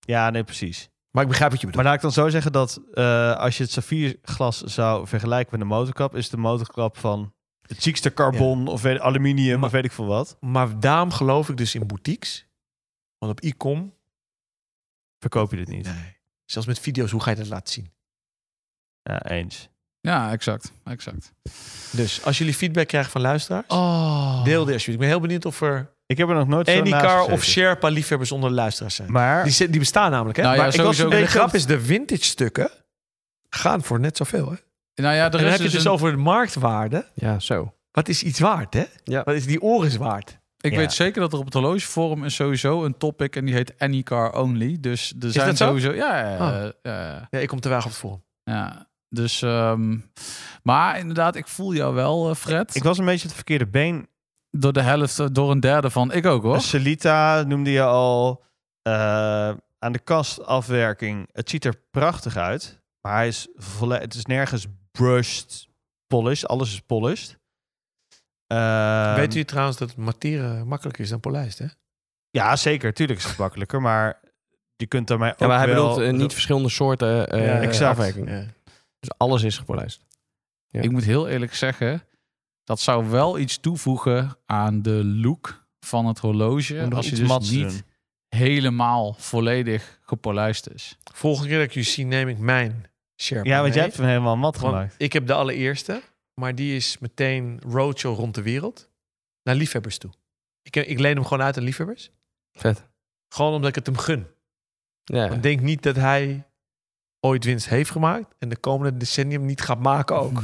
[SPEAKER 6] ja, nee, precies.
[SPEAKER 1] Maar ik begrijp wat je bedoelt.
[SPEAKER 6] Maar laat ik dan zo zeggen dat eh, als je het saffierglas zou vergelijken met een motorkap, is de motorkap van het ziekste carbon of weet- aluminium
[SPEAKER 1] Maar-
[SPEAKER 6] of weet ik veel wat.
[SPEAKER 1] Maar, daarom geloof ik dus in boutiques. Want op e-com,
[SPEAKER 6] Verkoop je dit niet?
[SPEAKER 1] nee. zelfs met video's, hoe ga je dat laten zien?
[SPEAKER 6] Ja, eens.
[SPEAKER 2] Ja, exact. exact.
[SPEAKER 1] Dus als jullie feedback krijgen van luisteraars,
[SPEAKER 2] Oh.
[SPEAKER 1] deel die alsjeblieft. Ik ben heel benieuwd of er
[SPEAKER 6] Ik heb er nog nooit zo naast
[SPEAKER 1] Anycar of
[SPEAKER 6] gezeten.
[SPEAKER 1] Sherpa liefhebbers onder de luisteraars zijn.
[SPEAKER 6] Maar
[SPEAKER 1] Die, zit- die bestaan namelijk, hè?
[SPEAKER 2] Nou ja,
[SPEAKER 1] maar ik was
[SPEAKER 2] sowieso.
[SPEAKER 1] een beetje-
[SPEAKER 2] En
[SPEAKER 1] de grap is, de vintage stukken gaan voor net zoveel, hè?
[SPEAKER 2] Nou ja,
[SPEAKER 1] Dan
[SPEAKER 2] er
[SPEAKER 1] heb
[SPEAKER 2] is
[SPEAKER 1] je het dus
[SPEAKER 2] een-
[SPEAKER 1] over de marktwaarde.
[SPEAKER 5] Ja, zo.
[SPEAKER 1] Wat is iets waard, hè?
[SPEAKER 5] Ja.
[SPEAKER 1] Wat is die oren waard?
[SPEAKER 2] Ik
[SPEAKER 6] Ja.
[SPEAKER 2] weet zeker dat er op het horlogeforum is sowieso een topic en die heet Anycar Only. Dus er zijn
[SPEAKER 1] dat zo?
[SPEAKER 2] sowieso. Ja, ja, ja, ja,
[SPEAKER 1] Ja, ik kom te weinig op het forum.
[SPEAKER 2] ja. Dus, ehm, maar inderdaad, ik voel jou wel, eh, Fred.
[SPEAKER 6] ik was een beetje het verkeerde been
[SPEAKER 2] door de helft, eh, door een derde van. Ik ook
[SPEAKER 6] Dus-
[SPEAKER 2] hoor.
[SPEAKER 6] Celita noemde je al. eh, aan de kastafwerking. Het ziet er prachtig uit. Maar hij is volle- het is nergens brushed, polished. Alles is polished. Ehm,
[SPEAKER 1] Weet u trouwens dat materen makkelijker is dan polijst, hè?
[SPEAKER 6] Ja, zeker. Tuurlijk is het makkelijker. Maar je kunt daarmee ook
[SPEAKER 5] Ja, maar hij
[SPEAKER 6] wel...
[SPEAKER 5] bedoelt eh, niet verschillende soorten eh
[SPEAKER 1] Ja,
[SPEAKER 6] exact.
[SPEAKER 5] afwerking.
[SPEAKER 1] Ja.
[SPEAKER 5] Dus alles is gepolijst. Ja.
[SPEAKER 2] Ik moet heel eerlijk zeggen, dat zou wel iets toevoegen aan de look van het horloge.
[SPEAKER 6] om nog
[SPEAKER 2] Als je
[SPEAKER 6] iets
[SPEAKER 2] dus
[SPEAKER 6] mats te
[SPEAKER 2] niet
[SPEAKER 6] doen.
[SPEAKER 2] helemaal volledig gepolijst is.
[SPEAKER 1] Volgende keer dat ik jullie zie, neem ik mijn Sherpa
[SPEAKER 6] Ja, want jij
[SPEAKER 1] mee.
[SPEAKER 6] hebt hem helemaal mat
[SPEAKER 1] Want
[SPEAKER 6] gemaakt.
[SPEAKER 1] ik heb de allereerste, maar die is meteen roadshow rond de wereld. Naar liefhebbers toe. Ik, eh, ik leen hem gewoon uit aan liefhebbers.
[SPEAKER 5] Vet.
[SPEAKER 1] Gewoon omdat ik het hem gun.
[SPEAKER 5] Ja.
[SPEAKER 1] Ik denk niet dat hij ooit winst heeft gemaakt en de komende decennium niet gaat maken ook.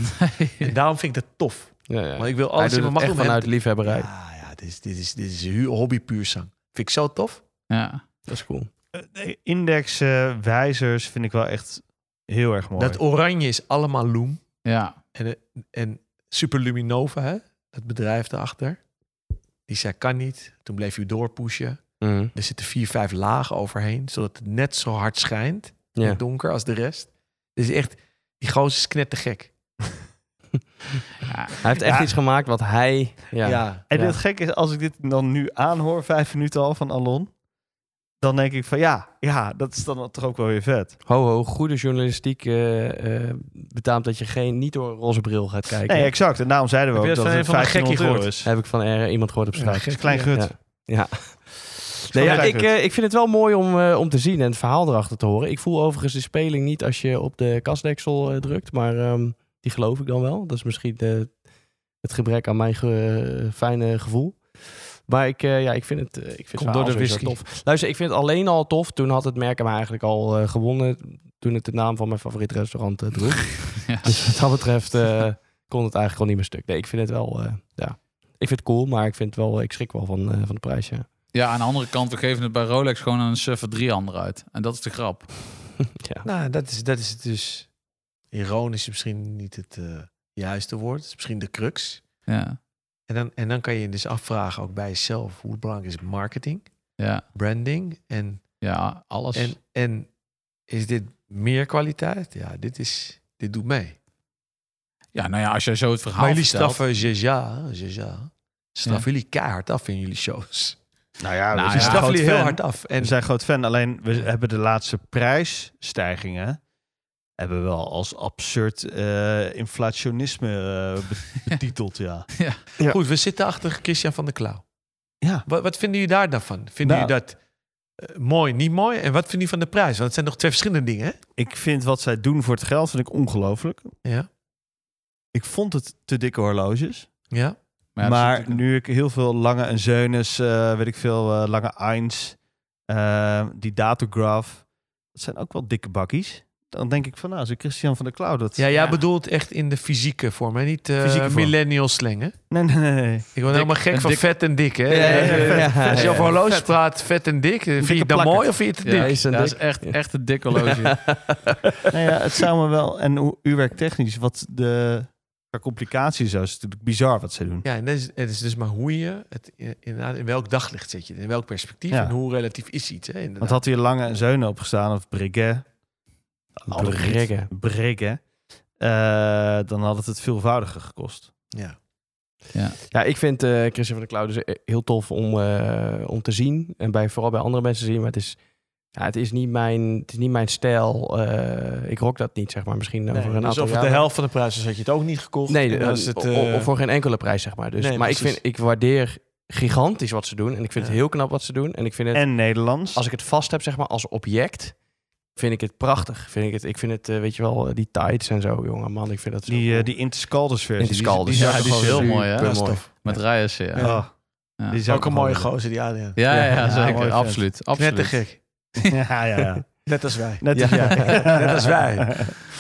[SPEAKER 1] En daarom vind ik dat tof.
[SPEAKER 5] Ja, ja.
[SPEAKER 1] Maar ik wil
[SPEAKER 5] Hij
[SPEAKER 1] alles in mijn
[SPEAKER 5] doet het
[SPEAKER 1] macht
[SPEAKER 5] echt
[SPEAKER 1] om hem
[SPEAKER 5] vanuit liefhebberij.
[SPEAKER 1] Ja, ja dit, is, dit, is, dit is hu- hobby puur zang. Vind ik zo tof.
[SPEAKER 2] Ja.
[SPEAKER 5] Dat is cool.
[SPEAKER 6] Eh, Indexen, wijzers vind ik wel echt heel erg mooi.
[SPEAKER 1] Dat oranje is allemaal Loom.
[SPEAKER 2] ja.
[SPEAKER 1] En, eh, en Superluminova, hè? het bedrijf daarachter. Die zei, kan niet. Toen bleef u doorpushen.
[SPEAKER 5] Mhm.
[SPEAKER 1] Er zitten vier, vijf lagen overheen, zodat het net zo hard schijnt. in
[SPEAKER 5] Ja.
[SPEAKER 1] het donker als de rest. Dus echt, die gozer is knettergek.
[SPEAKER 5] Hij heeft echt
[SPEAKER 6] Ja.
[SPEAKER 5] iets gemaakt wat hij... Ja.
[SPEAKER 6] En
[SPEAKER 5] Ja.
[SPEAKER 6] het gekke is, als ik dit dan nu aanhoor, vijf minuten al van Alon, dan denk ik van ja, ja, dat is dan toch ook wel weer vet.
[SPEAKER 5] Ho, ho, goede journalistiek eh, eh, betaamt dat je geen, niet door een roze bril gaat kijken.
[SPEAKER 6] Nee, exact. En daarom zeiden we
[SPEAKER 1] Heb
[SPEAKER 6] ook
[SPEAKER 1] je
[SPEAKER 6] dat
[SPEAKER 1] dat
[SPEAKER 6] het
[SPEAKER 1] van een van de
[SPEAKER 6] 1500
[SPEAKER 1] gekkie
[SPEAKER 6] euro is.
[SPEAKER 5] Heb ik van eh, iemand gehoord op straat.
[SPEAKER 6] Een klein gut.
[SPEAKER 5] Ja. Nee, ja, ik, eh, ik vind het wel mooi om, eh, om te zien en het verhaal erachter te horen. Ik voel overigens de speling niet als je op de kastdeksel eh, drukt, maar ehm, die geloof ik dan wel. Dat is misschien eh, het gebrek aan mijn ge- eh, fijne gevoel. Maar ik, eh, ja, ik vind het, eh, ik vind het
[SPEAKER 1] Komt door
[SPEAKER 5] verhaal
[SPEAKER 1] de
[SPEAKER 5] sowieso
[SPEAKER 1] whisky.
[SPEAKER 5] tof. Luister, ik vind het alleen al tof. Toen had het merk hem eigenlijk al eh, gewonnen. Toen het de naam van mijn favoriete restaurant eh, droeg.
[SPEAKER 2] Ja.
[SPEAKER 5] Dus wat dat betreft eh, kon het eigenlijk al niet meer stuk. Nee, ik vind het wel, eh, ja. Ik vind het cool, maar ik, vind het wel, ik schrik wel van, eh, van de prijs, ja.
[SPEAKER 2] Ja, aan de andere kant, we geven het bij Rolex gewoon aan een suffer 3 ander uit. En dat is de grap.
[SPEAKER 5] ja.
[SPEAKER 1] Nou, dat is, dat is het dus. Ironisch is misschien niet het eh, juiste woord. Het is misschien de crux.
[SPEAKER 2] Ja.
[SPEAKER 1] En dan, en dan kan je je dus afvragen, ook bij jezelf, hoe belangrijk is marketing,
[SPEAKER 2] Ja.
[SPEAKER 1] branding en,
[SPEAKER 2] Ja, alles.
[SPEAKER 1] en, en is dit meer kwaliteit? Ja, dit, is, dit doet mee.
[SPEAKER 2] ja, nou ja, als jij zo het verhaal
[SPEAKER 1] Maar jullie
[SPEAKER 2] vertelt-
[SPEAKER 1] straffen Jaja, Jaja. Straffen jullie keihard af in jullie shows.
[SPEAKER 6] Nou ja,
[SPEAKER 2] Nou
[SPEAKER 6] we
[SPEAKER 1] Die
[SPEAKER 2] ja.
[SPEAKER 6] zijn
[SPEAKER 1] straffen
[SPEAKER 6] groot
[SPEAKER 1] jullie heel
[SPEAKER 6] fan.
[SPEAKER 1] hard af. En
[SPEAKER 6] We zijn groot fan, alleen we hebben de laatste prijsstijgingen hebben we wel als absurd eh, inflationisme eh, be- betiteld, ja.
[SPEAKER 1] Goed, we zitten achter Christian van der Klauw.
[SPEAKER 6] Ja.
[SPEAKER 1] Wat, wat vinden jullie daar dan van? Vinden
[SPEAKER 6] Nou.
[SPEAKER 1] jullie dat eh, mooi, niet mooi? En wat vinden jullie van de prijs? Want het zijn nog twee verschillende dingen,
[SPEAKER 6] Ik vind wat zij doen voor het geld, vind ik ongelooflijk.
[SPEAKER 1] hè? Ja.
[SPEAKER 6] Ik vond het te dikke horloges.
[SPEAKER 1] Ja.
[SPEAKER 2] ja,
[SPEAKER 6] Maar,
[SPEAKER 2] dat is natuurlijk-
[SPEAKER 6] nu ik heel veel lange en zeunes, eh, weet ik veel, eh, lange eins, eh, die datograph, dat zijn ook wel dikke bakkies. Dan denk ik van, nou, zo Christian van der Klauw dat...
[SPEAKER 1] ja, jij
[SPEAKER 2] Ja.
[SPEAKER 1] bedoelt echt in de fysieke vorm, hè? Niet eh,
[SPEAKER 6] Fysieke vorm.
[SPEAKER 1] millennial slengen.
[SPEAKER 6] Nee, nee, nee.
[SPEAKER 1] Ik word helemaal gek
[SPEAKER 2] een
[SPEAKER 1] van
[SPEAKER 2] dik-
[SPEAKER 1] vet en dik, hè?
[SPEAKER 5] ja, ja, ja.
[SPEAKER 1] Als je
[SPEAKER 5] Ja,
[SPEAKER 1] over
[SPEAKER 5] ja,
[SPEAKER 1] horloges praat, vet en dik, eh, vind je
[SPEAKER 6] Dikke
[SPEAKER 1] het dan
[SPEAKER 6] plakker.
[SPEAKER 1] mooi of vind je het te
[SPEAKER 2] Ja,
[SPEAKER 1] dik?
[SPEAKER 5] is een
[SPEAKER 2] dat is
[SPEAKER 5] dik.
[SPEAKER 2] echt, echt een dikke horloge.
[SPEAKER 6] Nou ja, het zou me wel. En hoe uurwerktechnisch, wat de qua complicaties zo is, is natuurlijk bizar wat ze doen.
[SPEAKER 1] Ja, en dat is, het is dus maar hoe je het in, inderdaad, in welk daglicht zit je, in welk perspectief
[SPEAKER 6] Ja.
[SPEAKER 1] en hoe relatief is iets, hè? inderdaad.
[SPEAKER 6] Want had hier lange en zeunen opgestaan of brigge,
[SPEAKER 5] Brigge.
[SPEAKER 6] brigge, eh, dan had het het veelvoudiger gekost.
[SPEAKER 1] Ja.
[SPEAKER 5] Ja, ik vind eh Christian van der Klauw dus eh, heel tof om, eh, om te zien. En bij, vooral bij andere mensen zien. Maar het is, ja, het is, niet, mijn, het is niet mijn stijl. Eh, ik rock dat niet, zeg maar. Misschien
[SPEAKER 1] Nee,
[SPEAKER 5] over een
[SPEAKER 1] dus
[SPEAKER 5] aantal
[SPEAKER 1] of het
[SPEAKER 5] jaren.
[SPEAKER 1] de helft van de prijs is, had je het ook niet gekocht.
[SPEAKER 5] Nee,
[SPEAKER 1] En
[SPEAKER 5] eh,
[SPEAKER 1] dan is het,
[SPEAKER 5] o-
[SPEAKER 1] eh,
[SPEAKER 5] o- of voor geen enkele prijs, zeg maar. Dus,
[SPEAKER 1] Nee,
[SPEAKER 5] maar ik,
[SPEAKER 1] precies.
[SPEAKER 5] vind, ik waardeer gigantisch wat ze doen. En ik vind
[SPEAKER 1] Ja.
[SPEAKER 5] het heel knap wat ze doen. En ik vind het,
[SPEAKER 6] En Nederlands.
[SPEAKER 5] als ik het vast heb, zeg maar, als object... Vind ik het prachtig. Vind ik, het, ik vind het, eh, weet je wel, eh, die tights en zo, jongen, man. Ik vind dat zo
[SPEAKER 6] die,
[SPEAKER 5] cool.
[SPEAKER 6] eh die Interscalders versie.
[SPEAKER 5] Interscalders.
[SPEAKER 6] Die,
[SPEAKER 2] Ja,
[SPEAKER 6] die,
[SPEAKER 2] die is heel mooi, hè?
[SPEAKER 1] ja,
[SPEAKER 5] mooi.
[SPEAKER 1] stof.
[SPEAKER 2] Met Rijers, ja. Ja,
[SPEAKER 6] Oh,
[SPEAKER 2] Ja.
[SPEAKER 6] die is
[SPEAKER 1] Ook een mooie
[SPEAKER 6] geweldig.
[SPEAKER 1] gozer, die Adriaan.
[SPEAKER 2] ja, ja,
[SPEAKER 6] Ja, mooi
[SPEAKER 2] zeker.
[SPEAKER 6] vent.
[SPEAKER 2] Absoluut.
[SPEAKER 1] Net te
[SPEAKER 2] absoluut.
[SPEAKER 1] gek.
[SPEAKER 6] Ja, ja, ja.
[SPEAKER 1] Net als wij.
[SPEAKER 6] Net als
[SPEAKER 5] Ja.
[SPEAKER 6] jij.
[SPEAKER 1] Net als wij.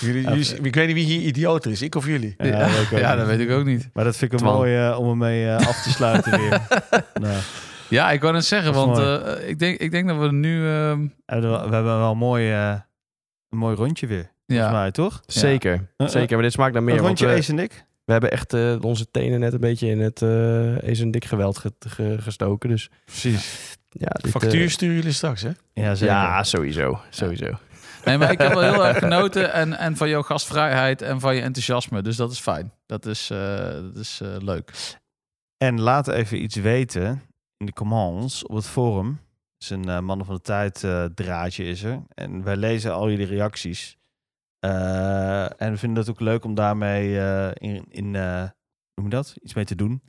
[SPEAKER 1] Jullie,
[SPEAKER 6] Ja,
[SPEAKER 1] jullie- ik weet niet wie hier idioter is, ik of jullie.
[SPEAKER 6] Ja, dat weet ik ook
[SPEAKER 2] Ja,
[SPEAKER 6] niet.
[SPEAKER 2] dat weet ik ook niet.
[SPEAKER 6] Maar dat vind ik een
[SPEAKER 5] Twan.
[SPEAKER 6] mooie eh, om ermee eh, af te sluiten weer. Nou.
[SPEAKER 2] Ja, ik wou net zeggen,
[SPEAKER 6] Dat is
[SPEAKER 2] want eh, ik, denk, ik denk dat we nu... ehm,
[SPEAKER 6] We hebben wel- we hebben wel een mooi, eh, een mooi rondje weer, volgens
[SPEAKER 2] ja,
[SPEAKER 6] mij, toch?
[SPEAKER 5] Zeker,
[SPEAKER 6] Eh, eh.
[SPEAKER 5] zeker. Maar dit smaakt naar meer.
[SPEAKER 6] een
[SPEAKER 5] want
[SPEAKER 6] rondje
[SPEAKER 5] we-
[SPEAKER 6] Ace en ik.
[SPEAKER 5] We hebben echt eh, onze tenen net een beetje in het eh eens een dik geweld ge- ge- gestoken. Dus
[SPEAKER 6] Precies.
[SPEAKER 5] ja, dit, eh,
[SPEAKER 1] Factuur sturen jullie straks, hè?
[SPEAKER 6] Ja, zeker.
[SPEAKER 5] ja, sowieso. Sowieso.
[SPEAKER 2] Nee, maar ik heb wel heel erg genoten en, en van jouw gastvrijheid en van je enthousiasme. Dus dat is fijn. Dat is, eh, dat is eh, leuk.
[SPEAKER 6] En laat even iets weten in de comments op het forum. Het is een eh, mannen van de tijd eh, draadje is er. En wij lezen al jullie reacties. Eh, en we vinden het ook leuk om daarmee eh, in, in eh, hoe noem je dat? Iets mee te doen.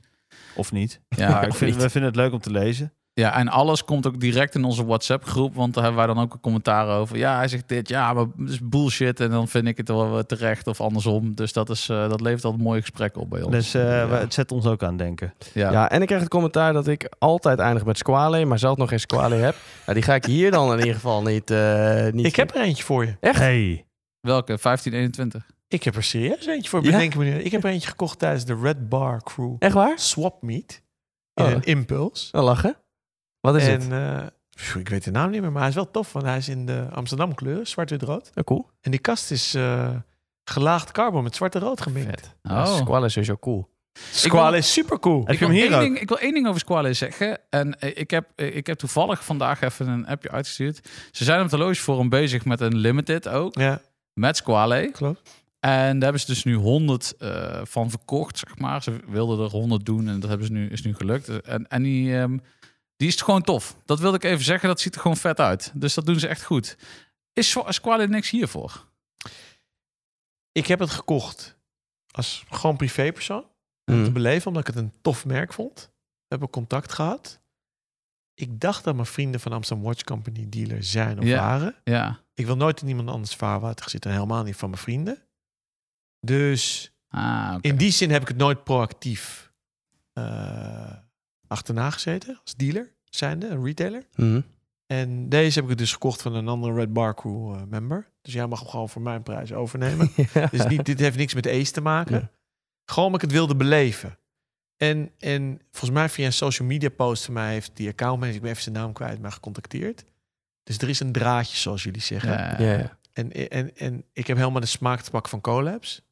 [SPEAKER 6] Of niet.
[SPEAKER 2] Ja,
[SPEAKER 6] Maar ik vind, we vinden het leuk om te lezen.
[SPEAKER 2] Ja, en alles komt ook direct in onze WhatsApp-groep, want daar hebben wij dan ook een commentaar over. Ja, hij zegt dit, ja, maar het is bullshit en dan vind ik het wel eh, terecht of andersom. Dus dat, is, eh, dat levert al een mooi gesprek op bij ons.
[SPEAKER 6] Dus eh,
[SPEAKER 2] Ja.
[SPEAKER 6] we- het zet ons ook aan het denken.
[SPEAKER 2] ja.
[SPEAKER 5] Ja.
[SPEAKER 2] Ja.
[SPEAKER 5] en ik krijg het commentaar dat ik altijd eindig met squale, maar zelf nog geen squale heb. Nou, die ga ik hier dan in ieder geval niet. eh, niet
[SPEAKER 1] Ik heb er eentje voor je.
[SPEAKER 5] Echt?
[SPEAKER 6] Hey.
[SPEAKER 2] Welke? 1521?
[SPEAKER 1] Ik heb er serieus eentje voor.
[SPEAKER 5] Ja?
[SPEAKER 1] Bedenk me nu. Ik heb er eentje gekocht tijdens de Red Bar Crew
[SPEAKER 5] Echt waar?
[SPEAKER 1] Swap Meet. In
[SPEAKER 5] Oh.
[SPEAKER 1] een impuls.
[SPEAKER 5] Nou, lachen. Wat is
[SPEAKER 1] en
[SPEAKER 5] het?
[SPEAKER 1] eh, pff, ik weet de naam niet meer, maar hij is wel tof. Want hij is in de Amsterdam kleur, zwart-wit-rood.
[SPEAKER 5] Oh, cool.
[SPEAKER 1] En die kast is eh, gelaagd carbon met zwart-rood gemengd.
[SPEAKER 5] Ja,
[SPEAKER 2] Oh.
[SPEAKER 5] Squall is sowieso cool.
[SPEAKER 1] Squale is super cool.
[SPEAKER 6] Heb je
[SPEAKER 2] ik,
[SPEAKER 6] hem
[SPEAKER 2] wil
[SPEAKER 6] hier
[SPEAKER 2] één
[SPEAKER 6] ook?
[SPEAKER 2] ding, ik wil één ding over Squale zeggen. En eh, ik heb, eh, ik heb toevallig vandaag even een appje uitgestuurd. Ze zijn op de logeforum bezig met een limited ook.
[SPEAKER 1] Ja,
[SPEAKER 2] Met Squale.
[SPEAKER 1] klopt.
[SPEAKER 2] En daar hebben ze dus nu 100 eh, van verkocht, zeg maar. Ze wilden er 100 doen en dat hebben ze nu, is nu gelukt. En, en die, ehm, die is gewoon tof. Dat wilde ik even zeggen, dat ziet er gewoon vet uit. Dus dat doen ze echt goed. Is Swa- Squale niks hiervoor?
[SPEAKER 1] Ik heb het gekocht als gewoon privépersoon. te
[SPEAKER 5] Mm.
[SPEAKER 1] beleven, omdat ik het een tof merk vond. We hebben contact gehad. Ik dacht dat mijn vrienden van Amsterdam Watch Company dealer zijn of
[SPEAKER 2] Ja.
[SPEAKER 1] waren.
[SPEAKER 2] Ja.
[SPEAKER 1] Ik wil nooit in iemand anders vaarwater zitten. en Helemaal niet van mijn vrienden. Dus
[SPEAKER 2] Ah, oké.
[SPEAKER 1] in die zin heb ik het nooit proactief eh, achterna gezeten. Als dealer zijnde, een retailer.
[SPEAKER 5] Mm.
[SPEAKER 1] En deze heb ik dus gekocht van een andere Red Bar Crew eh, member. Dus jij mag hem gewoon voor mijn prijs overnemen.
[SPEAKER 5] Ja.
[SPEAKER 1] Dus niet, dit heeft niks met Ace te maken.
[SPEAKER 5] Nee.
[SPEAKER 1] Gewoon omdat ik het wilde beleven. En, en volgens mij via een social media post van mij heeft die accountmanager, ik ben even zijn naam kwijt, maar gecontacteerd. Dus er is een draadje, zoals jullie zeggen.
[SPEAKER 2] Ja,
[SPEAKER 5] Ja, ja.
[SPEAKER 1] En, en, en ik heb helemaal de smaak te pakken van collabs.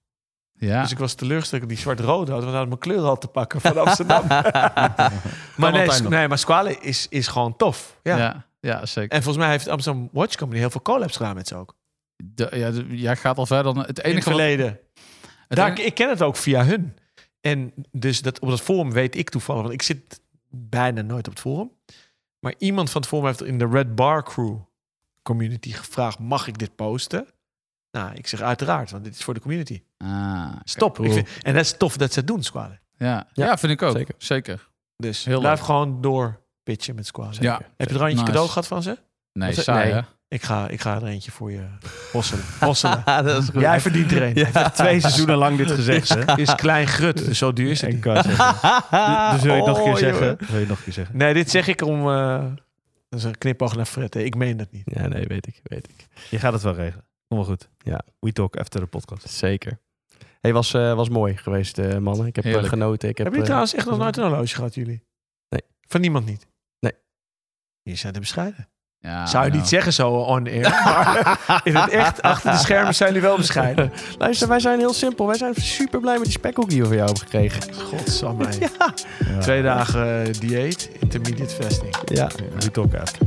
[SPEAKER 2] ja.
[SPEAKER 1] Dus ik was teleurgesteld dat ik die zwart-rood had, want dan had ik mijn kleur al te pakken van Amsterdam. maar nee,
[SPEAKER 6] altijd
[SPEAKER 1] s-
[SPEAKER 6] nog.
[SPEAKER 1] nee, maar Squale is, is gewoon tof. Ja.
[SPEAKER 2] ja. ja. zeker.
[SPEAKER 1] En volgens mij heeft Amsterdam Watch Company heel veel collabs gedaan met ze ook.
[SPEAKER 2] De- ja, de- jij gaat al verder dan... Het
[SPEAKER 1] In het
[SPEAKER 2] enige wat...
[SPEAKER 1] verleden.
[SPEAKER 2] het
[SPEAKER 1] Daar,
[SPEAKER 2] enige-
[SPEAKER 1] ik ken het ook via hun. En dus dat, op dat forum weet ik toevallig, want ik zit bijna nooit op het forum. Maar iemand van het forum heeft in de Red Bar Crew community gevraagd: mag ik dit posten? Nou, ik zeg uiteraard, want dit is voor de community.
[SPEAKER 2] Ah, oké.
[SPEAKER 1] Stop. Ik
[SPEAKER 2] Cool.
[SPEAKER 1] vind- en dat is tof dat ze het doen, Squale.
[SPEAKER 2] Ja. Ja,
[SPEAKER 5] Ja,
[SPEAKER 2] vind ik ook. Zeker.
[SPEAKER 5] zeker.
[SPEAKER 1] Dus
[SPEAKER 2] Heel
[SPEAKER 1] blijf gewoon door pitchen met Squale.
[SPEAKER 2] Ja.
[SPEAKER 1] Heb je er al eentje
[SPEAKER 2] Nice.
[SPEAKER 1] cadeau gehad van ze?
[SPEAKER 2] Nee,
[SPEAKER 5] Wat ze-
[SPEAKER 2] saai
[SPEAKER 5] nee.
[SPEAKER 2] hè?
[SPEAKER 1] Ik ga, ik ga er eentje voor je hosselen. hosselen.
[SPEAKER 5] dat is goed.
[SPEAKER 1] Jij verdient er een.
[SPEAKER 5] Ja.
[SPEAKER 6] Twee seizoenen lang dit gezegd, hè?
[SPEAKER 1] Is klein grut, dus zo duur is het
[SPEAKER 6] Ik
[SPEAKER 1] niet.
[SPEAKER 6] kan zeggen. Dus- Dus wil je het nog een keer
[SPEAKER 5] Oh, joh.
[SPEAKER 6] zeggen? Wil je het nog een keer zeggen?
[SPEAKER 1] Nee, dit zeg ik om... eh dat is een knipoog naar Fred. hè. Ik meen dat niet.
[SPEAKER 5] Ja, nee, weet ik, weet ik.
[SPEAKER 6] Je gaat het wel regelen. Kom maar goed.
[SPEAKER 5] Ja.
[SPEAKER 6] We talk after de podcast.
[SPEAKER 5] Zeker. hey, was, eh, was mooi geweest, eh, mannen. Ik heb eh,
[SPEAKER 2] Heerlijk.
[SPEAKER 5] genoten. Ik heb,
[SPEAKER 1] Hebben jullie
[SPEAKER 5] eh,
[SPEAKER 1] trouwens echt nog nooit een horloge gehad, jullie?
[SPEAKER 5] Nee.
[SPEAKER 1] Van niemand niet?
[SPEAKER 5] Nee.
[SPEAKER 1] Je zijn te bescheiden.
[SPEAKER 2] Ja,
[SPEAKER 1] Zou je
[SPEAKER 2] nou.
[SPEAKER 1] niet zeggen zo eh, on air, maar in het echt, achter de schermen zijn jullie wel bescheiden.
[SPEAKER 5] Luister, wij zijn heel simpel. Wij zijn super blij met die spekhoek die we van jou hebben gekregen.
[SPEAKER 1] Godsamme. hè.
[SPEAKER 6] Ja.
[SPEAKER 1] Twee dagen eh, dieet, intermediate fasting.
[SPEAKER 5] Ja.
[SPEAKER 6] We talk after.